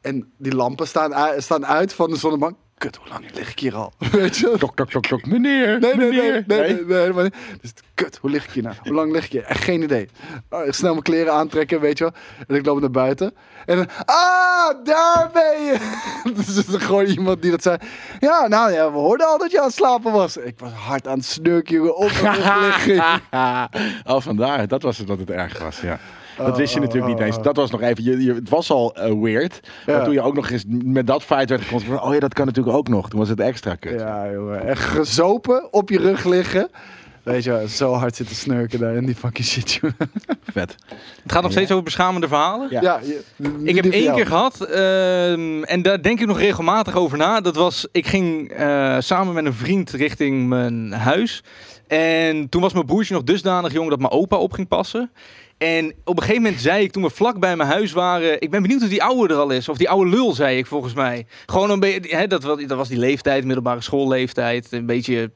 Speaker 1: En die lampen staan, u- staan uit van de zonnebank. Kut, hoe lang lig ik hier al? Weet je?
Speaker 5: Tok, tok, tok, tok. Meneer,
Speaker 1: Nee, nee, nee.
Speaker 5: meneer.
Speaker 1: nee, nee, nee, helemaal niet. Dus kut, hoe lig ik hier nou? Hoe lang lig ik hier? Echt geen idee. Oh, ik snel mijn kleren aantrekken, weet je wel. En ik loop naar buiten. En dan, ah, daar ben je. dus dan gewoon iemand die dat zei. Ja, nou ja, we hoorden al dat je aan het slapen was. Ik was hard aan het snurken, jongen. Op en op liggen.
Speaker 5: Haha. Ah, Al vandaar, dat was het wat het erg was, ja. Dat wist je
Speaker 1: oh,
Speaker 5: natuurlijk
Speaker 1: oh,
Speaker 5: niet eens.
Speaker 1: oh.
Speaker 5: Dat was nog even, je, je- het was al eh, weird.
Speaker 1: Ja.
Speaker 5: Maar toen je ook nog eens met dat feit werd geconfronteerd. Oh ja, dat kan natuurlijk ook nog. Toen was het extra kut.
Speaker 1: Ja, jongen. Echt gezopen, op je rug liggen. Weet je wel, zo hard zitten snurken daar in die fucking shit. joh.
Speaker 5: Vet.
Speaker 4: Het gaat nog steeds over beschamende verhalen.
Speaker 5: Ja.
Speaker 1: je-
Speaker 4: Ik
Speaker 1: die
Speaker 4: heb
Speaker 1: van
Speaker 4: één
Speaker 1: jou.
Speaker 4: keer gehad, ehm, en daar denk ik nog regelmatig over na. Dat was, ik ging eh, samen met een vriend richting mijn huis. En toen was mijn broertje nog dusdanig jong dat mijn opa op ging passen. En op een gegeven moment zei ik, toen we vlak bij mijn huis waren... Ik ben benieuwd of die oude er al is. Of die oude lul, zei ik volgens mij. Gewoon een beetje... hè, Dat, wa- dat was die leeftijd, middelbare schoolleeftijd. Een beetje,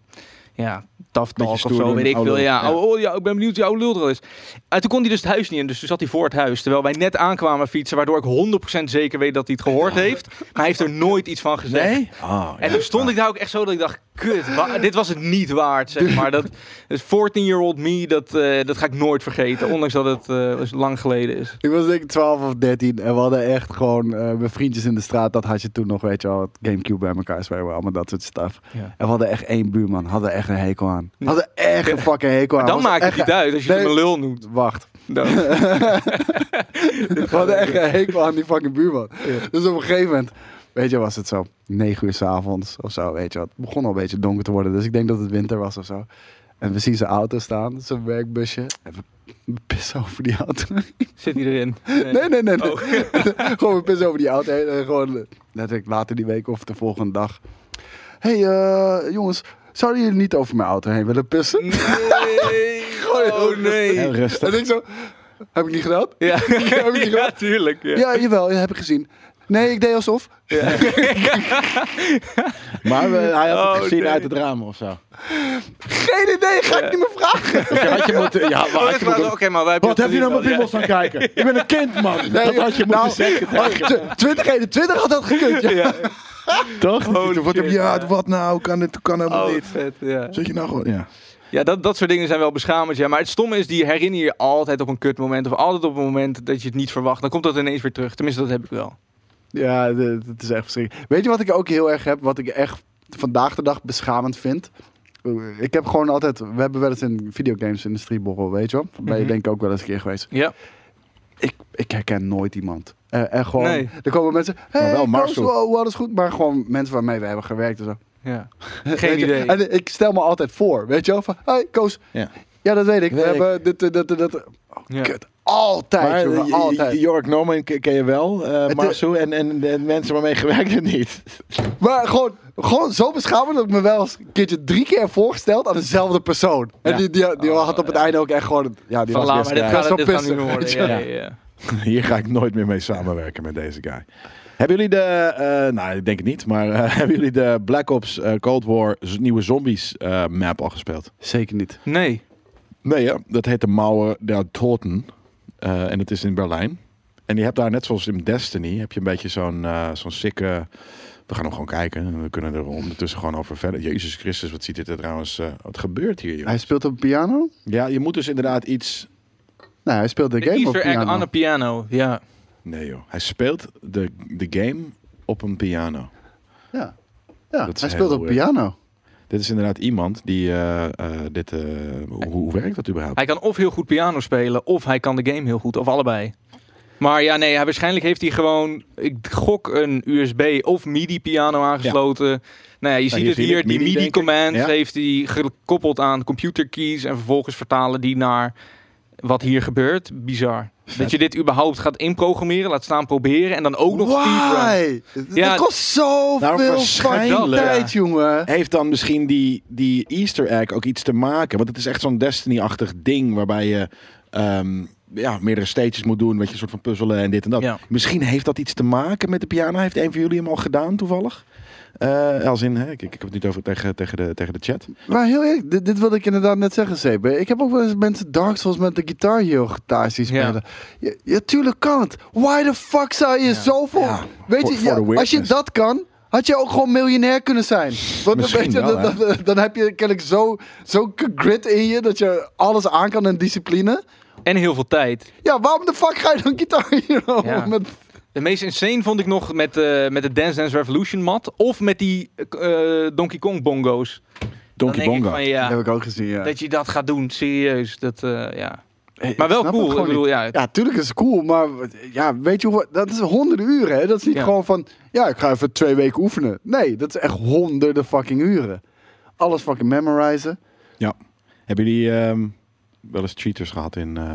Speaker 4: ja, tough talk of
Speaker 5: stoer
Speaker 4: zo,
Speaker 5: doen,
Speaker 4: weet ik
Speaker 5: oude
Speaker 4: veel.
Speaker 5: lul.
Speaker 4: Ja,
Speaker 5: Ja.
Speaker 4: Oh, oh, ja, ik ben benieuwd of die oude lul er al is. En toen kon hij dus het huis niet in, dus toen zat hij voor het huis. Terwijl wij net aankwamen fietsen, waardoor ik 100% zeker weet dat hij het gehoord heeft. Maar hij heeft er nooit iets van gezegd.
Speaker 5: Ah,
Speaker 4: En
Speaker 5: ja.
Speaker 4: toen stond ik daar ook echt zo dat ik dacht, kut, wa- dit was het niet waard, zeg maar. Dat dat 14-year-old me, dat, eh, dat ga ik nooit vergeten, ondanks dat het eh, lang geleden is.
Speaker 1: Ik was denk ik 12 of 13 en we hadden echt gewoon eh, mijn vriendjes in de straat. Dat had je toen nog, weet je wel, het Gamecube bij elkaar spelen, allemaal dat soort stuff.
Speaker 4: Ja.
Speaker 1: En we hadden echt één buurman, hadden echt een hekel aan. Hadden echt een fucking hekel aan.
Speaker 4: Dan
Speaker 1: Was
Speaker 4: maakt het
Speaker 1: Nou, echt
Speaker 4: niet uit als je
Speaker 1: Nee.
Speaker 4: hem een lul noemt.
Speaker 1: Wacht.
Speaker 4: Dan-
Speaker 1: We hadden echt een hekel aan die fucking buurman. Dus op een gegeven moment, weet je, was het zo 9 uur s'avonds of zo, weet je wat. Het begon al een beetje donker te worden, dus ik denk dat het winter was of zo. En we zien zijn auto staan, zijn werkbusje. En we pissen over die auto.
Speaker 4: Zit hij erin?
Speaker 1: Nee, nee, nee. nee.
Speaker 4: Oh.
Speaker 1: gewoon we pissen over die auto heen. En gewoon eh, letterlijk later die week of de volgende dag. Hé, hey, eh, jongens. Zouden jullie niet over mijn auto heen willen pissen?
Speaker 4: Nee. Oh
Speaker 5: Heel
Speaker 4: nee.
Speaker 5: rustig.
Speaker 1: En ik zo... Heb ik niet gedaan?
Speaker 4: Ja,
Speaker 1: Heb ik niet gedaan?
Speaker 4: ja tuurlijk. Ja.
Speaker 1: Ja, jawel. Heb ik gezien. Nee, ik deed alsof.
Speaker 5: Maar we- hij had het
Speaker 4: Oh,
Speaker 5: gezien
Speaker 4: nee.
Speaker 5: uit het raam of zo.
Speaker 1: Geen idee, ga ik niet meer vragen.
Speaker 5: Dus je had je moeten... Ja, maar
Speaker 4: Oh,
Speaker 5: had
Speaker 4: dat
Speaker 5: je
Speaker 4: was-
Speaker 5: moeten...
Speaker 4: Oké, maar wij
Speaker 5: Wat heb je nou mijn piemels aan kijken? Ik ben een kind, man. dat had je moeten zeggen.
Speaker 1: zeggen. 2021 had dat gekund. Ja. Oh,
Speaker 5: Toch?
Speaker 4: Holy
Speaker 5: wat, heb je-
Speaker 4: shit,
Speaker 5: ja,
Speaker 4: ja.
Speaker 5: wat nou? Kan dit? Kan helemaal
Speaker 4: Oh,
Speaker 5: niet.
Speaker 4: vet, ja.
Speaker 5: Zeg je nou gewoon... Ja.
Speaker 4: Ja, dat, dat soort dingen zijn wel beschamend. Ja. Maar het stomme is, die herinner je altijd op een kut moment. Of altijd op een moment dat je het niet verwacht. Dan komt dat ineens weer terug. Tenminste, dat heb ik wel.
Speaker 1: Ja, d- d- het is echt verschrikkelijk. Weet je wat ik ook heel erg heb, wat ik echt vandaag de dag beschamend vind? Eh, Ik heb gewoon altijd, we hebben wel eens een videogames-industrie borrel, weet je wel? Ben je
Speaker 4: Mhm.
Speaker 1: denk ik ook wel eens een keer geweest.
Speaker 4: Ja.
Speaker 1: Ik, ik herken nooit iemand. Eh, en gewoon,
Speaker 4: Nee.
Speaker 1: er komen mensen, hey,
Speaker 5: wel
Speaker 1: Koos,
Speaker 5: Marcel.
Speaker 1: wow, alles goed. Maar gewoon mensen waarmee we hebben gewerkt en zo.
Speaker 4: ja.
Speaker 1: Weet
Speaker 4: Geen
Speaker 1: je?
Speaker 4: idee.
Speaker 1: En ik stel me altijd voor, weet je wel? Van, hey, Koos, ja.
Speaker 5: Ja.
Speaker 1: dat weet ik.
Speaker 5: Weet
Speaker 1: we
Speaker 5: ik.
Speaker 1: hebben dit, dit, dit, dit.
Speaker 4: Ja.
Speaker 1: Kut, altijd,
Speaker 5: Maar
Speaker 1: jongen,
Speaker 5: eh,
Speaker 1: altijd.
Speaker 5: J- Jork Norman ke- ken je wel, eh
Speaker 1: Het-
Speaker 5: Marcel. En, en de mensen waarmee je gewerkt hebt niet.
Speaker 1: Maar gewoon, gewoon zo beschamend dat ik me wel eens een keertje drie keer heb voorgesteld aan dezelfde persoon. En
Speaker 5: Ja.
Speaker 1: die, die, die
Speaker 4: Oh,
Speaker 1: had op het einde ook echt gewoon... Ja, die
Speaker 4: Van
Speaker 1: was
Speaker 4: laat
Speaker 1: best
Speaker 4: maar, dit
Speaker 1: krijg.
Speaker 4: gaat,
Speaker 1: Best
Speaker 4: dit
Speaker 1: wel
Speaker 4: gaat niet meer
Speaker 1: pissig,
Speaker 4: worden.
Speaker 1: weet
Speaker 4: Ja,
Speaker 1: je
Speaker 4: ja,
Speaker 1: wel.
Speaker 4: ja.
Speaker 5: Hier ga ik nooit meer mee samenwerken met deze guy. Hebben jullie de, eh, nou ik denk het niet, maar eh, hebben jullie de Black Ops eh, Cold War z- nieuwe zombies eh, map al gespeeld?
Speaker 1: Zeker niet.
Speaker 4: Nee.
Speaker 5: Nee, ja, dat heet de Mauer der Toten Eh, en dat is in Berlijn. En je hebt daar net zoals in Destiny, heb je een beetje zo'n eh zo'n sikke... We gaan hem gewoon kijken. We kunnen er ondertussen gewoon over verder. Jezus Christus, wat ziet dit er trouwens... eh, wat gebeurt hier, joh?
Speaker 1: Hij speelt op piano?
Speaker 5: Ja, je moet dus inderdaad iets...
Speaker 1: Nee, hij speelt de
Speaker 4: De
Speaker 1: game op
Speaker 4: Easter egg aan
Speaker 1: piano.
Speaker 4: een piano. Ja.
Speaker 5: Nee joh, hij speelt de, de game op een piano.
Speaker 1: Ja, ja
Speaker 5: Dat is
Speaker 1: hij speelt
Speaker 5: heel
Speaker 1: op
Speaker 5: weird.
Speaker 1: piano.
Speaker 5: Dit is inderdaad iemand die eh, eh, dit. eh, hoe, hoe werkt dat überhaupt?
Speaker 4: Hij kan of heel goed piano spelen, of hij kan de game heel goed, of allebei. Maar ja, nee, hij, waarschijnlijk heeft hij gewoon, ik gok, een USB of MIDI-piano aangesloten. Nou ja, je ziet
Speaker 5: hier
Speaker 4: het
Speaker 5: zie je
Speaker 4: hier,
Speaker 5: het,
Speaker 4: die
Speaker 5: MIDI, denk ik.
Speaker 4: MIDI-commands
Speaker 5: Ja.
Speaker 4: heeft hij gekoppeld aan computerkeys en vervolgens vertalen die naar wat hier gebeurt. Bizar. Dat je dit überhaupt gaat inprogrammeren, laat staan proberen en dan ook nog speedrun.
Speaker 1: Why?
Speaker 4: Ja,
Speaker 1: dat kost zoveel
Speaker 5: Nou,
Speaker 1: fucking
Speaker 5: waarschijnlijk.
Speaker 1: tijd, jongen.
Speaker 5: Heeft dan misschien die, die Easter egg ook iets te maken? Want het is echt zo'n Destiny-achtig ding waarbij je ehm, ja, meerdere stages moet doen. Weet je, een soort van puzzelen en dit en dat.
Speaker 4: Ja.
Speaker 5: Misschien heeft dat iets te maken met de piano. Heeft een van jullie hem al gedaan toevallig? Eh, als in, hè, ik, ik heb het niet over tegen, tegen, de, tegen de chat.
Speaker 1: Maar heel eerlijk, dit, dit wilde ik inderdaad net zeggen, CB. Ik heb ook wel eens mensen Dark Souls met de Guitar Hero gitaar zien
Speaker 4: Ja.
Speaker 1: spelen. Ja. ja, tuurlijk kan het. Why the fuck zou je zoveel...
Speaker 5: Ja,
Speaker 1: Weet
Speaker 5: voor-
Speaker 1: je,
Speaker 5: voor de
Speaker 1: ja, als je
Speaker 5: weirdness.
Speaker 1: dat kan, had je ook gewoon miljonair kunnen zijn. Want dan,
Speaker 5: Misschien
Speaker 1: weet je,
Speaker 5: wel,
Speaker 1: dan, dan- dan heb je kennelijk zo- zo'n grit in je dat je alles aan kan en discipline.
Speaker 4: En heel veel tijd.
Speaker 1: Ja, waarom de fuck ga je dan Guitar Hero?
Speaker 4: Ja.
Speaker 1: Met,
Speaker 4: De meest insane vond ik nog met, eh, met de Dance Dance Revolution mat. Of met die eh, eh, Donkey Kong bongo's. Dan
Speaker 5: Donkey
Speaker 4: denk ik
Speaker 5: Bongo.
Speaker 4: van,
Speaker 1: Dat
Speaker 4: ja,
Speaker 1: heb ik ook gezien, ja.
Speaker 4: Dat je dat gaat doen, serieus. Dat, eh, ja.
Speaker 1: Hey, ik
Speaker 4: Maar wel
Speaker 1: snap het
Speaker 4: cool. Ik
Speaker 1: gewoon
Speaker 4: bedoel, ja,
Speaker 1: Ja, tuurlijk is het cool, maar ja, weet je hoe... Dat is honderden uren, hè? Dat is niet
Speaker 4: Ja.
Speaker 1: gewoon van... Ja, ik ga even twee weken oefenen. Nee, dat is echt honderden fucking uren. Alles fucking memorizen.
Speaker 5: Ja. Hebben jullie ehm, wel eens cheaters gehad in, eh,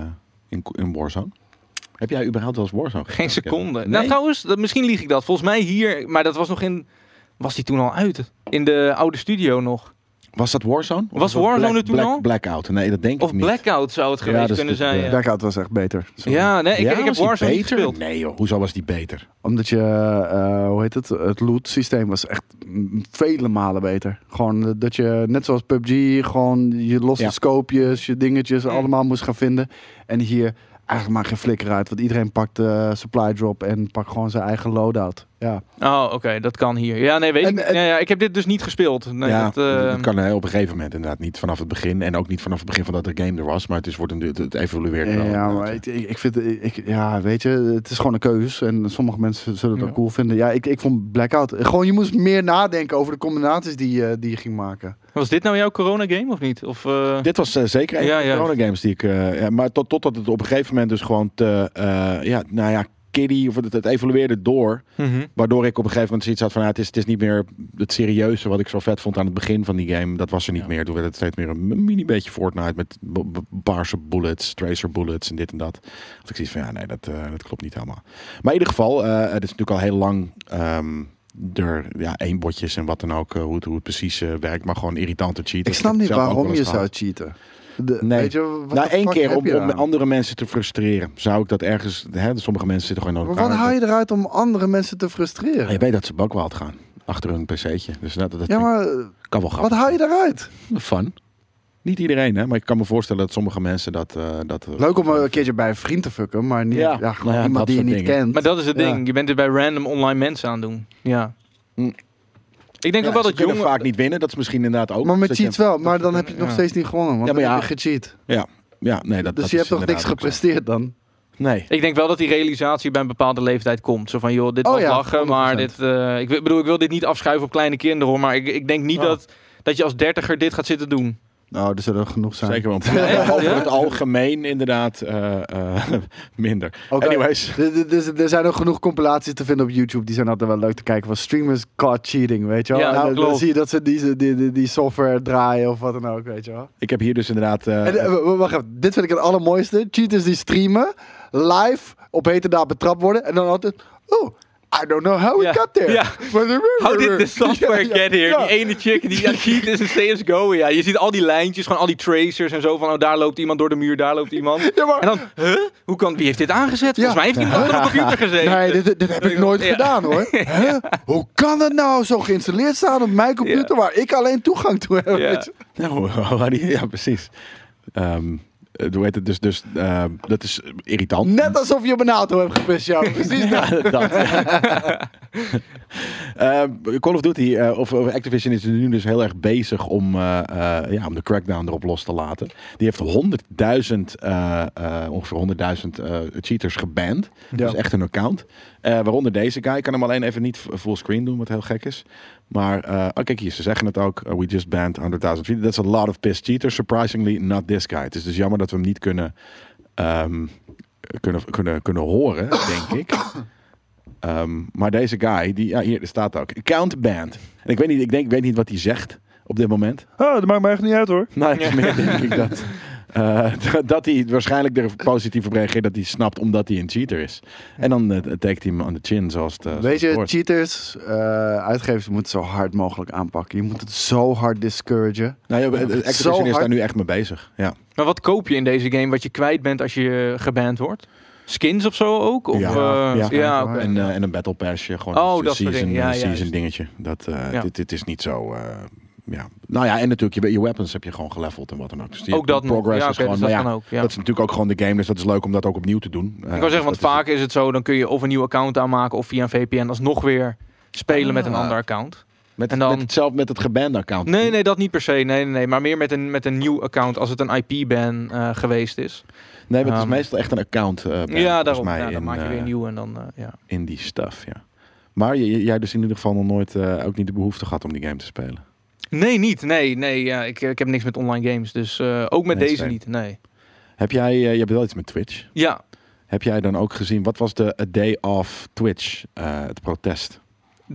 Speaker 5: in, in Warzone? Heb jij überhaupt wel eens Warzone
Speaker 4: Geen
Speaker 5: gespeeld?
Speaker 4: seconde. Nou, trouwens, dat, misschien lieg ik dat. Volgens mij hier, maar dat was nog in. Was die toen al uit? In de oude studio nog.
Speaker 5: Was dat Warzone?
Speaker 4: Was Warzone er toen al?
Speaker 5: Blackout. Nee, dat denk
Speaker 4: Of
Speaker 5: ik niet.
Speaker 4: Blackout zou het
Speaker 5: Ja,
Speaker 4: geweest
Speaker 5: dat is
Speaker 4: kunnen
Speaker 5: de-
Speaker 4: zijn.
Speaker 5: de-
Speaker 4: ja.
Speaker 1: Blackout was echt beter.
Speaker 4: Ja, nee, ik,
Speaker 5: Ja,
Speaker 4: ik heb
Speaker 5: was die
Speaker 4: Warzone niet
Speaker 5: beter?
Speaker 4: gespeeld.
Speaker 5: Nee joh, hoezo was die beter?
Speaker 1: Omdat je, eh, hoe heet het, het loot systeem was echt mm, vele malen beter. Gewoon eh, dat je, net zoals PUBG, gewoon je losse
Speaker 5: Ja.
Speaker 1: scopejes, je dingetjes
Speaker 4: Mm.
Speaker 1: allemaal moest gaan vinden. En hier eigenlijk maar geen flikker uit, want iedereen pakt eh, supply drop en pakt gewoon zijn eigen loadout. Ja,
Speaker 4: Oh, oké, dat kan hier. Ja, nee, weet
Speaker 1: En-
Speaker 4: ik. niet.
Speaker 1: en-
Speaker 4: ja, ja, ik heb dit dus niet gespeeld. Nee,
Speaker 5: eh, ja,
Speaker 4: dat, eh,
Speaker 5: dat kan eh, op een gegeven moment inderdaad niet vanaf het begin. En ook niet vanaf het begin van dat de game er was. Maar het, is, wordt een, het- het evolueert wel.
Speaker 1: ja
Speaker 5: inderdaad.
Speaker 1: maar ik, ik ik vind, ik, ja, weet je, het is gewoon een keus. En sommige mensen zullen het
Speaker 4: Ja.
Speaker 1: ook cool vinden. Ja, ik, ik vond Blackout, gewoon je moest meer nadenken over de combinaties die, je- die je ging maken.
Speaker 4: Was dit nou jouw corona-game of niet? Of, eh,
Speaker 5: Dit was eh, zeker een
Speaker 4: Ja,
Speaker 5: van de
Speaker 4: ja.
Speaker 5: corona games die ik... eh, ja, maar tot, totdat het op een gegeven moment dus gewoon te... eh, ja, nou ja, kiddie. Of het, het evolueerde door.
Speaker 4: mhm.
Speaker 5: Waardoor ik op een gegeven moment zoiets had van... ja, het, is, het is niet meer het serieuze wat ik zo vet vond aan het begin van die game. Dat was er niet meer. Toen werd het steeds meer een mini beetje Fortnite. Met b- b- baarse bullets, tracer bullets en dit en dat. Had ik zoiets van, ja nee, dat, eh, dat klopt niet helemaal. Maar in ieder geval, eh, het is natuurlijk al heel lang... ehm er ja, eenbotjes en wat dan ook, eh, hoe, het, hoe het precies eh, werkt, maar gewoon irritante cheat.
Speaker 1: Ik snap niet waarom je zou cheaten. De-
Speaker 5: Nee.
Speaker 1: Weet je, wat
Speaker 5: Nou,
Speaker 1: de
Speaker 5: één
Speaker 1: fuck
Speaker 5: keer
Speaker 1: heb
Speaker 5: om,
Speaker 1: je
Speaker 5: om
Speaker 1: eraan?
Speaker 5: andere mensen te frustreren. Zou ik dat ergens... Hè, sommige mensen zitten gewoon in
Speaker 1: Maar
Speaker 5: elkaar.
Speaker 1: wat haal je eruit om andere mensen te
Speaker 5: Ja, Ah, je
Speaker 1: frustreren?
Speaker 5: weet dat ze bakwaald gaan. Achter hun pc'tje. Dus dat, dat
Speaker 1: Ja, maar eh,
Speaker 5: kan wel grappig.
Speaker 1: wat haal je eruit?
Speaker 5: zijn. Fun. Niet iedereen, hè. Maar ik kan me voorstellen dat sommige mensen dat... eh, dat
Speaker 1: Leuk om een keertje bij een vriend te fucken, maar niet ja.
Speaker 5: Ja.
Speaker 1: gewoon
Speaker 5: Nou ja,
Speaker 1: iemand
Speaker 5: dat
Speaker 1: die je niet
Speaker 5: soort dingen.
Speaker 1: kent.
Speaker 4: Maar dat is het
Speaker 1: Ja.
Speaker 4: ding. Je bent dit bij random online mensen aan het doen. Ja.
Speaker 5: Hm.
Speaker 4: Ik denk ook wel dat
Speaker 5: jongen...
Speaker 4: jongen...
Speaker 5: vaak niet winnen. Dat is misschien inderdaad ook... Dus
Speaker 1: maar met
Speaker 5: dat je-
Speaker 1: cheats wel, maar dan heb je het nog
Speaker 4: ja.
Speaker 1: steeds niet gewonnen, want
Speaker 5: Ja, maar
Speaker 1: dan
Speaker 5: ja.
Speaker 1: heb je gecheat.
Speaker 5: Ja, nee, dat,
Speaker 1: Dus
Speaker 5: dat
Speaker 1: je hebt toch
Speaker 5: is
Speaker 1: niks
Speaker 5: inderdaad ook zo.
Speaker 1: gepresteerd dan?
Speaker 5: Nee.
Speaker 4: Ik denk wel dat die realisatie bij een bepaalde leeftijd komt. Zo van, joh, dit
Speaker 1: Oh
Speaker 4: was
Speaker 1: ja,
Speaker 4: lachen, maar
Speaker 1: 100%.
Speaker 4: dit... eh, ik wil- bedoel, ik wil dit niet afschuiven op kleine kinderen, hoor. Maar ik, ik denk niet
Speaker 5: Ja.
Speaker 4: dat, dat je als dertiger dit gaat zitten doen.
Speaker 1: Nou, er zullen er genoeg zijn.
Speaker 5: Zeker, want
Speaker 4: echt?
Speaker 5: over
Speaker 4: Ja?
Speaker 5: het algemeen inderdaad eh, eh, minder.
Speaker 1: Oké.
Speaker 5: Anyways.
Speaker 1: Er- er- er- Er zijn ook genoeg compilaties te vinden op YouTube. Die zijn altijd wel leuk te kijken. Van streamers caught cheating, weet je wel.
Speaker 4: Ja,
Speaker 1: En dan, dan
Speaker 4: klopt.
Speaker 1: zie je dat ze die, die, die, die software draaien of wat dan ook, weet je wel.
Speaker 5: Ik heb hier dus inderdaad... eh,
Speaker 1: En, eh, w- w- wacht even, dit vind ik het allermooiste. Cheaters die streamen, live, op heterdaad betrapt worden. En dan altijd, oh, I don't know how we
Speaker 4: Ja.
Speaker 1: got there.
Speaker 4: Ja. How
Speaker 1: Hou
Speaker 4: did the software get here? Die ene chick die aan het cheaten is een CSGO. Ja, je ziet al die lijntjes, gewoon al die tracers en zo. Van, oh, daar loopt iemand door de muur, daar loopt iemand.
Speaker 1: Ja, maar-
Speaker 4: En dan, huh? Hoe kan, wie heeft dit aangezet?
Speaker 1: Ja.
Speaker 4: Volgens mij heeft iemand achter de computer gezeten.
Speaker 1: Nee, dit, dit heb ik nooit
Speaker 4: Ja.
Speaker 1: gedaan hoor. Hè? Hoe kan het nou zo geïnstalleerd staan op mijn computer waar ik alleen toegang toe heb?
Speaker 4: Ja.
Speaker 1: weet je?
Speaker 5: Nou, waar die- ja, precies. Ehm, eh, hoe heet het? Dus, dus ehm, dat is irritant.
Speaker 1: Net alsof je op een auto hebt gepist, jou. Precies dat.
Speaker 5: Ja, dat. Ehm, Call of Duty eh, of, of Activision is nu dus heel erg bezig om, eh, eh, ja, om de crackdown erop los te laten. Die heeft 100.000, eh, eh, ongeveer 100.000 eh, cheaters geband.
Speaker 1: Ja.
Speaker 5: Dus echt een account. Eh, waaronder deze guy. Ik kan hem alleen even niet f- full screen doen, wat heel gek is. Maar, eh, oh, kijk hier, ze zeggen het ook. Uh, we just banned 100.000 cheaters. That's a lot of pissed cheaters. Surprisingly, not this guy. Het is dus jammer dat we hem niet kunnen, ehm, kunnen, kunnen, kunnen horen, denk ik. Ehm, maar deze guy, die, ja, hier er staat ook. Account banned. En ik weet niet, ik denk, ik weet niet wat hij zegt op dit moment.
Speaker 6: Oh, dat maakt me echt niet uit hoor.
Speaker 5: Nou, ik meer denk ik dat. eh, d- dat hij waarschijnlijk er positief op reageert dat hij snapt omdat hij een cheater is. En dan eh, tagt hij hem aan de chin zoals het. eh, zoals
Speaker 1: Weet
Speaker 5: het
Speaker 1: je,
Speaker 5: hoort.
Speaker 1: cheaters, eh, uitgevers moeten het zo hard mogelijk aanpakken. Je moet het zo hard discouragen.
Speaker 5: Nou, ja, eh,
Speaker 1: Zo
Speaker 5: Activision is
Speaker 1: hard.
Speaker 5: daar nu echt mee bezig. Ja.
Speaker 4: Maar wat koop je in deze game wat je kwijt bent als je eh, geband wordt? Skins of zo ook? Of,
Speaker 5: Ja,
Speaker 4: eh,
Speaker 5: ja,
Speaker 4: ja,
Speaker 1: waarschijnlijk
Speaker 4: oké.
Speaker 1: wel.
Speaker 5: En, eh, en een battle passje, gewoon
Speaker 4: Oh,
Speaker 5: een
Speaker 4: dat soort
Speaker 5: season,
Speaker 4: dingen. Ja,
Speaker 5: eh,
Speaker 4: ja,
Speaker 5: season
Speaker 4: juist.
Speaker 5: dingetje. Dat, eh,
Speaker 4: Ja.
Speaker 5: dit, dit is niet zo... eh, ja. Nou ja, en natuurlijk, je, we- je weapons heb je gewoon geleveld en wat dan ook. Dus die-
Speaker 4: ook dat
Speaker 5: die
Speaker 4: nog.
Speaker 5: progress
Speaker 4: ja,
Speaker 5: is
Speaker 4: oké,
Speaker 5: gewoon...
Speaker 4: dus dat
Speaker 5: maar ja,
Speaker 4: kan ook. Ja.
Speaker 5: Dat is natuurlijk ook gewoon de game, dus dat is leuk om dat ook opnieuw te doen. Eh,
Speaker 4: ik wou zeggen, want vaak is het zo, dan kun je of een nieuw account aanmaken of via een VPN alsnog weer spelen met een
Speaker 5: Ah.
Speaker 4: ander account.
Speaker 5: Met,
Speaker 4: en dan-
Speaker 5: met, hetzelfde, met het gebande account.
Speaker 4: Nee, nee, dat niet per se. Nee, nee, nee. Maar meer met een, met een nieuw account als het een IP-ban eh, geweest is.
Speaker 5: Nee, maar het is
Speaker 4: Ehm,
Speaker 5: meestal echt een account. eh, brand,
Speaker 4: ja,
Speaker 5: volgens
Speaker 4: daarom.
Speaker 5: mij,
Speaker 4: Ja, dan
Speaker 5: in,
Speaker 4: maak je
Speaker 5: eh,
Speaker 4: weer een nieuw en dan, eh, ja.
Speaker 5: in die stuff, ja. Maar j- j- jij dus in ieder geval nog nooit eh, ook niet de behoefte gehad om die game te spelen.
Speaker 4: Nee, niet. Nee, nee. Ja, ik, ik heb niks met online games. Dus eh, ook met
Speaker 5: Nee,
Speaker 4: deze
Speaker 5: same.
Speaker 4: niet. Nee.
Speaker 5: Heb jij, eh, je hebt wel iets met Twitch.
Speaker 4: Ja,
Speaker 5: Heb jij dan ook gezien, wat was de A Day of Twitch, eh, het protest?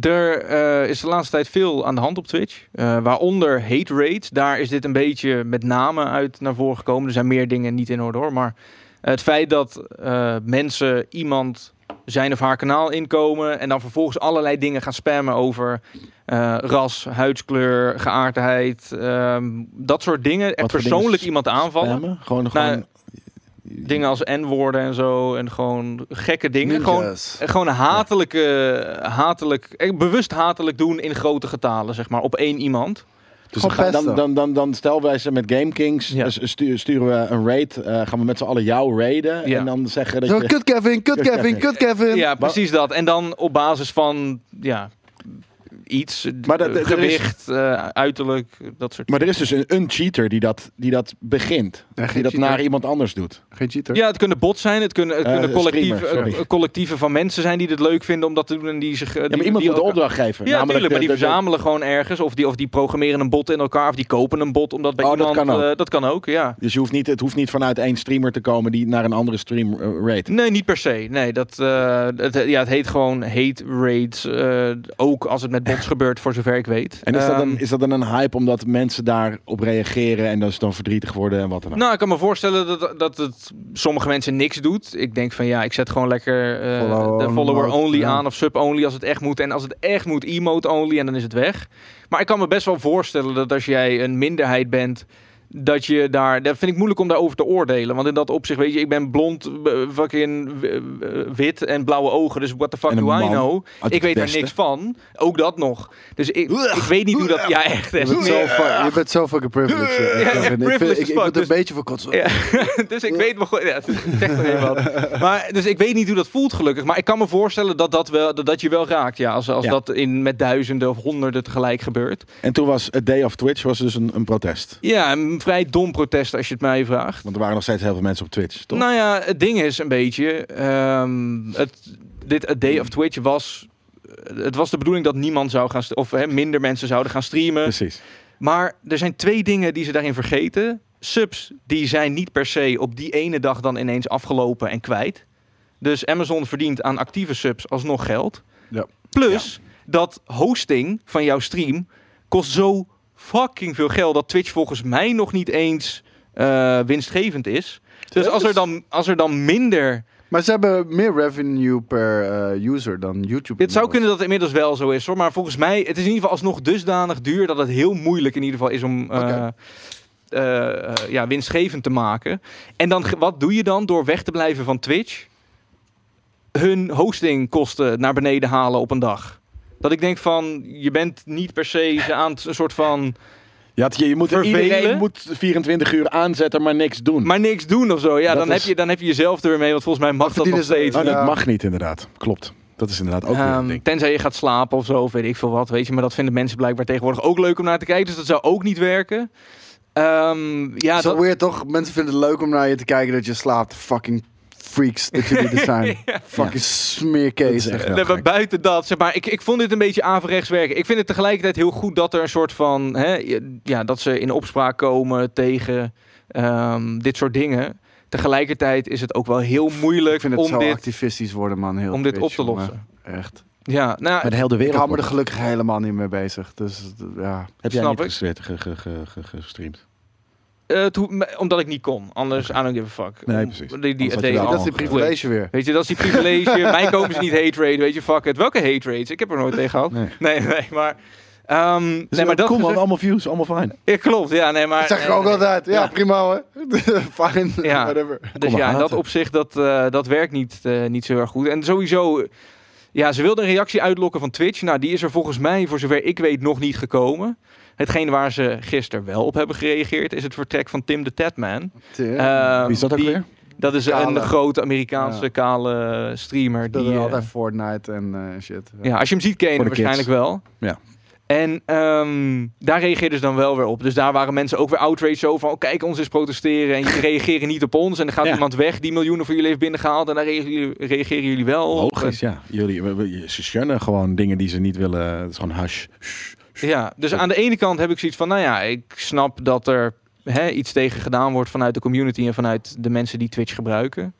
Speaker 4: Er eh, is de laatste tijd veel aan de hand op Twitch. eh, waaronder hate raids. Daar is dit een beetje met name uit naar voren gekomen. Er zijn meer dingen niet in orde hoor. Maar het feit dat eh, mensen iemand zijn of haar kanaal inkomen. En dan vervolgens allerlei dingen gaan spammen over eh, ras, huidskleur, geaardheid. ehm, dat soort dingen. Echt
Speaker 5: Wat voor dingen
Speaker 4: persoonlijk iemand aanvallen.
Speaker 5: Spammen? Gewoon,
Speaker 4: Nou,
Speaker 5: gewoon
Speaker 4: Dingen als N-woorden en zo. En gewoon gekke dingen. Gewoon,
Speaker 1: Ninjas.
Speaker 4: Eh, gewoon hatelijke, hatelijk, eh, bewust hatelijk doen in grote getalen, zeg maar, op één iemand.
Speaker 5: Dus dan,
Speaker 1: Gewoon
Speaker 5: ga- dan,
Speaker 1: pesten.
Speaker 5: dan, dan, dan stel wij ze met Game Kings, eh,
Speaker 4: Ja.
Speaker 5: s- stu- sturen we een raid, eh, gaan we met z'n allen jou raiden
Speaker 4: Ja.
Speaker 5: en dan zeggen dat
Speaker 1: Zo,
Speaker 5: je...
Speaker 1: kut Kevin, kut
Speaker 5: Kut
Speaker 1: Kevin,
Speaker 5: Kevin.
Speaker 1: kut Kevin.
Speaker 4: Ja, precies dat. En dan op basis van, ja, iets, eh,
Speaker 5: Maar dat- dat- er is-
Speaker 4: gewicht, eh, uiterlijk, dat soort
Speaker 5: Maar er is dus een, een cheater die dat, die dat begint,
Speaker 1: Ja, geen
Speaker 5: die dat
Speaker 1: cheater.
Speaker 5: naar iemand anders doet.
Speaker 1: Geen cheater.
Speaker 4: Ja, het kunnen bots zijn, het kunnen, het
Speaker 5: Eh,
Speaker 4: kunnen collectieve,
Speaker 5: streamer, sorry.
Speaker 4: eh, collectieven van mensen zijn die dit leuk vinden om dat te doen en die zich... eh,
Speaker 5: Ja, maar
Speaker 4: die-
Speaker 5: iemand
Speaker 4: die
Speaker 5: moet de
Speaker 4: elkaar-
Speaker 5: opdracht geven.
Speaker 4: Ja, natuurlijk, maar die
Speaker 5: de- de- de-
Speaker 4: verzamelen gewoon ergens. Of die, of die programmeren een bot in elkaar. Of die kopen een bot omdat bij
Speaker 5: Oh, dat
Speaker 4: iemand...
Speaker 5: kan ook.
Speaker 4: eh, dat kan ook, ja.
Speaker 5: Dus je hoeft niet, het hoeft niet vanuit één streamer te komen die naar een andere stream eh, raidt.
Speaker 4: Nee, niet per se. Nee, dat, eh, het, ja, het heet gewoon hate raids. eh, ook als het met bots gebeurt, voor zover ik weet.
Speaker 5: En is, dat
Speaker 4: Ehm,
Speaker 5: dan, is dat dan een hype omdat mensen daarop reageren en dat ze dan verdrietig worden en wat dan ook?
Speaker 4: Nou, ik kan me voorstellen dat, dat het sommige mensen niks doet. Ik denk van ja, ik zet gewoon lekker eh,
Speaker 1: Follow
Speaker 4: de
Speaker 1: on
Speaker 4: follower
Speaker 1: mode,
Speaker 4: only
Speaker 1: ja.
Speaker 4: aan of sub only als het echt moet. En als het echt moet, emote only en dan is het weg. Maar ik kan me best wel voorstellen dat als jij een minderheid bent, dat je daar... Dat vind ik moeilijk om daarover te oordelen. Want in dat opzicht, weet je, ik ben blond, eh, fucking eh, wit en blauwe ogen. Dus what the fuck
Speaker 5: En een
Speaker 4: do I
Speaker 5: man
Speaker 4: know?
Speaker 5: Uit
Speaker 4: Ik
Speaker 5: het
Speaker 4: weet daar
Speaker 5: Westen.
Speaker 4: niks van. Ook dat nog. Dus ik, ik weet niet hoe dat... Ja, echt.
Speaker 1: Je
Speaker 4: echt.
Speaker 1: bent, zo fu- je bent zo fucking privileged. eh,
Speaker 4: Ja,
Speaker 1: Kevin.
Speaker 4: echt
Speaker 1: ik, vind-
Speaker 4: privileged
Speaker 1: ik,
Speaker 4: as
Speaker 1: ik
Speaker 4: fuck,
Speaker 1: moet een
Speaker 4: dus-
Speaker 1: beetje van kotsen.
Speaker 4: Ja, dus ik weet nog. Ja, zeg nog even wat. Maar, dus ik weet niet hoe dat voelt, gelukkig. Maar ik kan me voorstellen dat dat, wel, dat, dat je wel raakt. Ja, als als
Speaker 5: Ja.
Speaker 4: dat in, met duizenden of honderden tegelijk gebeurt.
Speaker 5: En toen was het Day of Twitch was dus een, een protest.
Speaker 4: Ja, een vrij dom protest als je het mij vraagt.
Speaker 5: Want er waren nog steeds heel veel mensen op Twitch, toch?
Speaker 4: Nou ja, het ding is een beetje. ehm, het, dit A Day of Twitch was. Het was de bedoeling dat niemand zou gaan. st- of hè, minder mensen zouden gaan streamen.
Speaker 5: Precies.
Speaker 4: Maar er zijn twee dingen die ze daarin vergeten. Subs die zijn niet per se op die ene dag dan ineens afgelopen en kwijt. Dus Amazon verdient aan actieve subs alsnog geld.
Speaker 1: Ja.
Speaker 4: Plus dat hosting van jouw stream kost zo fucking veel geld dat Twitch volgens mij nog niet eens eh, winstgevend is. Dus als er dan, als er dan minder
Speaker 1: Maar ze hebben meer revenue per eh, user dan YouTube.
Speaker 4: Het zou kunnen dat het inmiddels wel zo is hoor. Maar volgens mij, het is in ieder geval alsnog dusdanig duur dat het heel moeilijk in ieder geval is om. eh,
Speaker 1: Oké.
Speaker 4: eh, eh, ja, winstgevend te maken. En dan, ge- wat doe je dan door weg te blijven van Twitch? Hun hostingkosten naar beneden halen op een dag. Dat ik denk van, je bent niet per se ze aan het een soort van,
Speaker 5: Ja, het- je, je moet,
Speaker 4: Vervelen.
Speaker 5: iedereen moet 24 uur aanzetten, maar niks doen.
Speaker 4: maar niks doen of zo. Ja,
Speaker 5: Dat
Speaker 4: dan,
Speaker 5: is-
Speaker 4: heb je, dan heb je jezelf er weer mee, want volgens mij mag dat nog
Speaker 1: verdienen ze-
Speaker 4: steeds.
Speaker 5: oh, nee,
Speaker 1: Ja.
Speaker 5: het mag niet inderdaad. Klopt. Dat is inderdaad ook weer
Speaker 4: Ehm,
Speaker 5: een ding.
Speaker 4: tenzij je gaat slapen of zo, of weet ik veel wat, weet je. Maar dat vinden mensen blijkbaar tegenwoordig ook leuk om naar te kijken. Dus dat zou ook niet werken. Ehm, ja,
Speaker 1: zo
Speaker 4: dat,
Speaker 1: weird toch? Mensen vinden het leuk om naar je te kijken dat je slaapt. Fucking freaks dat jullie er zijn. Fucking
Speaker 5: Dat is
Speaker 1: smeerkees.
Speaker 5: echt
Speaker 1: echt.
Speaker 5: wel
Speaker 4: Nee, maar
Speaker 5: gek.
Speaker 4: buiten dat, zeg maar, ik, ik vond dit een beetje averechts werken. Ik vind het tegelijkertijd heel goed dat er een soort van, hè, ja, dat ze in opspraak komen tegen ehm, dit soort dingen. Tegelijkertijd is het ook wel heel
Speaker 1: Ik
Speaker 4: moeilijk
Speaker 1: vind het zo
Speaker 4: om, dit,
Speaker 1: activistisch worden, man. Heel
Speaker 4: om dit op
Speaker 1: Twitch,
Speaker 4: te
Speaker 1: jongen.
Speaker 4: lossen.
Speaker 1: Echt.
Speaker 4: Ja, nou,
Speaker 5: Met heel de
Speaker 1: Ik
Speaker 5: wereld.
Speaker 1: hou me er
Speaker 5: wordt-
Speaker 1: gelukkig helemaal niet mee bezig. Dus eh, ja.
Speaker 5: Heb jij
Speaker 4: Snap
Speaker 5: niet
Speaker 4: ik.
Speaker 5: gestreamd- ge- ge- ge- ge- gestreamd?
Speaker 4: eh, het hoeft me- omdat ik niet kon. Anders, I don't give a fuck.
Speaker 5: Nee,
Speaker 4: Om-
Speaker 5: precies.
Speaker 4: Die,
Speaker 5: Anders
Speaker 4: die,
Speaker 5: had je
Speaker 4: die-
Speaker 5: wel
Speaker 1: dat is die
Speaker 5: gewoon
Speaker 1: privilege weer.
Speaker 4: Weet je, dat is die privilege. Mij komen ze niet hate raid, weet je, fuck it. Welke hate raids? Ik heb er nooit tegen gehad.
Speaker 5: Nee.
Speaker 4: Nee, nee, maar... ehm, nee, maar dat
Speaker 5: Kom man,
Speaker 4: gezegd-
Speaker 5: allemaal views, allemaal fijn.
Speaker 4: Ja, klopt, ja, nee, maar... eh,
Speaker 1: Dat zeg ik ook altijd. Ja, prima hoor. Fine.
Speaker 4: Ja.
Speaker 1: Whatever.
Speaker 4: Dus
Speaker 5: Kom maar
Speaker 4: ja, in dat
Speaker 5: haten.
Speaker 4: opzicht, dat, eh, dat werkt niet, eh, niet zo erg goed. En sowieso, eh, ja, ze wilden een reactie uitlokken van Twitch. Nou, die is er volgens mij, voor zover ik weet, nog niet gekomen. Hetgeen waar ze gisteren wel op hebben gereageerd, is het vertrek van Tim de Tatman. Ehm,
Speaker 5: Wie is dat ook
Speaker 4: die-
Speaker 5: weer?
Speaker 4: Dat is
Speaker 1: Kale.
Speaker 4: een grote Amerikaanse
Speaker 1: Ja.
Speaker 4: kale streamer.
Speaker 1: Die
Speaker 4: Die, eh,
Speaker 1: altijd Fortnite en eh, shit.
Speaker 4: Ja, als je hem ziet, ken je
Speaker 5: Voor
Speaker 4: hem
Speaker 5: de kids.
Speaker 4: waarschijnlijk wel.
Speaker 5: Ja.
Speaker 4: En ehm, daar reageerden ze dan wel weer op. Dus daar waren mensen ook weer outraged zo van... Oh, kijk, ons is protesteren en jullie reageren niet op ons. En dan gaat
Speaker 5: Ja.
Speaker 4: iemand weg die miljoenen voor jullie heeft binnengehaald... en daar reageren, reageren jullie wel op.
Speaker 5: Logisch, ja. Jullie, we- we- ze shunnen gewoon dingen die ze niet willen. Het is gewoon hash.
Speaker 4: Ja, dus aan de ene kant heb ik zoiets van... nou ja, ik snap dat er hè, iets tegen gedaan wordt vanuit de community... en vanuit de mensen die Twitch gebruiken.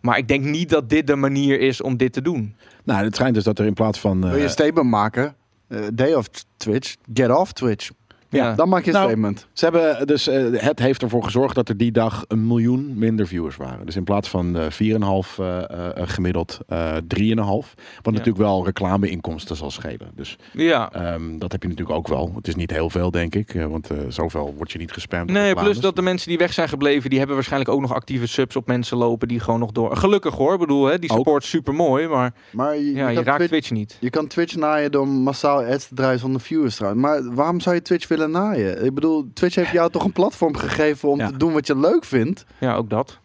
Speaker 4: Maar ik denk niet dat dit de manier is om dit te doen.
Speaker 5: Nou, het schijnt dus dat er in plaats van... eh,
Speaker 1: Wil je een statement maken? Eh, day of Twitch, get off Twitch.
Speaker 4: Ja.
Speaker 1: Dan maak je een
Speaker 5: Nou,
Speaker 1: statement.
Speaker 5: Ze hebben dus, eh, het heeft ervoor gezorgd dat er die dag een miljoen minder viewers waren. Dus in plaats van eh 4,5 eh, eh, eh, gemiddeld, eh 3,5. Wat natuurlijk wel reclameinkomsten zal schelen. Dus
Speaker 4: Ja.
Speaker 5: ehm, dat heb je natuurlijk ook wel. Het is niet heel veel, denk ik. eh, want eh, zoveel word je niet gespamd. door
Speaker 4: Nee,
Speaker 5: reclames.
Speaker 4: plus dat de mensen die weg zijn gebleven, die hebben waarschijnlijk ook nog actieve subs op mensen lopen die gewoon nog door. Gelukkig hoor, ik bedoel, hè, die
Speaker 5: Ook.
Speaker 4: support super mooi, maar
Speaker 1: Maar je,
Speaker 4: ja,
Speaker 1: je
Speaker 4: je
Speaker 1: kan
Speaker 4: raakt
Speaker 1: Twitch,
Speaker 4: Twitch niet.
Speaker 1: je kan Twitch naaien door massaal ads te draaien zonder viewers trouwens. Maar waarom zou je Twitch willen naaien? Ik bedoel, Twitch heeft jou toch een platform gegeven om
Speaker 5: Ja.
Speaker 1: te doen wat je leuk vindt.
Speaker 4: Ja, ook dat.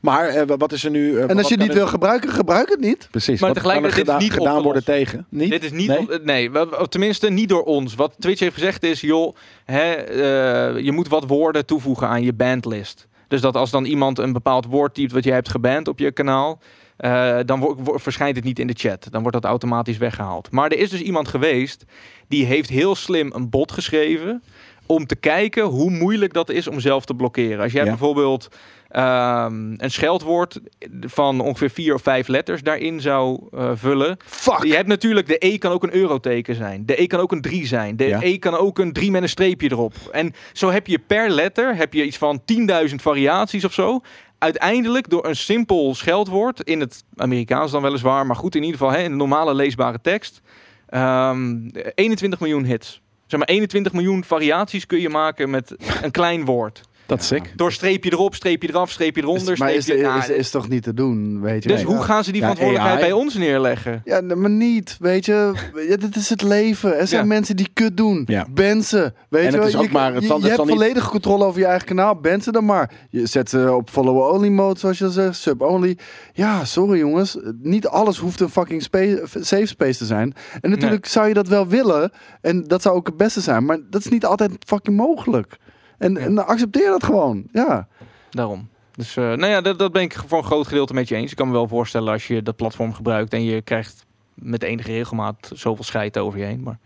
Speaker 5: Maar eh, wa- wat is er nu... eh,
Speaker 1: En als
Speaker 5: wat
Speaker 1: je het
Speaker 5: kan
Speaker 1: niet
Speaker 5: er-
Speaker 1: wil gebruiken, gebruik het niet.
Speaker 5: Precies.
Speaker 4: Maar
Speaker 5: wat kan er
Speaker 4: tegelijkertijd, dit is
Speaker 5: geda-
Speaker 4: niet
Speaker 5: gedaan worden
Speaker 4: opgelost.
Speaker 5: tegen. Niet?
Speaker 4: Dit is niet,
Speaker 5: Nee?
Speaker 4: nee, nee wel- wel- tenminste niet door ons. Wat Twitch heeft gezegd is, joh, hè, eh, je moet wat woorden toevoegen aan je bandlist. Dus dat als dan iemand een bepaald woord typt wat jij hebt geband op je kanaal, eh, dan wo- wo- verschijnt het niet in de chat. Dan wordt dat automatisch weggehaald. Maar er is dus iemand geweest die heeft heel slim een bot geschreven om te kijken hoe moeilijk dat is om zelf te blokkeren. Als jij
Speaker 5: Ja.
Speaker 4: bijvoorbeeld ehm, een scheldwoord van ongeveer vier of vijf letters daarin zou eh, vullen,
Speaker 1: Fuck!
Speaker 4: je hebt natuurlijk, de E kan ook een euroteken zijn. De E kan ook een 3 zijn. De
Speaker 5: Ja.
Speaker 4: E kan ook een 3 met een streepje erop. En zo heb je per letter heb je iets van 10.000 variaties of zo. Uiteindelijk door een simpel scheldwoord, in het Amerikaans dan weliswaar, maar goed in ieder geval hè, in de normale leesbare tekst, ehm, 21 miljoen hits. Zeg maar 21 miljoen variaties kun je maken met een klein woord.
Speaker 5: Dat is sick.
Speaker 4: Door streepje erop, streepje eraf, streepje eronder,
Speaker 1: Is- maar is,
Speaker 4: streepje... Ja,
Speaker 1: is, is toch niet te doen, weet je?
Speaker 4: dus
Speaker 1: Ja.
Speaker 4: hoe gaan ze die
Speaker 5: Ja,
Speaker 4: verantwoordelijkheid
Speaker 5: AI.
Speaker 4: bij ons neerleggen?
Speaker 1: Ja, nee, maar niet, weet je. Ja, dit is het leven. Er zijn
Speaker 4: Ja.
Speaker 1: mensen die kut doen.
Speaker 5: Ja.
Speaker 1: Ben ze. Weet
Speaker 5: En
Speaker 1: je
Speaker 5: het
Speaker 1: wel?
Speaker 5: is ook
Speaker 1: je,
Speaker 5: maar- het
Speaker 1: je,
Speaker 5: zal-
Speaker 1: je
Speaker 5: het
Speaker 1: hebt
Speaker 5: zal niet-
Speaker 1: volledige controle over je eigen kanaal. Ben ze dan maar. Je zet ze op follow-only mode, zoals je al zegt. Sub-only. Ja, sorry jongens. Niet alles hoeft een fucking spa- safe space te zijn. En natuurlijk zou je dat wel willen. En dat zou ook het beste zijn. Maar dat is niet altijd fucking mogelijk. En, en accepteer dat gewoon. Ja.
Speaker 4: Daarom. Dus eh, nou ja, dat, dat ben ik voor een groot gedeelte met je eens. Ik kan me wel voorstellen als je dat platform gebruikt en je krijgt met enige regelmaat zoveel scheid over je heen. Maar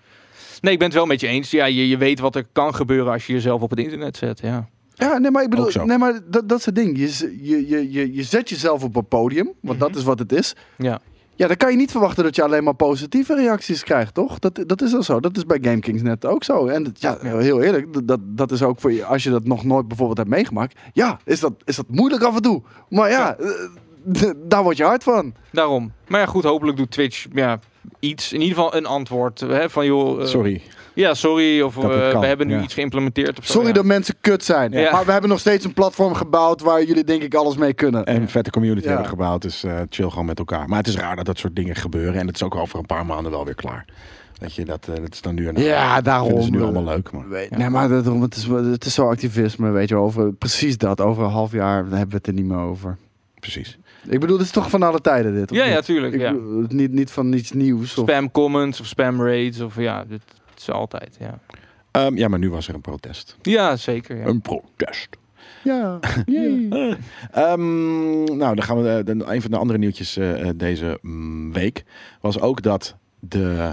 Speaker 4: nee, ik ben het wel met je eens. Ja, je, je weet wat er kan gebeuren als je jezelf op het internet zet. Ja.
Speaker 1: Ja, nee, maar ik
Speaker 5: Ook
Speaker 1: bedoel,
Speaker 5: zo.
Speaker 1: nee, maar dat, dat is het ding. Je, z- je, je, je, je zet jezelf op een podium, want dat is wat het is.
Speaker 4: Ja.
Speaker 1: Ja, dan kan je niet verwachten dat je alleen maar positieve reacties krijgt, toch? Dat, dat is al zo. Dat is bij GameKings net ook zo. En dat- ja, heel eerlijk, dat- dat, dat is ook voor je, als je dat nog nooit bijvoorbeeld hebt meegemaakt. Ja, is dat, is dat moeilijk af en toe. Maar ja, eh, daar word je hard van.
Speaker 4: Daarom. Maar ja, goed, hopelijk doet Twitch ja, iets. In ieder geval een antwoord. Hè, van joh, eh,
Speaker 5: Sorry.
Speaker 4: ja, sorry. Of
Speaker 5: Dat het
Speaker 4: eh,
Speaker 5: kan,
Speaker 4: we hebben nu
Speaker 5: ja.
Speaker 4: iets geïmplementeerd. Of zo,
Speaker 1: Sorry
Speaker 4: ja.
Speaker 1: dat mensen kut zijn.
Speaker 4: Ja.
Speaker 1: Maar we hebben nog steeds een platform gebouwd waar jullie denk ik alles mee kunnen.
Speaker 5: En een vette community
Speaker 1: Ja.
Speaker 5: hebben gebouwd. Dus eh, chill gewoon met elkaar. Maar het is raar dat dat soort dingen gebeuren. En het is ook over een paar maanden wel weer klaar. Dat je dat, eh, dat is dan nu en
Speaker 1: Ja, daarom.
Speaker 5: Dat is
Speaker 4: eh.
Speaker 5: nu allemaal leuk. Maar.
Speaker 1: Weet- Nee, maar dat, het, is, het is zo activisme, weet je, wel, over precies dat. Over een half jaar hebben we het er niet meer over.
Speaker 5: Precies.
Speaker 1: Ik bedoel, dit is toch van alle tijden dit? of
Speaker 4: Ja, ja,
Speaker 1: niet?
Speaker 4: tuurlijk.
Speaker 1: Ik
Speaker 4: Ja.
Speaker 1: bedoel, het Niet, niet van iets nieuws. Of...
Speaker 4: Spam comments of spam raids. Of ja, dit is altijd. Ja,
Speaker 5: Ehm, ja, maar nu was er een protest.
Speaker 4: ja zeker. Ja.
Speaker 5: Een protest.
Speaker 1: Ja. Jee.
Speaker 5: Ehm, nou, dan gaan we. eh, dan een van de andere nieuwtjes eh, eh, deze mm, week was ook dat de.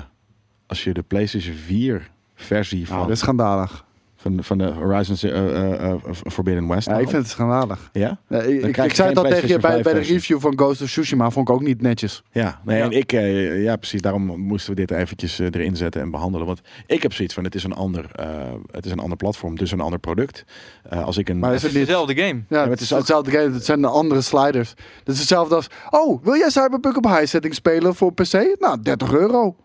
Speaker 5: Als je de PlayStation 4
Speaker 4: Ah,
Speaker 5: versie
Speaker 1: Nou,
Speaker 5: van,
Speaker 1: dat is schandalig.
Speaker 5: van, van de Horizon Ze- eh, eh, eh, Forbidden West.
Speaker 1: Ja, ik vind het schandalig.
Speaker 5: Ja?
Speaker 1: Nee, ik- ik,
Speaker 5: krijg
Speaker 1: ik
Speaker 5: je
Speaker 1: zei het al
Speaker 5: geen
Speaker 1: tegen je bij, bij de
Speaker 5: PlayStation
Speaker 1: review van Ghost of Tsushima, vond ik ook niet netjes.
Speaker 5: Ja, nee,
Speaker 4: Ja.
Speaker 5: en ik, eh, ja, precies. Daarom moesten we dit eventjes eh, erin zetten en behandelen. Want ik heb zoiets van: het is een ander, eh, het is een ander platform, dus een ander product. Eh, als ik een.
Speaker 1: Maar is
Speaker 4: Het is
Speaker 1: niet-
Speaker 4: dezelfde game.
Speaker 1: Ja,
Speaker 5: maar
Speaker 1: het
Speaker 5: het
Speaker 1: is
Speaker 5: is ook-
Speaker 1: hetzelfde game, het zijn de andere sliders. Het is hetzelfde als, oh, wil jij Cyberpunk op high setting spelen voor PC? Nou, 30 euro.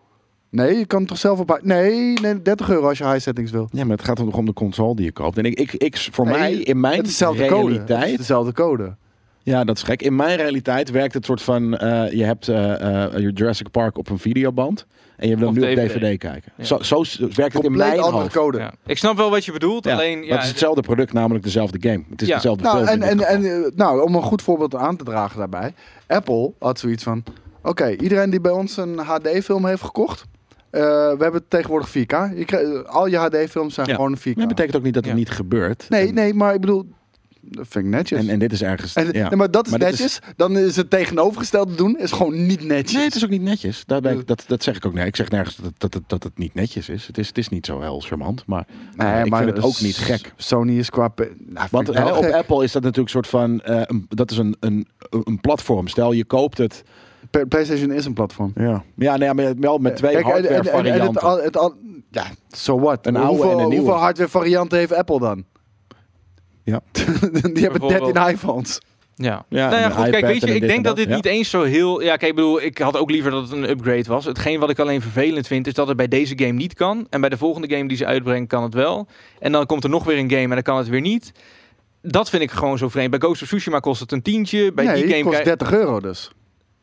Speaker 1: Nee, je kan toch zelf op high... Nee, nee 30 euro als je high settings wil.
Speaker 5: Ja, maar het gaat toch om de console die je koopt. En ik, ik, ik voor
Speaker 1: Nee,
Speaker 5: mij, in mijn
Speaker 1: Het is dezelfde code. Het is
Speaker 5: realiteit.
Speaker 1: dezelfde code.
Speaker 5: Ja, dat is gek. In mijn realiteit werkt het soort van: eh, je hebt eh, eh, je Jurassic Park op een videoband. En je wil
Speaker 4: Of
Speaker 5: hem nu op
Speaker 4: DVD.
Speaker 5: DVD kijken.
Speaker 4: Ja.
Speaker 5: Zo, zo s- werkt het in
Speaker 1: Compleet
Speaker 5: mijn
Speaker 1: andere
Speaker 5: hoofd.
Speaker 1: code.
Speaker 4: Ja. Ik snap wel wat je bedoelt,
Speaker 5: Ja,
Speaker 4: alleen...
Speaker 5: maar
Speaker 4: Ja,
Speaker 5: het is hetzelfde product, namelijk dezelfde game. Het is
Speaker 4: Ja.
Speaker 5: dezelfde
Speaker 1: Nou,
Speaker 5: film.
Speaker 1: en,
Speaker 5: in dit
Speaker 1: en,
Speaker 5: geval.
Speaker 1: en, eh, nou, om een goed voorbeeld aan te dragen daarbij. Apple had zoiets van... Oké, iedereen die bij ons een HD-film heeft gekocht... eh, we hebben tegenwoordig 4K. Je krijgt- al je HD-films zijn
Speaker 5: Ja.
Speaker 1: gewoon 4K.
Speaker 5: Maar dat betekent ook niet dat het
Speaker 4: Ja.
Speaker 5: niet gebeurt.
Speaker 1: Nee,
Speaker 5: En-
Speaker 1: nee, maar ik bedoel... dat vind ik netjes.
Speaker 5: En, en dit is ergens...
Speaker 1: En-
Speaker 5: ja.
Speaker 1: nee, maar dat is
Speaker 5: Maar dit is-
Speaker 1: netjes. Dan is het tegenovergestelde doen is gewoon niet netjes.
Speaker 5: Nee, het is ook niet netjes. Daar ben ik, dat, dat zeg ik ook. Nee, ik zeg nergens dat, dat, dat, dat het niet netjes is. Het, is. het is niet zo heel charmant, maar, eh, ik vind het ook niet gek.
Speaker 1: Sony is qua... pe- Nou,
Speaker 5: Want
Speaker 1: vind ik wel
Speaker 5: hè, op
Speaker 1: gek.
Speaker 5: Apple is dat natuurlijk een soort van... eh, een- dat is een, een, een platform. Stel, je koopt het...
Speaker 1: P- PlayStation is een platform.
Speaker 5: Ja, nou ja nee, maar wel met twee
Speaker 1: Eh, Kijk, en- en- en- en
Speaker 5: hardware
Speaker 1: het
Speaker 5: varianten.
Speaker 1: al- het al- ja, so what?
Speaker 5: Een oude
Speaker 1: hoeveel,
Speaker 5: en een nieuwe.
Speaker 1: Hoeveel hardware varianten heeft Apple dan?
Speaker 5: Ja.
Speaker 1: Die hebben 13 iPhones.
Speaker 4: Ja.
Speaker 5: Ja,
Speaker 4: nou
Speaker 5: en
Speaker 4: ja,
Speaker 5: een
Speaker 4: goed. Kijk,
Speaker 5: iPad
Speaker 4: weet
Speaker 5: en
Speaker 4: je, ik
Speaker 5: dit en
Speaker 4: denk dat
Speaker 5: dat,
Speaker 4: dit
Speaker 5: ja.
Speaker 4: niet eens zo heel. Ja, kijk, ik bedoel, ik had ook liever dat het een upgrade was. Hetgeen wat ik alleen vervelend vind, is dat het bij deze game niet kan. En bij de volgende game die ze uitbrengen, kan het wel. En dan komt er nog weer een game en dan kan het weer niet. Dat vind ik gewoon zo vreemd. Bij Ghost of Tsushima kost het een tientje. Bij
Speaker 1: nee,
Speaker 4: die game.
Speaker 1: kost
Speaker 4: krijg-
Speaker 1: 30 euro dus.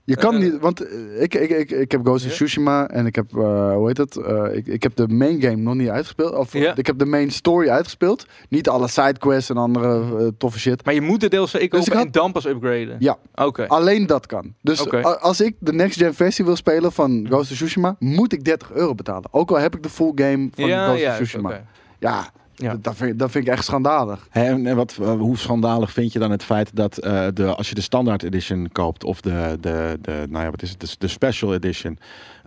Speaker 1: Je kan
Speaker 4: Eh,
Speaker 1: niet, want eh, ik, ik, ik, ik heb Ghost of
Speaker 4: Ja.
Speaker 1: Tsushima en ik heb, eh, hoe heet het, Eh, ik, ik heb de main game nog niet uitgespeeld. Of
Speaker 4: Ja.
Speaker 1: ik heb de main story uitgespeeld. Niet alle sidequests en andere eh, toffe shit.
Speaker 4: Maar je moet de
Speaker 5: Dus
Speaker 4: DLC kopen
Speaker 1: ik had-
Speaker 4: en dan pas upgraden.
Speaker 1: Ja.
Speaker 4: Oké.
Speaker 1: Alleen dat kan. Dus
Speaker 4: Oké.
Speaker 1: a- als ik de next gen versie wil spelen van Ghost of Tsushima, moet ik 30 euro betalen. Ook al heb ik de full game van
Speaker 4: ja,
Speaker 1: Ghost
Speaker 4: ja,
Speaker 1: of Tsushima.
Speaker 4: oké.
Speaker 1: Ja,
Speaker 4: Ja.
Speaker 1: d- Dat, vind, dat vind ik echt schandalig.
Speaker 5: Hè, en en wat, eh, hoe schandalig vind je dan het feit dat eh, de, als je de standaard edition koopt of de, de, de, nou ja, wat is het, de, de special edition,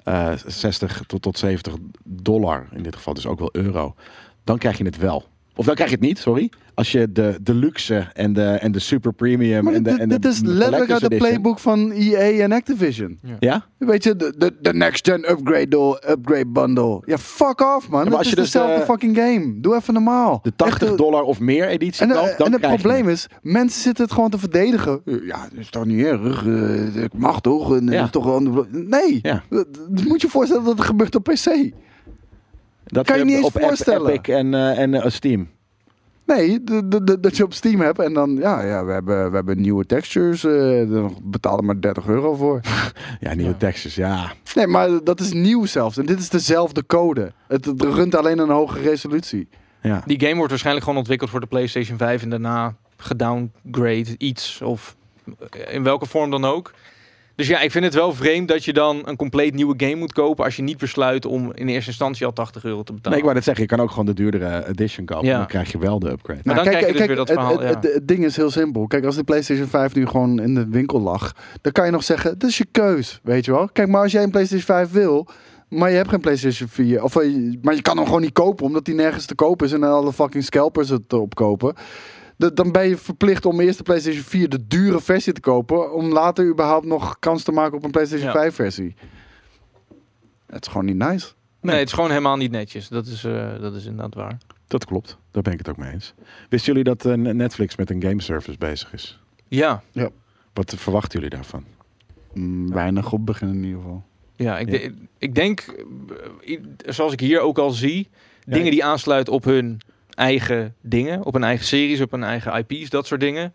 Speaker 5: eh 60 tot, tot 70 dollar in dit geval, dus ook wel euro, dan krijg je het wel. Of dan krijg je het niet, sorry. Als je de deluxe en de, en de super premium
Speaker 1: Maar
Speaker 5: en de,
Speaker 1: dit,
Speaker 5: en de
Speaker 1: dit is letterlijk
Speaker 5: collector's
Speaker 1: uit de
Speaker 5: edition-
Speaker 1: playbook van EA en Activision.
Speaker 5: Ja?
Speaker 1: Weet je, de, de, de next gen upgrade, door- upgrade bundle. Ja, fuck off man.
Speaker 5: maar
Speaker 1: Het
Speaker 5: als
Speaker 1: is
Speaker 5: je dus,
Speaker 1: dezelfde
Speaker 5: eh,
Speaker 1: fucking game. Doe even normaal.
Speaker 5: De
Speaker 1: Echt,
Speaker 5: 80
Speaker 1: eh,
Speaker 5: dollar of meer editie
Speaker 1: En, eh,
Speaker 5: koopt, dan
Speaker 1: en het
Speaker 5: krijg je
Speaker 1: probleem is, mensen zitten het gewoon te verdedigen. Ja, dat is toch niet erg. eh, Ik mag toch. En,
Speaker 5: Ja.
Speaker 1: is toch wel- nee,
Speaker 5: Ja.
Speaker 1: Dat- dat moet je voorstellen dat het gebeurt op PC.
Speaker 5: Dat
Speaker 1: kan je
Speaker 5: we
Speaker 1: niet eens
Speaker 5: op Ep-
Speaker 1: voorstellen.
Speaker 5: Epic en, eh, en eh, Steam.
Speaker 1: Nee, de- de- de- dat je op Steam hebt en dan, ja, ja we, hebben, we hebben nieuwe textures, eh dan betaal er maar 30 euro voor.
Speaker 5: Ja, nieuwe Texas, ja.
Speaker 1: Nee, maar dat is nieuw zelfs. En dit is dezelfde code. Het, het runt alleen een hoge resolutie.
Speaker 5: ja.
Speaker 4: Die game wordt waarschijnlijk gewoon ontwikkeld voor de PlayStation 5 en daarna gedowngrade iets of eh, in welke vorm dan ook. Dus ja, ik vind het wel vreemd dat je dan een compleet nieuwe game moet kopen als je niet besluit om in eerste instantie al 80 euro te betalen.
Speaker 5: Nee, ik wou net zeggen, je kan ook gewoon de duurdere edition kopen.
Speaker 4: Ja.
Speaker 5: Dan krijg je wel de upgrade.
Speaker 4: Maar dan krijg je dus weer dat verhaal,
Speaker 1: Nou, Het, het-
Speaker 4: ja.
Speaker 1: het ding is heel simpel. Kijk, als de PlayStation 5 nu gewoon in de winkel lag, dan kan je nog zeggen: dat is je keus, weet je wel. Kijk, maar als jij een PlayStation 5 wil, maar je hebt geen PlayStation 4, of eh, maar je kan hem gewoon niet kopen omdat die nergens te koop is en alle fucking scalpers het opkopen. d- Dan ben je verplicht om eerst de PlayStation 4 de dure versie te kopen. Om later überhaupt nog kans te maken op een PlayStation
Speaker 4: Ja.
Speaker 1: 5 versie. Het is gewoon niet nice.
Speaker 4: Nee, het is gewoon helemaal niet netjes. Dat is, eh, dat is inderdaad waar.
Speaker 5: Dat klopt, daar ben ik het ook mee eens. Wisten jullie dat eh, Netflix met een game service bezig is?
Speaker 4: Ja,
Speaker 5: Wat verwachten jullie daarvan?
Speaker 1: Mm, weinig op beginnen in ieder geval.
Speaker 4: ja, ik,
Speaker 5: Ja.
Speaker 4: de- ik denk, eh, i- zoals ik hier ook al zie,
Speaker 5: Ja,
Speaker 4: dingen die aansluiten op hun eigen dingen, op hun eigen series, op hun eigen IP's, dat soort dingen.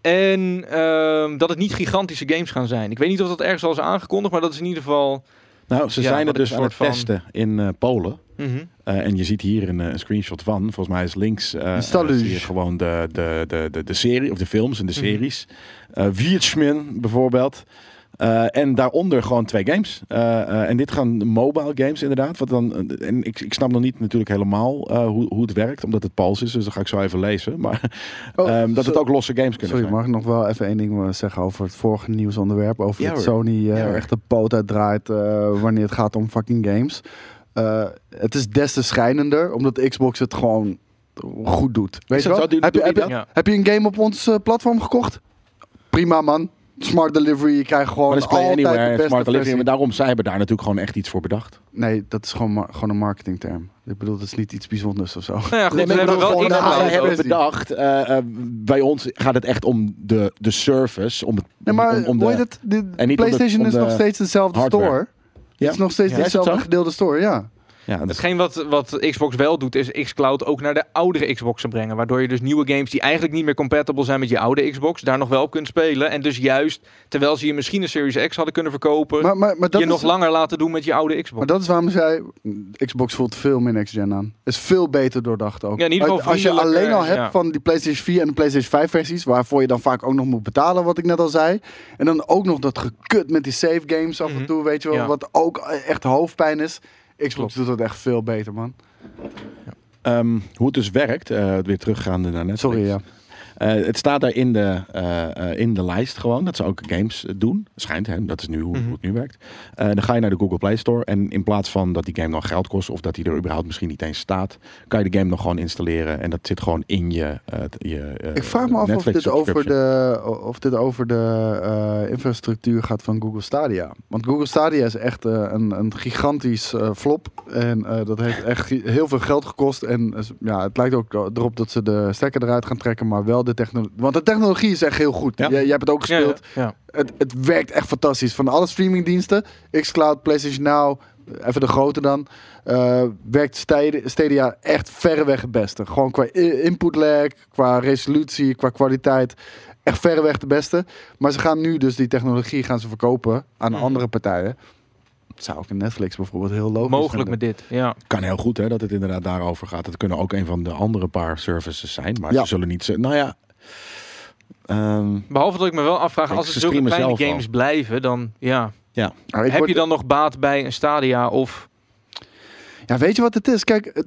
Speaker 4: En ehm, dat het niet gigantische games gaan zijn. Ik weet niet of dat ergens al is aangekondigd, maar dat is in ieder geval.
Speaker 5: Nou, ze
Speaker 4: Ja,
Speaker 5: zijn er
Speaker 4: wat ik
Speaker 5: dus aan het
Speaker 4: soort van-
Speaker 5: testen in eh, Polen.
Speaker 4: Mhm.
Speaker 5: Eh, en je ziet hier een, eh, een screenshot van. Volgens mij is links eh, eh,
Speaker 1: Stalus.
Speaker 5: zie je gewoon de, de, de, de, de serie of de films en de
Speaker 4: Mhm.
Speaker 5: series. Eh Wiertsmin bijvoorbeeld. Eh, en daaronder gewoon twee games. Eh, eh, en dit gaan mobile games inderdaad. Wat dan, eh, en ik, ik snap nog niet natuurlijk helemaal eh, hoe, hoe het werkt, omdat het Pools is. Dus dat ga ik zo even lezen. Maar ehm, dat het ook losse games kunnen
Speaker 1: Oh, Sorry,
Speaker 5: zijn.
Speaker 1: mag ik nog wel even één ding eh, zeggen over het vorige nieuwsonderwerp? Over
Speaker 5: Ja,
Speaker 1: dat
Speaker 5: hoor.
Speaker 1: Sony eh,
Speaker 5: Ja, hoor.
Speaker 1: echt de poot uitdraait eh, wanneer het gaat om fucking games. Eh, het is des te schijnender, omdat Xbox het gewoon goed doet. Weet je
Speaker 5: dat
Speaker 1: wel?
Speaker 5: zo? Doe-
Speaker 1: heb, je,
Speaker 5: doe
Speaker 1: heb,
Speaker 5: die
Speaker 1: je,
Speaker 4: dat?
Speaker 1: heb je een game op ons eh, platform gekocht? Prima man. Smart delivery, je krijgt
Speaker 5: Maar
Speaker 1: gewoon
Speaker 5: dat is Play
Speaker 1: altijd de
Speaker 5: Anywhere,
Speaker 1: beste
Speaker 5: Smart Delivery.
Speaker 1: versie.
Speaker 5: Maar daarom, zij hebben daar natuurlijk gewoon echt iets voor bedacht.
Speaker 1: Nee, dat is gewoon, ma- gewoon een marketingterm. Ik bedoel, dat is niet iets bijzonders of zo.
Speaker 4: Nou ja, goed,
Speaker 5: Nee,
Speaker 4: we
Speaker 5: maar ik
Speaker 4: hebben
Speaker 5: bedoel
Speaker 4: wel
Speaker 5: gewoon,
Speaker 1: iets
Speaker 5: nou,
Speaker 1: aan
Speaker 5: wij
Speaker 1: de
Speaker 5: hebben
Speaker 1: versie.
Speaker 5: bedacht, eh, eh, bij ons gaat het echt om de, de service, om het
Speaker 1: Nee, maar
Speaker 5: om, om
Speaker 1: hoe
Speaker 5: de,
Speaker 1: heet het? De
Speaker 5: om de-
Speaker 1: PlayStation
Speaker 5: om
Speaker 1: is
Speaker 5: de
Speaker 1: nog steeds dezelfde
Speaker 5: hardware.
Speaker 1: store.
Speaker 5: Ja.
Speaker 1: Het is nog steeds
Speaker 5: Ja, is het
Speaker 1: dezelfde
Speaker 5: zo?
Speaker 1: gedeelde store, ja.
Speaker 5: Ja, dat is-
Speaker 4: Hetgeen wat, wat Xbox wel doet, is Xcloud ook naar de oudere Xboxen brengen. Waardoor je dus nieuwe games die eigenlijk niet meer compatible zijn met je oude Xbox, daar nog wel op kunt spelen. En dus juist, terwijl ze je misschien een Series X hadden kunnen verkopen,
Speaker 1: Maar, maar, maar dat
Speaker 4: je
Speaker 1: is
Speaker 4: nog langer laten doen met je oude Xbox.
Speaker 1: Maar dat is waarom zij Xbox voelt veel meer next gen aan. Is veel beter doordacht ook.
Speaker 4: Ja, in ieder geval
Speaker 1: als je alleen al hebt
Speaker 4: vriendelijker, ja.
Speaker 1: van die PlayStation 4 en de PlayStation 5 versies, waarvoor je dan vaak ook nog moet betalen, wat ik net al zei. En dan ook nog dat gekut met die save games af
Speaker 4: Mhm.
Speaker 1: en toe, weet je wel,
Speaker 4: Ja.
Speaker 1: wat ook echt hoofdpijn is. Xbox
Speaker 4: Klopt.
Speaker 1: doet dat echt veel beter, man.
Speaker 5: ehm, hoe het dus werkt, eh, weer teruggaande naar Netflix.
Speaker 1: Sorry, ja.
Speaker 5: Eh, het staat daar in de, eh, eh, in de lijst gewoon. Dat ze ook games eh, doen. Schijnt, hè? dat is nu hoe,
Speaker 1: Mhm.
Speaker 5: hoe het nu werkt. Eh, dan ga je naar de Google Play Store. En in plaats van dat die game dan geld kost... of dat die er überhaupt misschien niet eens staat... kan je de game nog gewoon installeren. En dat zit gewoon in je, eh, t- je eh,
Speaker 1: Ik vraag me af of
Speaker 5: Netflix
Speaker 1: dit, over
Speaker 5: subscription.
Speaker 1: de, of dit over de eh, infrastructuur gaat van Google Stadia. Want Google Stadia is echt eh, een, een gigantisch eh, flop. En eh, dat heeft echt heel veel geld gekost. En eh, ja, het lijkt ook erop dat ze de stekker eruit gaan trekken. Maar wel de technologie. Want de technologie is echt heel goed.
Speaker 5: Ja.
Speaker 1: Jij, jij hebt het ook gespeeld. Het, het werkt echt fantastisch. Van alle streamingdiensten, xCloud, PlayStation Now, even de grote dan, eh, werkt Stadia- Stadia echt verreweg het beste. Gewoon qua i- input lag, qua resolutie, qua kwaliteit. Echt verreweg de beste. Maar ze gaan nu dus die technologie gaan ze verkopen aan
Speaker 4: Mhm.
Speaker 1: andere partijen. Zou ook in Netflix bijvoorbeeld heel logisch
Speaker 4: Mogelijk met
Speaker 1: vinden.
Speaker 4: dit. Ja.
Speaker 5: Kan heel goed hè, dat het inderdaad daarover gaat. Het kunnen ook een van de andere paar services zijn. Maar
Speaker 1: Ja.
Speaker 5: ze zullen niet... z- Nou ja... ehm,
Speaker 4: Behalve dat ik me wel afvraag,
Speaker 5: Kijk,
Speaker 4: als het
Speaker 5: ze
Speaker 4: zulke
Speaker 5: streamen
Speaker 4: kleine
Speaker 5: zelf al.
Speaker 4: games blijven, dan ja.
Speaker 1: Nou, ik
Speaker 4: Heb
Speaker 1: word-
Speaker 4: je dan nog baat bij een Stadia of...
Speaker 1: Ja, weet je wat het is? Kijk, het-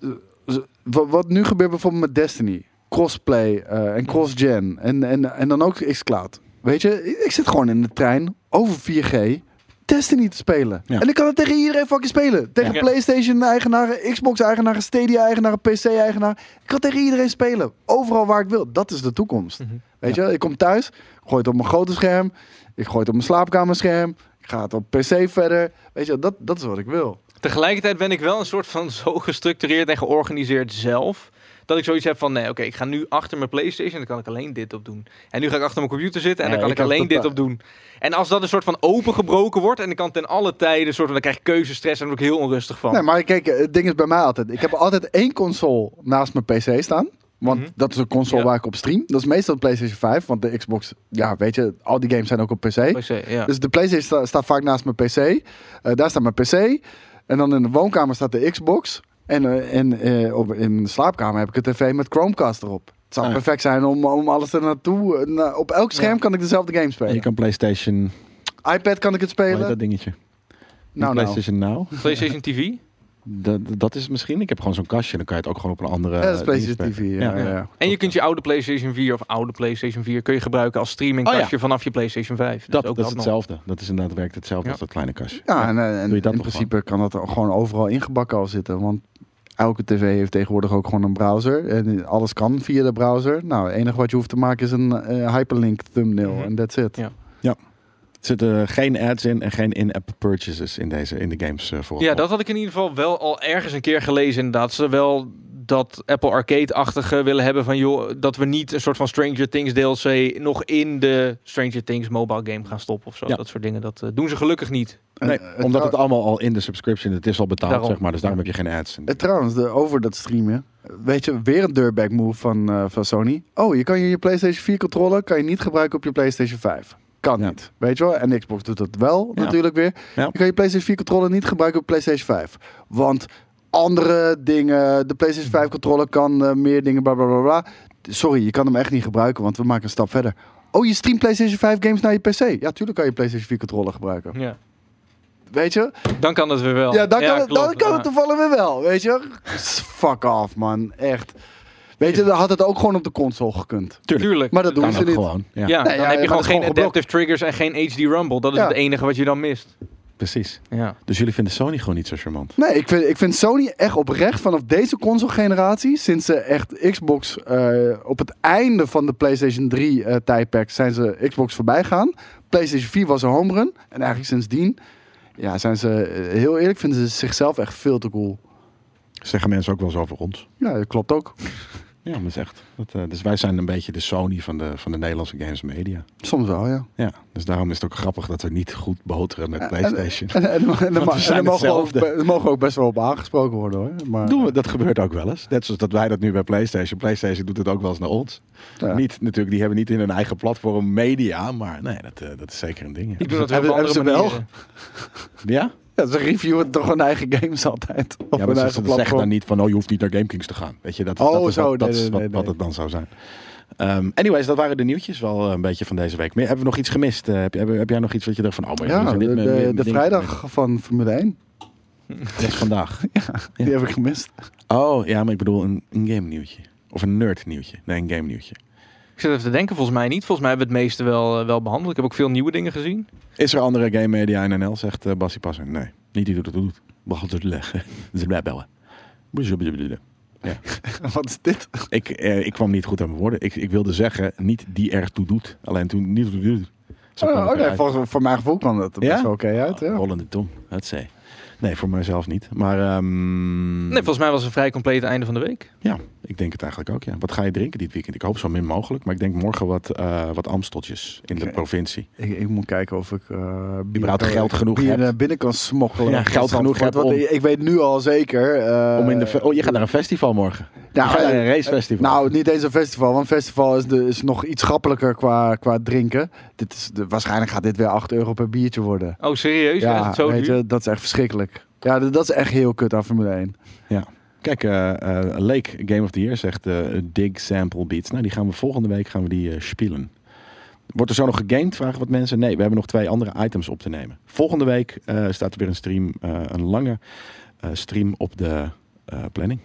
Speaker 1: eh, z- wa- wat nu gebeurt bijvoorbeeld met Destiny. Crossplay eh, en cross-gen en, en, en dan ook xCloud. Weet je, ik- ik zit gewoon in de trein over 4G Destiny te spelen.
Speaker 5: Ja.
Speaker 1: En ik kan het tegen iedereen fucking spelen. Tegen
Speaker 4: Ja.
Speaker 1: PlayStation-eigenaren, Xbox-eigenaren, Stadia-eigenaren, PC-eigenaren. Ik kan tegen iedereen spelen. Overal waar ik wil. Dat is de toekomst.
Speaker 4: Mhm.
Speaker 1: Weet je, ik kom thuis, gooi het op mijn grote scherm. Ik gooi het op mijn slaapkamerscherm. Ik ga het op PC verder. Weet je, dat, dat is wat ik wil.
Speaker 4: Tegelijkertijd ben ik wel een soort van zo gestructureerd en georganiseerd zelf. Dat ik zoiets heb van, nee, oké, ik ga nu achter mijn PlayStation en dan kan ik alleen dit op doen. En nu ga ik achter mijn computer zitten en dan
Speaker 1: Nee, ik
Speaker 4: kan ik
Speaker 1: heb
Speaker 4: alleen dit
Speaker 1: totaal-
Speaker 4: op doen. En als dat een soort van opengebroken wordt en ik kan ten alle tijden een soort van, dan krijg ik keuzestress en daar word ik heel onrustig van.
Speaker 1: Nee, maar kijk, het ding is bij mij altijd. Ik heb altijd één console naast mijn PC staan. Want
Speaker 4: Mhm.
Speaker 1: dat is een console
Speaker 4: Ja.
Speaker 1: waar ik op stream. Dat is meestal de PlayStation 5. Want de Xbox, ja, weet je, al die games zijn ook op PC.
Speaker 4: PC, ja.
Speaker 1: Dus de PlayStation sta- staat vaak naast mijn PC. Eh, daar staat mijn PC. En dan in de woonkamer staat de Xbox. En, eh, en eh, op, in de slaapkamer heb ik een tv met Chromecast erop. Het zou
Speaker 5: Ah, ja.
Speaker 1: perfect zijn om, om alles er naartoe. eh, na- op elk scherm
Speaker 4: Ja.
Speaker 1: kan ik dezelfde game spelen.
Speaker 5: je kan PlayStation...
Speaker 1: iPad kan ik het
Speaker 5: Hoe heet
Speaker 1: spelen.
Speaker 5: dat dingetje?
Speaker 1: Nou, nou.
Speaker 5: PlayStation Now?
Speaker 4: PlayStation TV.
Speaker 5: Dat, dat is het misschien. Ik heb gewoon zo'n kastje. Dan kan je het ook gewoon op een andere.
Speaker 1: Ja, dat is
Speaker 5: eh,
Speaker 1: PlayStation
Speaker 5: dienst
Speaker 1: TV.
Speaker 5: spelen.
Speaker 1: Ja,
Speaker 5: Ja.
Speaker 1: ja. ja.
Speaker 4: En je kunt je oude PlayStation 4 of oude PlayStation 4 kun je gebruiken als streamingkastje
Speaker 5: Oh ja.
Speaker 4: vanaf je PlayStation 5.
Speaker 5: Dat,
Speaker 4: ook
Speaker 5: dat is
Speaker 4: nog.
Speaker 5: hetzelfde. Dat is inderdaad werkt hetzelfde
Speaker 4: Ja.
Speaker 5: als dat kleine kastje.
Speaker 1: Ja, en, eh, en
Speaker 5: Doe je dat
Speaker 1: in
Speaker 5: nog
Speaker 1: principe kan dat er gewoon overal ingebakken al zitten. Want elke tv heeft tegenwoordig ook gewoon een browser. En alles kan via de browser. Nou, het enige wat je hoeft te maken is een eh, hyperlink thumbnail. En
Speaker 4: Mhm.
Speaker 1: that's it.
Speaker 4: Ja.
Speaker 5: Er zitten geen ads in en geen in-app purchases in, deze, in de games eh, voor.
Speaker 4: Ja, dat had ik in ieder geval wel al ergens een keer gelezen inderdaad. Ze wel dat Apple Arcade-achtige willen hebben van... joh, dat we niet een soort van Stranger Things DLC... nog in de Stranger Things mobile game gaan stoppen of zo.
Speaker 5: Ja.
Speaker 4: Dat soort dingen, dat eh, doen ze gelukkig niet.
Speaker 5: Nee,
Speaker 1: En, eh,
Speaker 5: omdat het
Speaker 1: trouw-
Speaker 5: allemaal al in de subscription, het is al betaald,
Speaker 4: Daarom.
Speaker 5: zeg maar. Dus daarom heb je geen ads.
Speaker 1: eh, trouwens, de, over dat streamen. Weet je, weer een dirtbag move van, eh, van Sony. Oh, je kan je, je PlayStation 4 controller kan je niet gebruiken op je PlayStation 5. Kan
Speaker 5: Ja.
Speaker 1: niet. Weet je wel? En Xbox doet dat wel
Speaker 5: Ja.
Speaker 1: natuurlijk weer.
Speaker 5: Ja.
Speaker 1: Je kan je PlayStation 4 controller niet gebruiken op PlayStation 5. Want andere dingen, de PlayStation 5 controller kan eh, meer dingen, bla bla bla bla. Sorry, je kan hem echt niet gebruiken, want we maken een stap verder. Oh, je streamt PlayStation 5 games naar je PC. Ja, tuurlijk kan je PlayStation 4 controller
Speaker 5: Hm.
Speaker 1: gebruiken.
Speaker 4: Ja.
Speaker 1: Weet je?
Speaker 4: Dan kan dat weer wel.
Speaker 1: Ja, dan kan, het, dan
Speaker 4: klopt.
Speaker 1: kan
Speaker 4: Ja.
Speaker 1: het toevallig weer wel, weet je. Fuck off, man. Echt. Weet je, dan had het ook gewoon op de console gekund.
Speaker 4: Tuurlijk.
Speaker 1: Maar dat doen
Speaker 5: Kan
Speaker 1: ze
Speaker 5: ook
Speaker 1: niet.
Speaker 5: gewoon.
Speaker 4: Ja,
Speaker 5: Ja,
Speaker 1: Nee,
Speaker 4: dan
Speaker 1: ja,
Speaker 4: heb
Speaker 1: maar
Speaker 4: je gewoon
Speaker 1: dat is
Speaker 4: geen
Speaker 1: gewoon geblokt.
Speaker 4: adaptive triggers en geen HD Rumble. Dat is
Speaker 1: Ja.
Speaker 4: het enige wat je dan mist.
Speaker 5: precies.
Speaker 4: Ja.
Speaker 5: Dus jullie vinden Sony gewoon niet zo charmant.
Speaker 1: Nee, ik vind, ik vind Sony echt oprecht vanaf deze console-generatie, sinds ze echt Xbox eh, op het einde van de PlayStation 3-tijdperk zijn ze Xbox voorbij gaan. PlayStation 4 was een home run. En eigenlijk sindsdien, ja, zijn ze eh, heel eerlijk, vinden ze zichzelf echt veel te cool.
Speaker 5: Zeggen mensen ook wel eens over ons.
Speaker 1: Ja, dat klopt ook.
Speaker 5: Ja, maar dat is echt. Dat, eh, dus wij zijn een beetje de Sony van de, van de Nederlandse games media.
Speaker 1: Soms wel, ja.
Speaker 5: Ja, dus daarom is het ook grappig dat we niet goed boteren
Speaker 1: Eh,
Speaker 5: met PlayStation.
Speaker 1: En, en, en, en, en,
Speaker 5: we zijn
Speaker 1: daar mogen we ook,
Speaker 5: hetzelfde.
Speaker 1: be- daar mogen we ook best wel op aangesproken worden hoor. Maar,
Speaker 5: Doen we, dat gebeurt ook wel eens. Net zoals dat wij dat nu bij PlayStation. PlayStation doet het ook wel eens naar ons.
Speaker 1: Ja.
Speaker 5: Niet, natuurlijk, die hebben niet in hun eigen platform media, maar nee, dat, eh, dat is zeker een ding.
Speaker 4: Ik
Speaker 5: Ja,
Speaker 4: doe dat wel op
Speaker 1: Hebben-
Speaker 4: andere
Speaker 1: hebben ze wel?
Speaker 4: manieren.
Speaker 5: ja?
Speaker 1: Ja, ze reviewen toch hun eigen games altijd. Op
Speaker 5: ja
Speaker 1: hun eigen
Speaker 5: maar ze, ze zeggen dan
Speaker 1: platform.
Speaker 5: niet van, oh, je hoeft niet naar GameKings te gaan. Weet je, dat, is-
Speaker 1: Oh,
Speaker 5: dat is,
Speaker 1: zo,
Speaker 5: wat, dat
Speaker 1: nee,
Speaker 5: is
Speaker 1: nee,
Speaker 5: wat,
Speaker 1: nee,
Speaker 5: wat
Speaker 1: nee.
Speaker 5: het dan zou zijn. Ehm, anyways, dat waren de nieuwtjes wel eh, een beetje van deze week. Maar hebben we nog iets gemist? Eh, heb, heb, heb jij nog iets wat je dacht van, oh, maar
Speaker 1: Ja,
Speaker 5: jongens, dit-
Speaker 1: de,
Speaker 5: dit- dit-
Speaker 1: de,
Speaker 5: dit
Speaker 1: de
Speaker 5: ding-
Speaker 1: vrijdag van Formule 1,
Speaker 5: Dat is vandaag.
Speaker 1: die heb ik gemist.
Speaker 5: Oh, ja, maar ik bedoel een, een game nieuwtje. Of een nerd nieuwtje. Nee, een game nieuwtje.
Speaker 4: Ik zit even te denken, volgens mij niet. Volgens mij hebben we het meeste wel, eh, wel behandeld. Ik heb ook veel nieuwe dingen gezien.
Speaker 5: Is er andere game media in NL? Zegt eh, Bassie Passer. Nee, niet die doet het doet. Mag het leggen. Ze blijven bellen. Blablabla.
Speaker 1: Wat is dit?
Speaker 5: Ik, eh, ik kwam niet goed aan mijn woorden. Ik, ik wilde zeggen, niet die er toe doet. Alleen toen niet toe doet. Zo kwam
Speaker 1: Oh,
Speaker 5: het
Speaker 1: oh, nee,
Speaker 5: eruit.
Speaker 1: volgens, voor mijn gevoel kwam dat er
Speaker 5: Ja? Oh.
Speaker 1: best wel oké uit. Ja.
Speaker 5: Rollende tong, dat zei. Nee, voor mijzelf niet. Maar ehm,
Speaker 4: Nee, volgens mij was het een vrij compleet einde van de week.
Speaker 5: ja, ik denk het eigenlijk ook. Ja. Wat ga je drinken dit weekend? Ik hoop zo min mogelijk. Maar ik denk morgen wat, eh wat amsteltjes in
Speaker 1: Oké.
Speaker 5: de provincie.
Speaker 1: Ik, ik moet kijken of ik eh bier,
Speaker 5: Überhaupt geld genoeg
Speaker 1: bier
Speaker 5: hebt.
Speaker 1: naar binnen kan smokkelen.
Speaker 5: Ja,
Speaker 1: Van
Speaker 5: geld genoeg
Speaker 1: Zandvoort,
Speaker 5: hebt
Speaker 1: want ik-
Speaker 5: om-
Speaker 1: Ik weet nu al zeker... eh,
Speaker 5: Om in de fe- oh, je gaat naar een festival morgen.
Speaker 1: nou,
Speaker 5: je gaat naar
Speaker 1: eh,
Speaker 5: een racefestival.
Speaker 1: Nou, niet eens een festival, want festival is, de, is nog iets schappelijker qua, qua drinken. Dit is de, waarschijnlijk gaat dit weer 8 euro per biertje worden.
Speaker 4: Oh, serieus? Ja, is het zo
Speaker 1: weet
Speaker 4: duur?
Speaker 1: je, dat is echt verschrikkelijk. Ja, d- dat is echt heel kut aan Formule 1.
Speaker 5: Kijk, eh eh, Lake Game of the Year zegt eh, Dig Sample Beats. Nou, die gaan we volgende week gaan we die eh, spelen. Wordt er zo nog gegamed, vragen wat mensen? Nee, we hebben nog twee andere items op te nemen. Volgende week eh, staat er weer een stream, eh, een lange eh, stream op de eh, planning.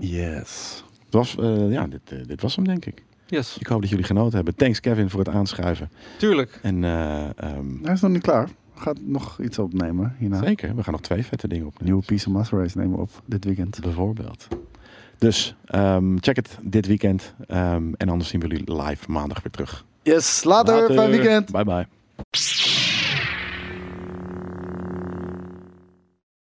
Speaker 1: Yes.
Speaker 5: Het was, eh, ja, dit, eh, dit was hem denk ik.
Speaker 4: Yes,
Speaker 5: Ik hoop dat jullie genoten hebben. Thanks Kevin voor het aanschuiven.
Speaker 4: tuurlijk.
Speaker 5: En eh, ehm,
Speaker 1: Hij is nog niet klaar. Gaat nog iets opnemen hierna.
Speaker 5: zeker, we gaan nog twee vette dingen opnemen.
Speaker 1: Nieuwe Piece of Master Race nemen we op dit weekend.
Speaker 5: Bijvoorbeeld. Dus ehm, check het dit weekend. Ehm, en anders zien we jullie live maandag weer terug.
Speaker 1: Yes, later. Fijn weekend.
Speaker 5: Bye bye.